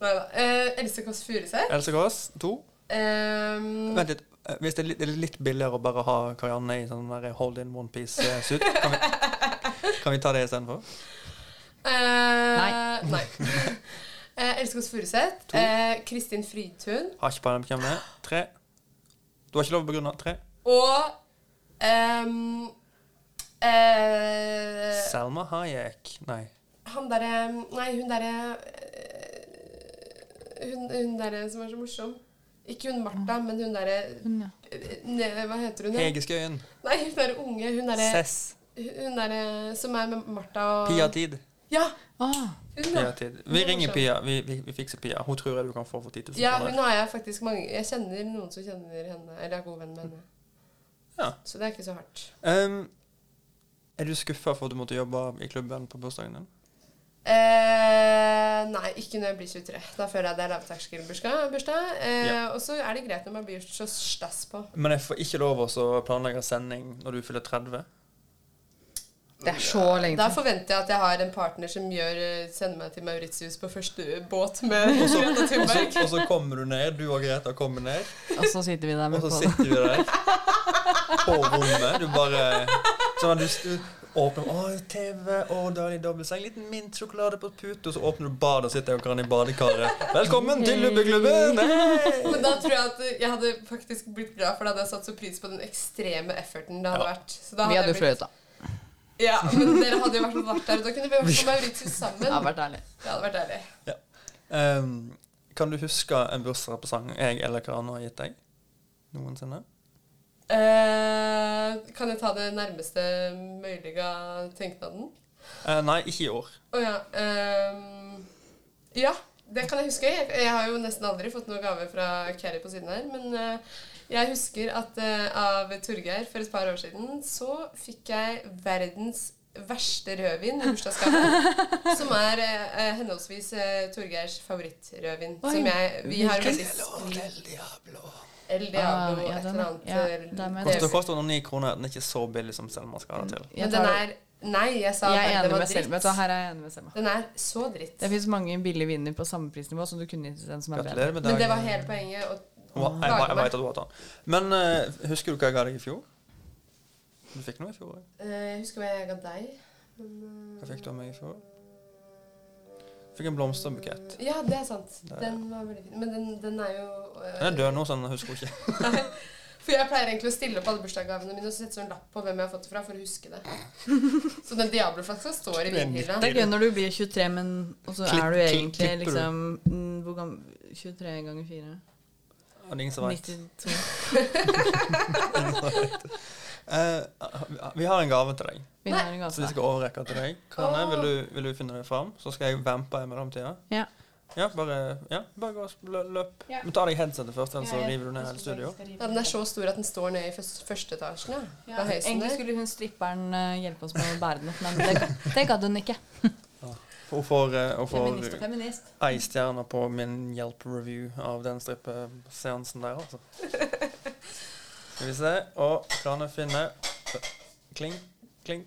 [SPEAKER 7] nei da. Eh, Else Kåss Furuseth.
[SPEAKER 5] Else Kåss. To.
[SPEAKER 7] Ehm,
[SPEAKER 5] Vent litt. eh, Hvis det er litt, er det litt billigere å bare ha Karianne i sånn der hold in one piece-suit, kan, vi- kan vi ta det istedenfor?
[SPEAKER 7] eh, nei. Eh, Else Kåss Furuseth. Eh, Kristin Fridtun.
[SPEAKER 5] Har ikke peiling på hvem det er. Tre. Du har ikke lov å begrunne. Tre.
[SPEAKER 7] Og ehm, eh,
[SPEAKER 5] Selma Hayek. Nei.
[SPEAKER 7] Han derre Nei, hun derre eh, Hun, hun derre som er så morsom. Ikke hun Martha, men hun derre
[SPEAKER 6] Hun, ja.
[SPEAKER 7] eh, ne- Hva heter hun?
[SPEAKER 5] Hege Skøyen.
[SPEAKER 7] Nei, hun derre unge. Hun derre
[SPEAKER 5] Sess.
[SPEAKER 7] hun derre som er med Martha og
[SPEAKER 5] Pia Tid.
[SPEAKER 7] Ja!
[SPEAKER 6] Ah,
[SPEAKER 7] Hun,
[SPEAKER 5] Pia
[SPEAKER 7] da.
[SPEAKER 5] Tid.
[SPEAKER 7] Hun
[SPEAKER 5] Vi
[SPEAKER 7] er
[SPEAKER 5] ringer
[SPEAKER 7] morsom.
[SPEAKER 5] Pia. Vi, vi, vi fikser Pia. Hun tror jeg du kan få for 10 000
[SPEAKER 7] ja, hun
[SPEAKER 5] kroner.
[SPEAKER 7] har jeg faktisk mange Jeg kjenner noen som kjenner henne, eller er god venn med henne.
[SPEAKER 5] Ja.
[SPEAKER 7] Så det er ikke så hardt.
[SPEAKER 5] Ehm, er du skuffa for at du måtte jobbe i klubben på bursdagen din?
[SPEAKER 7] Eh, nei, ikke når jeg blir 23. Da føler jeg det er lavterskelbursdag. bursdag. Eh, Og så er det greit når man blir så stass på.
[SPEAKER 5] Men jeg får ikke lov å planlegge sending når du fyller 30.
[SPEAKER 6] det er så lenge
[SPEAKER 7] Da
[SPEAKER 6] til.
[SPEAKER 7] forventer jeg at jeg har en partner som gjør, eh, sender meg til Mauritius på første båt med Greta
[SPEAKER 5] Og så,
[SPEAKER 7] Thunberg.
[SPEAKER 5] og så kommer du ned. Du og Greta kommer ned.
[SPEAKER 6] Og så sitter vi der
[SPEAKER 5] Og
[SPEAKER 6] med
[SPEAKER 5] så
[SPEAKER 6] på det.
[SPEAKER 5] sitter vi der på rommet. Du bare Sånn at du, du åpner Å, TV, å, deilig dobbeltseng. Liten mintsjokolade på pute. Og så åpner du badet og sitter jeg og kan i badekaret. Velkommen til Lubbeklubben! Hei!
[SPEAKER 7] Men da tror jeg at eh, jeg hadde faktisk blitt glad, for da hadde jeg satt så pris på den ekstreme efforten det hadde vært. Så da
[SPEAKER 6] Vi hadde
[SPEAKER 7] jeg
[SPEAKER 6] jo fløyet, da.
[SPEAKER 7] blitt- Ja, men dere hadde jo vært, vært der, og da kunne vi vært på Mauritius
[SPEAKER 6] Det hadde
[SPEAKER 7] sammen.
[SPEAKER 6] vært ærlig.
[SPEAKER 7] Det hadde vært deilig.
[SPEAKER 5] Ehm, kan du huske en bursdagspresang jeg eller Karan har gitt deg? Noensinne?
[SPEAKER 7] Eh, kan jeg ta det nærmeste mulige tenknaden?
[SPEAKER 5] Eh, nei, ikke i år.
[SPEAKER 7] Å ja. ehm, ja, det kan jeg huske. Jeg, jeg har jo nesten aldri fått noen gave fra Keri på siden her. Men eh, Jeg husker at eh, av Torgeir for et par år siden så fikk jeg verdens verste rødvin i bursdagsgave. som er eh, henholdsvis eh, Torgeirs favorittrødvin.
[SPEAKER 6] Oi.
[SPEAKER 7] Som jeg Vi har
[SPEAKER 6] Hvilken?
[SPEAKER 7] veldig El Diablo. El Diablo,
[SPEAKER 6] Ah, ja,
[SPEAKER 7] et
[SPEAKER 6] den
[SPEAKER 7] eller
[SPEAKER 6] er-
[SPEAKER 7] annet.
[SPEAKER 6] ja,
[SPEAKER 7] eh,
[SPEAKER 6] den er-
[SPEAKER 5] Koster, koster noen ni kroner. Den er ikke så billig som Selma skal ha det til.
[SPEAKER 7] Men den er Nei, jeg sa
[SPEAKER 6] Jeg er
[SPEAKER 7] bare
[SPEAKER 6] enig
[SPEAKER 7] den var
[SPEAKER 6] med Selma.
[SPEAKER 7] dritt.
[SPEAKER 6] Vet du, Her er jeg enig med Selma.
[SPEAKER 7] Den er så dritt.
[SPEAKER 6] Det fins mange billige viner på samme prisnivå som du kunne gitt den som er bedre.
[SPEAKER 5] Gratulerer med
[SPEAKER 7] Mm. Men det var
[SPEAKER 5] dagen.
[SPEAKER 7] hele poenget. å
[SPEAKER 5] Hun har- Jeg, jeg, jeg
[SPEAKER 7] lage meg.
[SPEAKER 5] vet at du hater den. Men eh, husker du hva jeg ga deg i fjor? Du fikk noe i fjor? jeg.
[SPEAKER 7] Eh, Jeg husker hva jeg ga deg. men, eh,
[SPEAKER 5] Hva fikk du av meg i fjor? Fikk en blomsterbukett.
[SPEAKER 7] Ja, det er sant.
[SPEAKER 5] Det-
[SPEAKER 7] Den var veldig fin. Men den, den er jo eh,
[SPEAKER 5] Den er død nå, så den husker hun ikke.
[SPEAKER 7] For jeg pleier egentlig å stille opp alle bursdagsgavene mine og så sette sånn lapp på hvem jeg har fått det fra, for å huske det. Så den diabloflaska står i vinhylla.
[SPEAKER 6] Det er gøy når du blir 23, men og så
[SPEAKER 5] Klipp-
[SPEAKER 6] er du
[SPEAKER 5] klipp-
[SPEAKER 6] egentlig
[SPEAKER 5] klipper du.
[SPEAKER 6] liksom mm, hvor gammel, 23 ganger 4
[SPEAKER 5] Og det er ingen som vet.
[SPEAKER 6] 92.
[SPEAKER 5] Eh, vi har en gave til deg.
[SPEAKER 6] Vi har en gave
[SPEAKER 5] Så vi
[SPEAKER 6] til
[SPEAKER 5] skal overrekke til deg. Karne, vil, du, vil du finne deg fram? Så skal jeg vampe i mellomtida.
[SPEAKER 6] Ja.
[SPEAKER 5] Ja, bare, ja, bare gå og sp- lø- løp.
[SPEAKER 6] Ja.
[SPEAKER 5] Men ta deg headsetet først, ellers
[SPEAKER 6] Ja,
[SPEAKER 5] så
[SPEAKER 6] ja.
[SPEAKER 5] river du ned hele studio.
[SPEAKER 7] Ja, den er så stor at den står nede i først- første etasjen. Ja. Det er høyest den
[SPEAKER 6] Egentlig
[SPEAKER 7] der.
[SPEAKER 6] skulle hun stripperen eh, hjelpe oss med å bære den opp, men det, ga- det gadd hun ikke.
[SPEAKER 5] Hun får, eh, hun
[SPEAKER 6] Feminist og
[SPEAKER 5] får
[SPEAKER 6] feminist.
[SPEAKER 5] ei stjerne på min Hjelp-review av den strippeseansen der, altså. Skal vi se. Og Karne finner Kling, kling.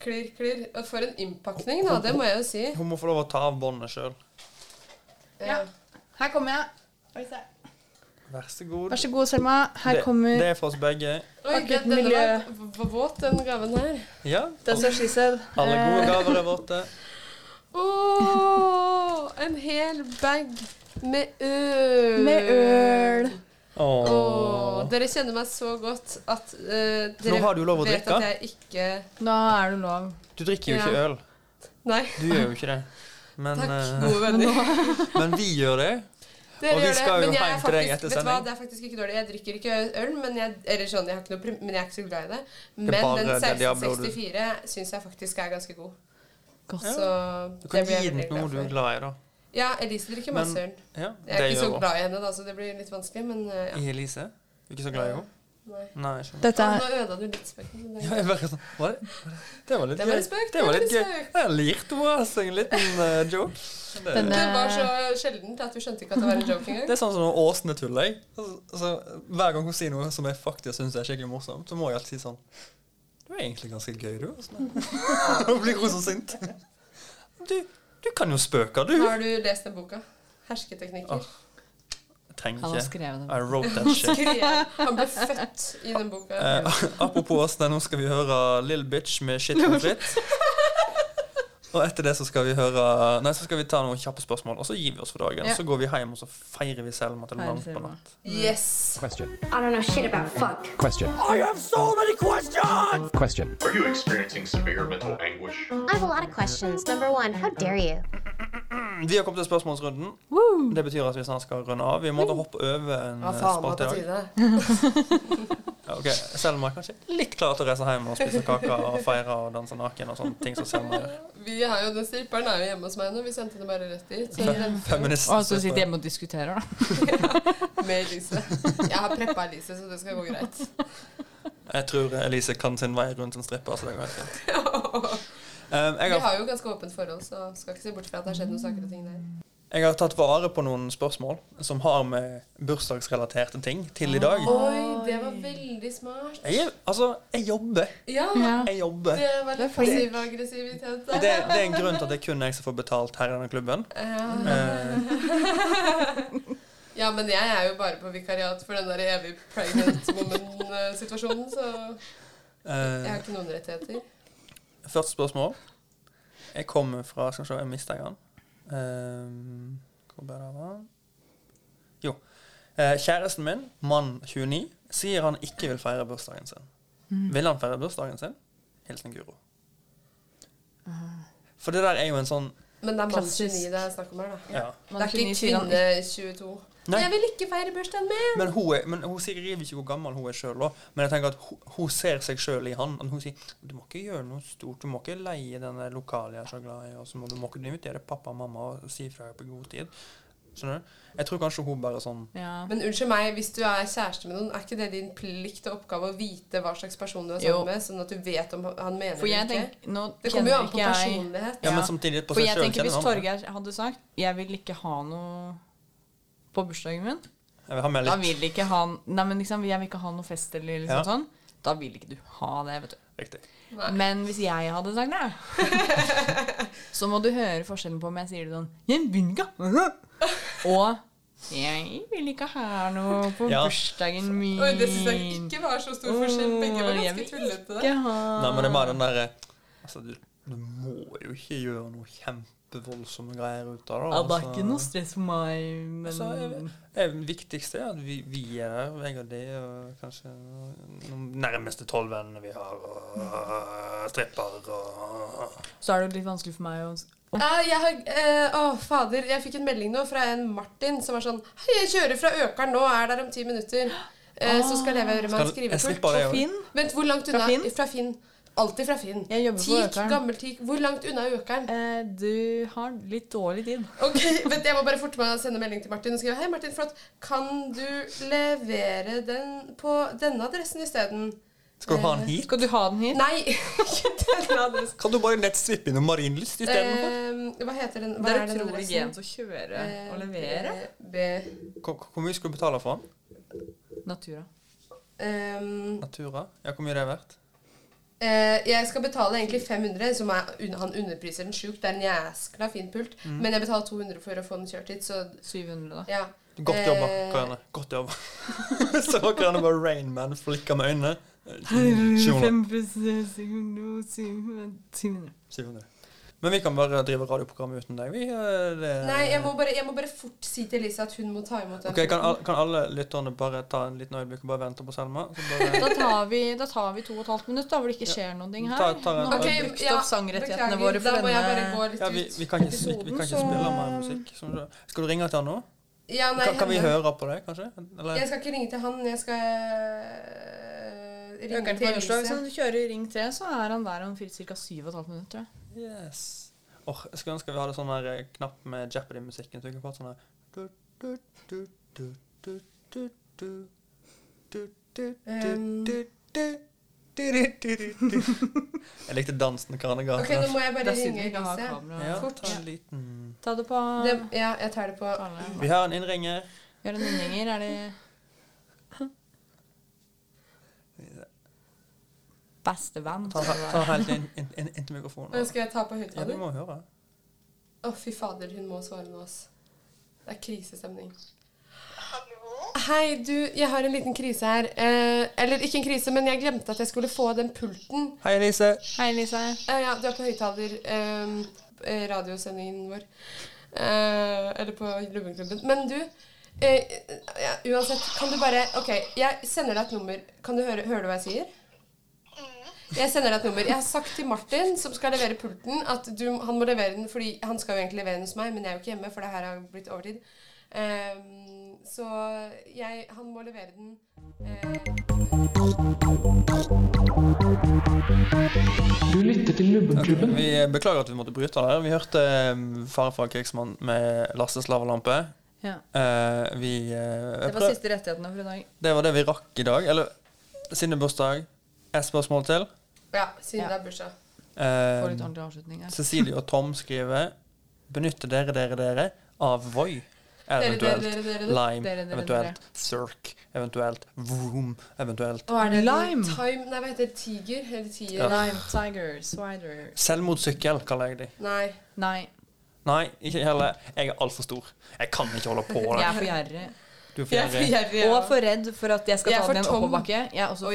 [SPEAKER 7] Klirr, klirr. Og For en innpakning, da. Det må jeg jo si.
[SPEAKER 5] Hun må få lov å ta av båndet sjøl.
[SPEAKER 7] Ja.
[SPEAKER 6] Her kommer jeg.
[SPEAKER 5] Vær så god.
[SPEAKER 6] Vær så god, Selma. Her
[SPEAKER 5] Det-
[SPEAKER 6] kommer
[SPEAKER 5] Det er for oss begge.
[SPEAKER 7] Oi,
[SPEAKER 6] Akkurat
[SPEAKER 7] den, denne
[SPEAKER 6] miljø.
[SPEAKER 7] var v- v- våt, den gaven her.
[SPEAKER 5] Ja.
[SPEAKER 6] Den som skisser.
[SPEAKER 5] Alle
[SPEAKER 7] Eh.
[SPEAKER 5] gode gaver er borte.
[SPEAKER 7] Åh, en hel bag med øl.
[SPEAKER 6] Med øl.
[SPEAKER 5] Åh.
[SPEAKER 7] Åh, dere kjenner meg så godt at eh, dere
[SPEAKER 5] Nå har du lov å
[SPEAKER 7] vet
[SPEAKER 5] drikke.
[SPEAKER 7] at jeg ikke
[SPEAKER 6] Nå er du lov.
[SPEAKER 5] Du drikker jo
[SPEAKER 7] Ja.
[SPEAKER 5] ikke øl.
[SPEAKER 7] Nei.
[SPEAKER 5] Du gjør jo ikke det. Men, eh,
[SPEAKER 7] Gode venner.
[SPEAKER 5] men vi gjør det.
[SPEAKER 7] Dere
[SPEAKER 5] Og vi
[SPEAKER 7] gjør det,
[SPEAKER 5] skal jo
[SPEAKER 7] men jeg er
[SPEAKER 5] hjem til deg
[SPEAKER 7] faktisk-
[SPEAKER 5] etter
[SPEAKER 7] vet du hva,
[SPEAKER 5] sending.
[SPEAKER 7] Det er faktisk ikke dårlig. Jeg drikker ikke øl, men jeg, eller sånn, jeg har ikke noe, prim- men jeg er ikke så glad i det. Men
[SPEAKER 5] bare
[SPEAKER 7] den
[SPEAKER 5] eh, det Diablo du-
[SPEAKER 7] 1664 syns jeg faktisk er ganske god.
[SPEAKER 6] Godt.
[SPEAKER 7] Så
[SPEAKER 5] Du kan
[SPEAKER 7] det blir
[SPEAKER 5] gi
[SPEAKER 7] jeg
[SPEAKER 5] den
[SPEAKER 7] veldig
[SPEAKER 5] til noe
[SPEAKER 7] glad
[SPEAKER 5] du er
[SPEAKER 7] for.
[SPEAKER 5] glad i, da.
[SPEAKER 7] Ja, Elise drikker
[SPEAKER 5] Men-
[SPEAKER 7] masse øl.
[SPEAKER 5] Ja,
[SPEAKER 7] Jeg er
[SPEAKER 5] det
[SPEAKER 7] ikke så
[SPEAKER 5] gjør hun.
[SPEAKER 7] glad i henne, da, så det blir litt vanskelig, men eh, ja.
[SPEAKER 5] I Elise? Du er ikke så glad i henne?
[SPEAKER 7] Nei.
[SPEAKER 5] Nei, jeg skjønner.
[SPEAKER 6] Dette
[SPEAKER 7] Ah,
[SPEAKER 6] er
[SPEAKER 7] Nå ødela du litt spekten. men det er
[SPEAKER 5] Ja, jeg bare sånn, var det, var det, det var litt
[SPEAKER 7] Det var
[SPEAKER 5] gøy.
[SPEAKER 7] litt spøkt,
[SPEAKER 5] Det var
[SPEAKER 7] det var
[SPEAKER 5] litt
[SPEAKER 7] litt
[SPEAKER 5] gøy. Jeg lirte henne altså en liten eh, joke. Det,
[SPEAKER 6] Denne-
[SPEAKER 7] Det var så
[SPEAKER 6] eh,
[SPEAKER 7] sjeldent at vi skjønte ikke at det var en joke
[SPEAKER 5] det
[SPEAKER 7] engang.
[SPEAKER 5] er sånn som når Åsne tuller. jeg. Altså, altså, hver gang hun sier noe som jeg faktisk syns er skikkelig morsomt, så må jeg alltid si sånn Du er egentlig ganske gøy, du. Åsne. Nå blir hun så sint. Du, du kan jo spøke, du.
[SPEAKER 7] Har du lest den boka? Hersketeknikker.
[SPEAKER 5] Jeg trenger
[SPEAKER 6] Han har
[SPEAKER 5] ikke.
[SPEAKER 6] skrevet den.
[SPEAKER 5] I wrote that shit.
[SPEAKER 7] Han ble født i den boka.
[SPEAKER 5] Eh, apropos oss, nei, nå skal vi høre Lill Bitch med Shit and Fit. Og etter det så skal vi høre Nei, så skal vi ta noen kjappe spørsmål, og så gir vi oss for dagen.
[SPEAKER 6] Ja.
[SPEAKER 5] Så går vi hjem, og så feirer vi Selma til
[SPEAKER 6] Feirer
[SPEAKER 5] langt på
[SPEAKER 6] Selma.
[SPEAKER 5] natt.
[SPEAKER 7] Yes.
[SPEAKER 12] Question.
[SPEAKER 13] I don't know shit about fuck.
[SPEAKER 12] Question.
[SPEAKER 13] I have so many questions!
[SPEAKER 12] Question.
[SPEAKER 14] Are you experiencing severe mental anguish?
[SPEAKER 13] I have a lot of questions. Number one, how dare you?
[SPEAKER 5] Mm, Vi har kommet til spørsmålsrunden. Det betyr at vi snart skal runde av. Vi måtte hoppe over en
[SPEAKER 7] Hva
[SPEAKER 5] eh,
[SPEAKER 7] faen var
[SPEAKER 5] spalte
[SPEAKER 7] på
[SPEAKER 5] i dag.
[SPEAKER 7] tide?
[SPEAKER 5] Ja, ok, Selma er kanskje litt klar til å reise hjem og spise kake og feire og danse naken og sånne ting som Selma gjør.
[SPEAKER 7] Vi har jo, Den stripperen er jo hjemme hos meg nå. Vi sendte henne bare rett dit. Så den
[SPEAKER 5] Feminist.
[SPEAKER 6] Og så sitter jeg hjemme og diskuterer, da.
[SPEAKER 7] med Elise. Jeg har preppa Elise, så det skal gå greit.
[SPEAKER 5] Jeg tror Elise kan sin vei rundt en stripper, så det går helt fint. Um, jeg
[SPEAKER 7] Vi
[SPEAKER 5] har
[SPEAKER 7] har jo ganske åpent forhold, så skal ikke se bort fra at det har skjedd noen saker og ting der.
[SPEAKER 5] Jeg har tatt vare på noen spørsmål som har med bursdagsrelaterte ting til i dag.
[SPEAKER 7] Oi, det var veldig smart.
[SPEAKER 5] Jeg, er- altså, jeg jobber.
[SPEAKER 7] Ja,
[SPEAKER 5] Jeg jobber.
[SPEAKER 7] det var litt passiv aggressivitet
[SPEAKER 5] Det,
[SPEAKER 7] der.
[SPEAKER 5] det er en grunn til at det kun er jeg som får betalt her i denne klubben.
[SPEAKER 7] Ja.
[SPEAKER 5] Eh,
[SPEAKER 7] Ja, men jeg er jo bare på vikariat for den der evig pregnant woman-situasjonen, så jeg
[SPEAKER 5] eh,
[SPEAKER 7] har ikke noen rettigheter.
[SPEAKER 5] første spørsmål. Jeg kommer fra Skal vi se, jeg mista den. Eh, hvor ble det av? den? Jo. Eh, kjæresten min, mann 29, sier han ikke vil feire bursdagen sin. Vil han feire bursdagen sin? Hilsen Guro. For det der er jo en sånn
[SPEAKER 7] Men det er mann
[SPEAKER 6] Klassisk.
[SPEAKER 7] 29 det er snakk om her, da.
[SPEAKER 5] ja.
[SPEAKER 7] Det er ikke kvinne 22.
[SPEAKER 5] Nei.
[SPEAKER 7] Jeg vil ikke feire bursdagen min!
[SPEAKER 5] Men hun, er, men hun sier jeg vet ikke hvor gammel hun er sjøl, men jeg tenker at hun, hun ser seg sjøl i han. Og hun sier du må ikke gjøre noe stort, du må ikke leie denne lokalet jeg er så glad i, og så må du må ikke invitere pappa og mamma og si fra på god tid. Skjønner du? Jeg tror kanskje hun bare sånn
[SPEAKER 7] Men unnskyld meg, hvis du er kjæreste med noen, er ikke det din plikt og oppgave å vite hva slags person du er
[SPEAKER 6] Jo.
[SPEAKER 7] sammen med, sånn at du vet om han mener
[SPEAKER 6] For jeg
[SPEAKER 7] det
[SPEAKER 6] tenker,
[SPEAKER 7] ikke?
[SPEAKER 6] nå
[SPEAKER 7] det kommer
[SPEAKER 6] kjenner
[SPEAKER 7] jo an på
[SPEAKER 6] ikke jeg-
[SPEAKER 7] personlighet.
[SPEAKER 5] Ja, men samtidig på
[SPEAKER 6] For
[SPEAKER 5] seg
[SPEAKER 6] jeg
[SPEAKER 5] selv
[SPEAKER 6] tenker
[SPEAKER 5] kjenner
[SPEAKER 6] Hvis
[SPEAKER 5] han det.
[SPEAKER 6] Torgeir hadde sagt 'jeg vil ikke ha noe på bursdagen min',
[SPEAKER 5] Jeg vil ha med
[SPEAKER 6] da
[SPEAKER 5] litt.
[SPEAKER 6] vil ikke han Nei, men liksom, jeg vil ikke ha noe fest eller liksom
[SPEAKER 5] Ja.
[SPEAKER 6] sånn. Da vil ikke du ha det, vet du.
[SPEAKER 5] Riktig.
[SPEAKER 6] Men hvis jeg hadde sagt det, så må du høre forskjellen på om jeg sier det sånn 'Jeg vil ikke ha noe', og 'jeg vil ikke ha noe på
[SPEAKER 5] Ja.
[SPEAKER 6] bursdagen min'.
[SPEAKER 7] Oi, det syns jeg ikke var så stor forskjell. Begge var
[SPEAKER 6] Åh, jeg
[SPEAKER 7] ganske
[SPEAKER 6] vil
[SPEAKER 7] tullete.
[SPEAKER 6] ikke ha-
[SPEAKER 5] Nei, men det er bare den derre Altså, du, du må jo ikke gjøre noe kjempevoldsomme greier ut av det.
[SPEAKER 6] Ja, det er
[SPEAKER 5] altså.
[SPEAKER 6] ikke noe stress for meg, men
[SPEAKER 5] Altså, jeg- Det viktigste er at vi, vi er der, jeg og de, og kanskje noen nærmeste tolv vennene vi har, og stripper og
[SPEAKER 6] Så er det jo litt vanskelig for meg å
[SPEAKER 7] Ja, jeg har, eh, å, fader, jeg fikk en melding nå fra en Martin som var sånn Hei, jeg kjører fra Økeren nå, er der om ti minutter. Eh, så skal jeg levere meg
[SPEAKER 5] Skal-
[SPEAKER 7] et
[SPEAKER 5] jeg
[SPEAKER 7] skrivekort.
[SPEAKER 5] slipper det, jeg også. Finn?
[SPEAKER 7] Vent, hvor langt
[SPEAKER 6] Fra
[SPEAKER 7] unna?
[SPEAKER 6] Finn?
[SPEAKER 7] Fra Finn. Alltid fra Finn. Jeg
[SPEAKER 6] jobber på Økern.
[SPEAKER 7] Gammel teak. Hvor langt unna er Økeren?
[SPEAKER 6] Eh, Du har litt dårlig tid.
[SPEAKER 7] Ok, vent, Jeg må bare forte meg å sende melding til Martin og skrive Hei, Martin, flott. Kan du levere den på denne adressen isteden?
[SPEAKER 5] Skal du ha
[SPEAKER 7] eh,
[SPEAKER 5] den hit?
[SPEAKER 6] Skal du ha den hit?
[SPEAKER 7] Nei, ikke denne adressen.
[SPEAKER 5] Kan du bare nett svippe innom Marienlyst istedenfor?
[SPEAKER 7] Eh, hva heter den? Hva
[SPEAKER 6] Det er
[SPEAKER 7] den
[SPEAKER 6] utrolig
[SPEAKER 7] adressen?
[SPEAKER 6] gent å kjøre og levere.
[SPEAKER 7] Eh, B...
[SPEAKER 5] Hvor hvor mye skal du betale for den?
[SPEAKER 6] Eh, Natura.
[SPEAKER 7] Ehm,
[SPEAKER 5] Natura? Ja, hvor mye er det verdt?
[SPEAKER 7] eh, jeg skal betale egentlig 500, som er, un- han underpriser den sjukt. Det er en jæskla fin pult.
[SPEAKER 5] Mm.
[SPEAKER 7] Men jeg betaler 200 for å få den kjørt hit, så
[SPEAKER 6] 700, da.
[SPEAKER 7] Ja.
[SPEAKER 5] Godt jobba,
[SPEAKER 7] Eh,
[SPEAKER 5] Karianne. Godt jobba. Så var Karianne bare Rainman, flikka med øynene.
[SPEAKER 6] Eh,
[SPEAKER 5] 700.
[SPEAKER 6] 700.
[SPEAKER 5] 700. Men vi kan bare drive radioprogrammet uten deg, vi. eh, Det
[SPEAKER 7] Nei, jeg må, bare, jeg må bare fort si til Lisa at hun må ta imot den.
[SPEAKER 5] Ok, kan, al- kan alle lytterne bare ta en liten øyeblikk og bare vente på Selma? Så
[SPEAKER 6] Da
[SPEAKER 5] bare,
[SPEAKER 6] tar, vi, da tar vi to og et halvt minutt, da, hvor det ikke skjer noen ting her.
[SPEAKER 5] Ta- ta en-
[SPEAKER 6] Nå har vi
[SPEAKER 5] Ok,
[SPEAKER 6] brukt
[SPEAKER 7] ja,
[SPEAKER 6] opp sangrettighetene
[SPEAKER 7] beklager,
[SPEAKER 6] våre for
[SPEAKER 7] da må jeg
[SPEAKER 6] denne
[SPEAKER 7] bare gå litt
[SPEAKER 5] ja, vi, vi kan ikke, vi, vi kan ikke
[SPEAKER 7] Episoden,
[SPEAKER 5] spille
[SPEAKER 7] så-
[SPEAKER 5] mer musikk. som du- Skal du ringe til han nå?
[SPEAKER 7] Ja, nei,
[SPEAKER 5] kan, kan vi
[SPEAKER 7] henne.
[SPEAKER 5] høre på det, kanskje? Eller?
[SPEAKER 7] Jeg skal ikke ringe til han, jeg skal eh, ringe
[SPEAKER 6] Økeren på sånn.
[SPEAKER 7] til
[SPEAKER 6] Ørstad. Hvis
[SPEAKER 7] Elise.
[SPEAKER 6] han kjører i ring 3, så er han der om ca. 7,5 minutter.
[SPEAKER 5] Yes. Åh, jeg skulle ønske vi hadde sånn her eh, knapp med Jeopardy-musikken. Så vi kunne fått sånn her du, du, du, du, du, du, du, du, du,
[SPEAKER 7] Ehm.
[SPEAKER 5] du, du, du, du, du, du, du. Jeg likte dansen Karne ga.
[SPEAKER 7] Ok, nå må jeg bare
[SPEAKER 6] Dessuten
[SPEAKER 7] ringe
[SPEAKER 6] ikke ha
[SPEAKER 7] Elise.
[SPEAKER 6] kamera.
[SPEAKER 5] Ja,
[SPEAKER 7] Fort.
[SPEAKER 5] ta en liten
[SPEAKER 6] Ta det på
[SPEAKER 7] Det, ja, jeg tar det på
[SPEAKER 6] Ah.
[SPEAKER 5] Vi har en innringer.
[SPEAKER 6] Gjør en nynninger. Er det Bestevenn.
[SPEAKER 5] Ta, ta, ta helt inn, inn, inn, inn til mikrofonen.
[SPEAKER 7] Nå Skal jeg ta på
[SPEAKER 5] Ja, vi
[SPEAKER 7] høyttaler?
[SPEAKER 5] må høre.
[SPEAKER 7] Å, fy fader, hun må svare nå, ass. Det er krisestemning. Hei, du, jeg har en liten krise her. Eh, eller ikke en krise, men jeg glemte at jeg skulle få den pulten.
[SPEAKER 5] Hei, Elise.
[SPEAKER 6] Hei, Lise.
[SPEAKER 7] Eh, ja, du er på høyttaler. Eh, eh, radiosendingen vår. Eh, eller på Lubbenklubben. Men du, eh, ja, uansett, kan du bare OK, jeg sender deg et nummer. Kan du høre, hører du hva jeg sier? Jeg sender deg et nummer. Jeg har sagt til Martin, som skal levere pulten, at du, han må levere den fordi han skal jo egentlig levere den hos meg, men jeg er jo ikke hjemme, for det her har blitt overtid. Ehm, så jeg Han må levere den eh,
[SPEAKER 1] Du lytter til Lubbenklubben.
[SPEAKER 5] Vi eh, beklager at vi måtte bryte der. Vi hørte um, Fare fra krigsmann med Lasse Slavalampe.
[SPEAKER 6] Ja.
[SPEAKER 5] Eh, vi eh,
[SPEAKER 6] Det var
[SPEAKER 5] prøv-
[SPEAKER 6] siste rettighetene for i dag.
[SPEAKER 5] det var det vi rakk i dag. Eller siden det er bursdag. Et spørsmål til.
[SPEAKER 7] Ja, siden det er bursdag.
[SPEAKER 5] Eh,
[SPEAKER 6] Få litt ordentlig avslutning her.
[SPEAKER 5] Cecilie og Tom skriver Benytter dere dere dere av Voi?
[SPEAKER 7] dere,
[SPEAKER 5] Eventuelt
[SPEAKER 7] dere, dere.
[SPEAKER 5] Lime,
[SPEAKER 7] Dere, dere,
[SPEAKER 5] eventuelt Cirque, eventuelt Vroom, eventuelt
[SPEAKER 7] Og er det
[SPEAKER 6] Lime?
[SPEAKER 7] Time, nei, hva heter det? Tiger? Eller tiger?
[SPEAKER 5] Ja.
[SPEAKER 6] Lime, tiger, swider
[SPEAKER 5] Selvmordssykkel, kaller jeg de.
[SPEAKER 7] Nei.
[SPEAKER 6] Nei,
[SPEAKER 5] Nei, ikke heller. Jeg er altfor stor. Jeg kan ikke holde på
[SPEAKER 6] jeg er
[SPEAKER 5] med
[SPEAKER 6] for
[SPEAKER 5] det.
[SPEAKER 6] gjerrig.
[SPEAKER 5] Du er for gjerrig.
[SPEAKER 6] Og for redd for at jeg skal
[SPEAKER 7] Jeg er
[SPEAKER 6] ta
[SPEAKER 7] for
[SPEAKER 6] den i en
[SPEAKER 7] tom.
[SPEAKER 6] oppoverbakke. Jeg er, også,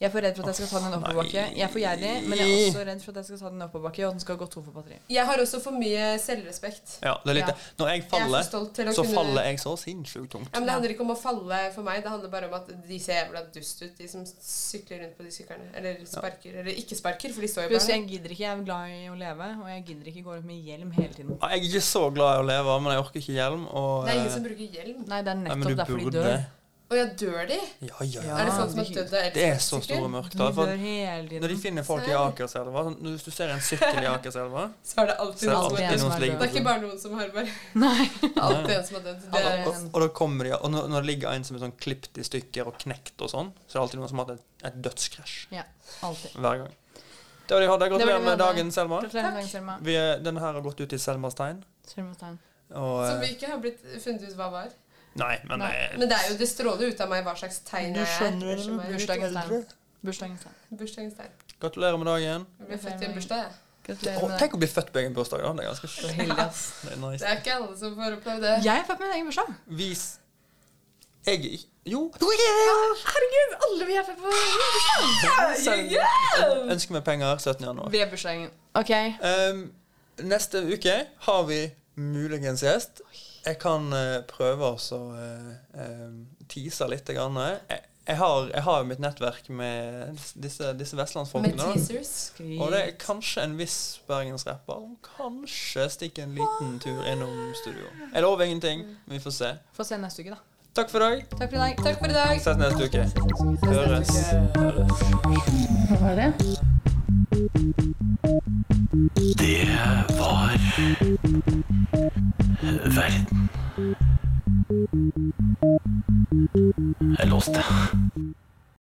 [SPEAKER 6] jeg er for redd for at jeg skal ta den i en oppoverbakke. Jeg er for gjerrig, men jeg er også redd for at jeg skal ta den i en oppoverbakke, og at den skal gå tom for batteri.
[SPEAKER 7] Jeg har også for mye selvrespekt.
[SPEAKER 5] Ja, det er litt
[SPEAKER 7] Ja.
[SPEAKER 5] det. Når jeg
[SPEAKER 7] Jeg er for
[SPEAKER 5] faller,
[SPEAKER 7] stolt til å
[SPEAKER 5] så
[SPEAKER 7] kunne-
[SPEAKER 5] faller jeg så sinnssykt tungt.
[SPEAKER 7] Ja, men Det handler ikke om å falle for meg, det handler bare om at de ser jævla dust ut, de som sykler rundt på de syklerne. Eller sparker, eller ikke sparker, for de står jo
[SPEAKER 6] Pluss,
[SPEAKER 7] bare
[SPEAKER 6] jeg gidder ikke. Jeg er glad i å leve, og jeg gidder ikke gå rundt med hjelm hele tiden.
[SPEAKER 5] Ja, Jeg er ikke så glad i å leve, men jeg orker ikke hjelm. Og,
[SPEAKER 7] Det er ingen
[SPEAKER 5] eh,
[SPEAKER 7] som bruker hjelm.
[SPEAKER 6] Nei, det er
[SPEAKER 5] nei, men
[SPEAKER 6] nettopp
[SPEAKER 5] du
[SPEAKER 6] derfor de
[SPEAKER 5] burde.
[SPEAKER 6] dør.
[SPEAKER 7] Og jeg dør de?
[SPEAKER 5] Ja, ja, ja.
[SPEAKER 7] Er det folk som har dødd av elsparkesykkel?
[SPEAKER 5] Ah, Det er så store mørketall. for
[SPEAKER 7] De dør hele tiden.
[SPEAKER 5] Når de finner folk i
[SPEAKER 7] Ser.
[SPEAKER 5] Akerselva sånn, Hvis du ser en sykkel i Akerselva
[SPEAKER 7] Så er det alltid
[SPEAKER 5] så er
[SPEAKER 7] noen som
[SPEAKER 5] alltid
[SPEAKER 7] er
[SPEAKER 5] noen som ligger
[SPEAKER 7] Det er
[SPEAKER 5] på
[SPEAKER 7] ikke bare noen som har bare Alltid en som har dødd. Det
[SPEAKER 5] og,
[SPEAKER 7] er
[SPEAKER 5] og, og da kommer de, og når, når det ligger en som er sånn klippet i stykker og knekt og sånn, så er det alltid noen som har hatt et, et dødskrasj
[SPEAKER 6] Ja, alltid.
[SPEAKER 5] hver gang. Det var det
[SPEAKER 6] Det
[SPEAKER 5] jeg hadde.
[SPEAKER 6] var det
[SPEAKER 5] Gratulerer
[SPEAKER 6] vi
[SPEAKER 5] med
[SPEAKER 6] hadde.
[SPEAKER 5] dagen, Selma.
[SPEAKER 6] Gratulerer med dagen, Selma.
[SPEAKER 5] Vi, er- denne her har gått ut i Selmas tegn.
[SPEAKER 6] Selma Stein.
[SPEAKER 5] Og,
[SPEAKER 7] Som vi
[SPEAKER 5] eh,
[SPEAKER 7] ikke har blitt funnet ut hva var.
[SPEAKER 5] nei, men
[SPEAKER 7] Nei.
[SPEAKER 5] eh,
[SPEAKER 7] Men det er jo, det stråler ut av meg hva slags tegn
[SPEAKER 6] Du
[SPEAKER 7] jeg er.
[SPEAKER 6] skjønner det, men bursdagens tegn. Bursdagens tegn.
[SPEAKER 7] Bursdagens tegn.
[SPEAKER 5] Gratulerer med dagen.
[SPEAKER 7] Jeg ble født i en bursdag, jeg.
[SPEAKER 5] Å, tenk å bli født på egen bursdag, da. Det er ganske
[SPEAKER 7] Så heldig, ass.
[SPEAKER 5] Det er nice.
[SPEAKER 7] Det er ikke alle som får oppleve det.
[SPEAKER 6] Jeg er født med en egen bursdag.
[SPEAKER 5] Vis Jeg er ikke- Jo!
[SPEAKER 6] Herregud, alle vi er født på egen bursdag! Yeah!
[SPEAKER 5] Ønsker meg penger 17. januar.
[SPEAKER 6] Ved bursdagen. Ok.
[SPEAKER 5] Ehm, neste uke har vi muligens gjest. Jeg kan eh, prøve også å eh, ehm, tease litt. Grann. Jeg, jeg, har, jeg har jo mitt nettverk med disse, disse vestlandsfolkene.
[SPEAKER 7] Med
[SPEAKER 5] da.
[SPEAKER 7] teasers.
[SPEAKER 5] Og det er kanskje en viss bergensrapper. Kanskje stikke en liten tur innom studio. Jeg lover ingenting, men vi får se.
[SPEAKER 6] Få se neste uke, da.
[SPEAKER 5] Takk for i dag.
[SPEAKER 6] Takk for i dag.
[SPEAKER 7] Takk for i dag.
[SPEAKER 5] Ses neste uke. Høres.